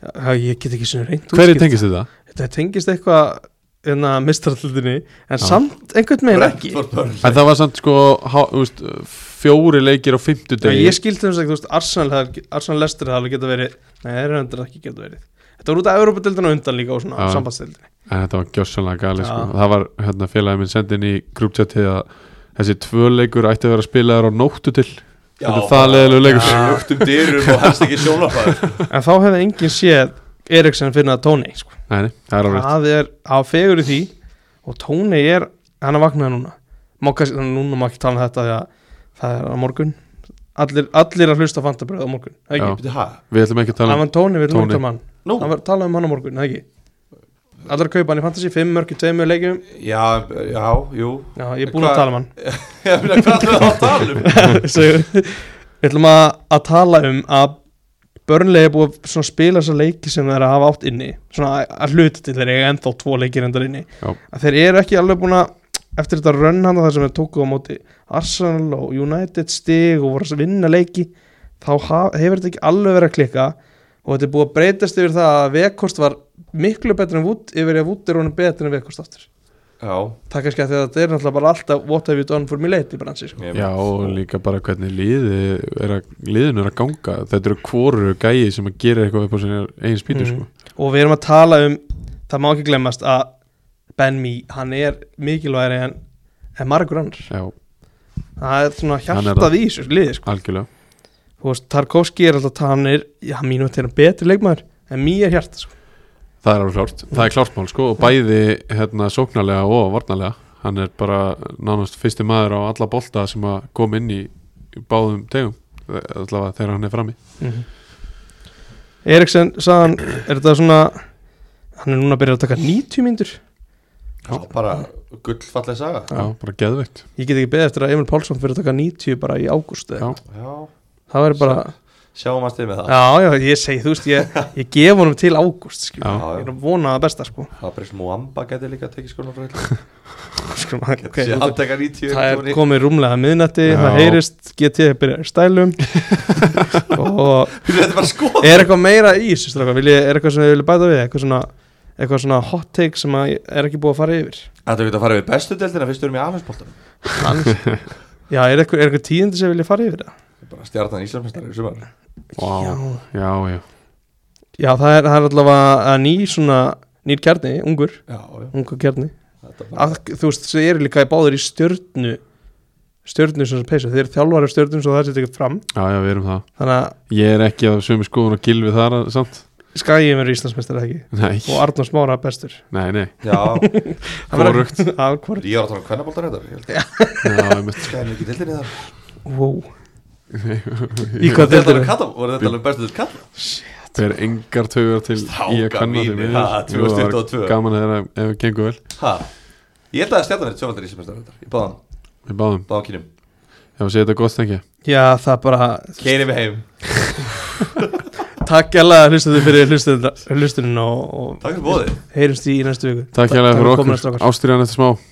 [SPEAKER 1] já, ég get ekki svona reynd
[SPEAKER 2] Hverju tengist þetta?
[SPEAKER 1] þetta tengist eitthvað hérna mistrallutinni en samt einhvern veginn ekki
[SPEAKER 3] Brentford Burnley
[SPEAKER 2] En það var samt sko há, úst, Fjóri leikir á 50
[SPEAKER 1] já,
[SPEAKER 2] degi
[SPEAKER 1] ég skildi þess að þú veist Arsenal, hefði- Arsenal Lester það alveg geta verið nei, það er hendur ekki geta verið þetta var út af Europadeildinu undan líka og svona
[SPEAKER 2] Já.
[SPEAKER 1] sambandsdeildinu
[SPEAKER 2] En þetta var gjössanlega gali sko.
[SPEAKER 1] Já.
[SPEAKER 2] Það var hérna félagið minn sendin í grúptjatið að þessi tvö leikur ætti að vera spilaður á nóttu til Þetta er það leiðilegu leikur
[SPEAKER 3] Já, luktum um dyrum og helst ekki sjónarfæður
[SPEAKER 1] en þá hefði enginn séð Eriksen fyrir að Tóni sko.
[SPEAKER 2] Nei, nei, það er árið
[SPEAKER 1] það er á fegur í því og Tóni er, hann er vaknað núna má kannski, þannig að núna má ekki tala um þetta því að það er á morgun allir, allir að hlusta á fantabröð á morgun það ekki,
[SPEAKER 3] Býttu, ha?
[SPEAKER 2] Við ætlum ekki að tala
[SPEAKER 1] hann
[SPEAKER 2] um
[SPEAKER 1] var Tóni við
[SPEAKER 2] Tóni.
[SPEAKER 1] lúta mann
[SPEAKER 3] Nú,
[SPEAKER 1] hann var talað um hann á morgun, það ekki allar að kaupa hann í fantasy, 5 mörg í 2 leikjum
[SPEAKER 3] já, já, jú
[SPEAKER 1] já, ég er búin
[SPEAKER 3] Hvað-
[SPEAKER 1] að tala um hann
[SPEAKER 3] Ég meina, hvað ætlum við að tala um?
[SPEAKER 1] Svo, við ætlum að, að tala um að Burnley er búið að svona spila þessa leiki sem þeir eru að hafa átt inni svona að- að hluta til þeir eiga ennþá tvo leikir endar inni
[SPEAKER 2] Já.
[SPEAKER 1] að þeir eru ekki alveg búin að eftir þetta rönn hann þar sem þeir tóku á móti Arsenal og United stig og voru að vinna leiki þá haf, hefur þetta ekki alveg verið að klikka og þetta er búið að breytast yfir það að Vekost var miklu betri en Wood yfir í að Wood er honum betri en Vekost aftur
[SPEAKER 3] Já,
[SPEAKER 1] það er kannski að þetta er náttúrulega bara alltaf what have you done for me lately bransi sko.
[SPEAKER 3] ég
[SPEAKER 2] Já, og líka bara hvernig liði er að, liðin er að ganga Þetta eru hvoru gæi sem að gera eitthvað upp á sinni eigin spýtu sko.
[SPEAKER 1] Mhm. og við erum að tala um það má ekki glemmast að Ben Mee, hann er mikilvægri en, en margur annar
[SPEAKER 2] sko. Já,
[SPEAKER 1] það er svona
[SPEAKER 2] Hann er
[SPEAKER 1] hjartað í þessu liði sko.
[SPEAKER 2] algjörlega
[SPEAKER 1] þú veist, Tarkovski er alltaf hann er, já, mínu þetta er hann betri leikmaður en Mee er hjarta sko.
[SPEAKER 2] Það er alveg klárt, það er klártmál sko og bæði hérna sóknarlega og varnarlega hann er bara nánast fyrsti maður á alla bolta sem að kom inn í í báðum tegum allavega þegar hann er frammi
[SPEAKER 1] Eriksen sagðan, er þetta svona hann er núna að byrja að taka 90 myndur
[SPEAKER 3] Já, bara gullfalleg saga
[SPEAKER 2] Já, bara geðveikt
[SPEAKER 1] ég get ekki beðið eftir að Emil Pálsson fyrir að taka 90 bara í ágúst eða
[SPEAKER 2] Já.
[SPEAKER 1] eitthvað.
[SPEAKER 3] Já,
[SPEAKER 1] það verður bara,
[SPEAKER 3] sjáum að stið með það
[SPEAKER 1] já, já, ég segi þú veist, ég, ég gef honum til ágúst skilur.
[SPEAKER 2] Já.
[SPEAKER 1] ég er að vona það besta sko,
[SPEAKER 3] Fabrice Muamba geti líka tekið skoðan frá hillu
[SPEAKER 1] sko
[SPEAKER 3] okay,
[SPEAKER 1] okay,
[SPEAKER 3] Sér handtaka
[SPEAKER 1] Það er
[SPEAKER 3] 90 einhvern veginn.
[SPEAKER 1] komið rúmlega að miðnætti,
[SPEAKER 2] Já.
[SPEAKER 1] það heyrist GT byrjar í stælum og
[SPEAKER 3] Þetta er bara skoð
[SPEAKER 1] er eitthvað meira í þessu strákar, Viljið- er eitthvað sem þið viljið bæta við eitthvað svona, eitthvað svona hot take sem að er ekki búið að fara yfir
[SPEAKER 3] Þetta er ekki að fara við bestu deltina fyrst við erum í alheimsbóltan
[SPEAKER 1] Já, er eitthvað, er eitthvað tíðindi sem viljið fara yfir það?
[SPEAKER 3] Bara stjarnan Íslandsmestari í sumar
[SPEAKER 2] Já, já, já
[SPEAKER 1] Já, það er, það er allavega að ný svona, nýr kjarni, ungur,
[SPEAKER 3] Já, já
[SPEAKER 1] ungur kjarni
[SPEAKER 3] Þetta er
[SPEAKER 1] að,
[SPEAKER 3] bara
[SPEAKER 1] Þú veist, þið eru líka báður í stjörnu stjörnu sem þessu peysa, þið eru þjálfari stjörnu svo það setja ekki fram,
[SPEAKER 2] Já, já, við erum það
[SPEAKER 1] þannig að
[SPEAKER 2] Ég er ekki á sömu skoðun og gilvi þar að- samt
[SPEAKER 1] skæjum eru Íslandsmeistar ekki
[SPEAKER 2] Nei,
[SPEAKER 1] og Arnór Smára bestur
[SPEAKER 2] nei, nei
[SPEAKER 3] Já,
[SPEAKER 2] Hvorugt.
[SPEAKER 1] Hvorugt
[SPEAKER 3] ég var að tala um kvennabóltan þetta
[SPEAKER 2] Já, einmitt.
[SPEAKER 3] Skæði mikið deltinni þar
[SPEAKER 1] Wow Í hvað
[SPEAKER 3] Þetta
[SPEAKER 1] deildir
[SPEAKER 3] er
[SPEAKER 1] þau?
[SPEAKER 3] kalla, voru þetta alveg bestu delt kalla
[SPEAKER 2] Það er engar taugar til í að
[SPEAKER 3] Strákar
[SPEAKER 2] kanna
[SPEAKER 3] mínir,
[SPEAKER 2] því
[SPEAKER 3] ha, 2022.
[SPEAKER 2] Gaman að þeirra ef það gengur vel
[SPEAKER 3] Ha, ég held að stjarnan er sjöfaldar Íslandsmestari þetta Ég báðan,
[SPEAKER 2] Við báðum,
[SPEAKER 3] báðan kynum
[SPEAKER 2] ef að segja þetta gott þengi
[SPEAKER 1] Já það er bara
[SPEAKER 3] Keiri mig heim
[SPEAKER 1] Takk alveg að hlusta þau fyrir hlustunin og,
[SPEAKER 3] Takk fyrir bóðið
[SPEAKER 1] og heyrumst í í næstu viku
[SPEAKER 2] Takk hérlega
[SPEAKER 1] Takk
[SPEAKER 2] fyrir
[SPEAKER 1] komuna,
[SPEAKER 2] okkur,
[SPEAKER 1] strákar.
[SPEAKER 2] ástriðan eftir smá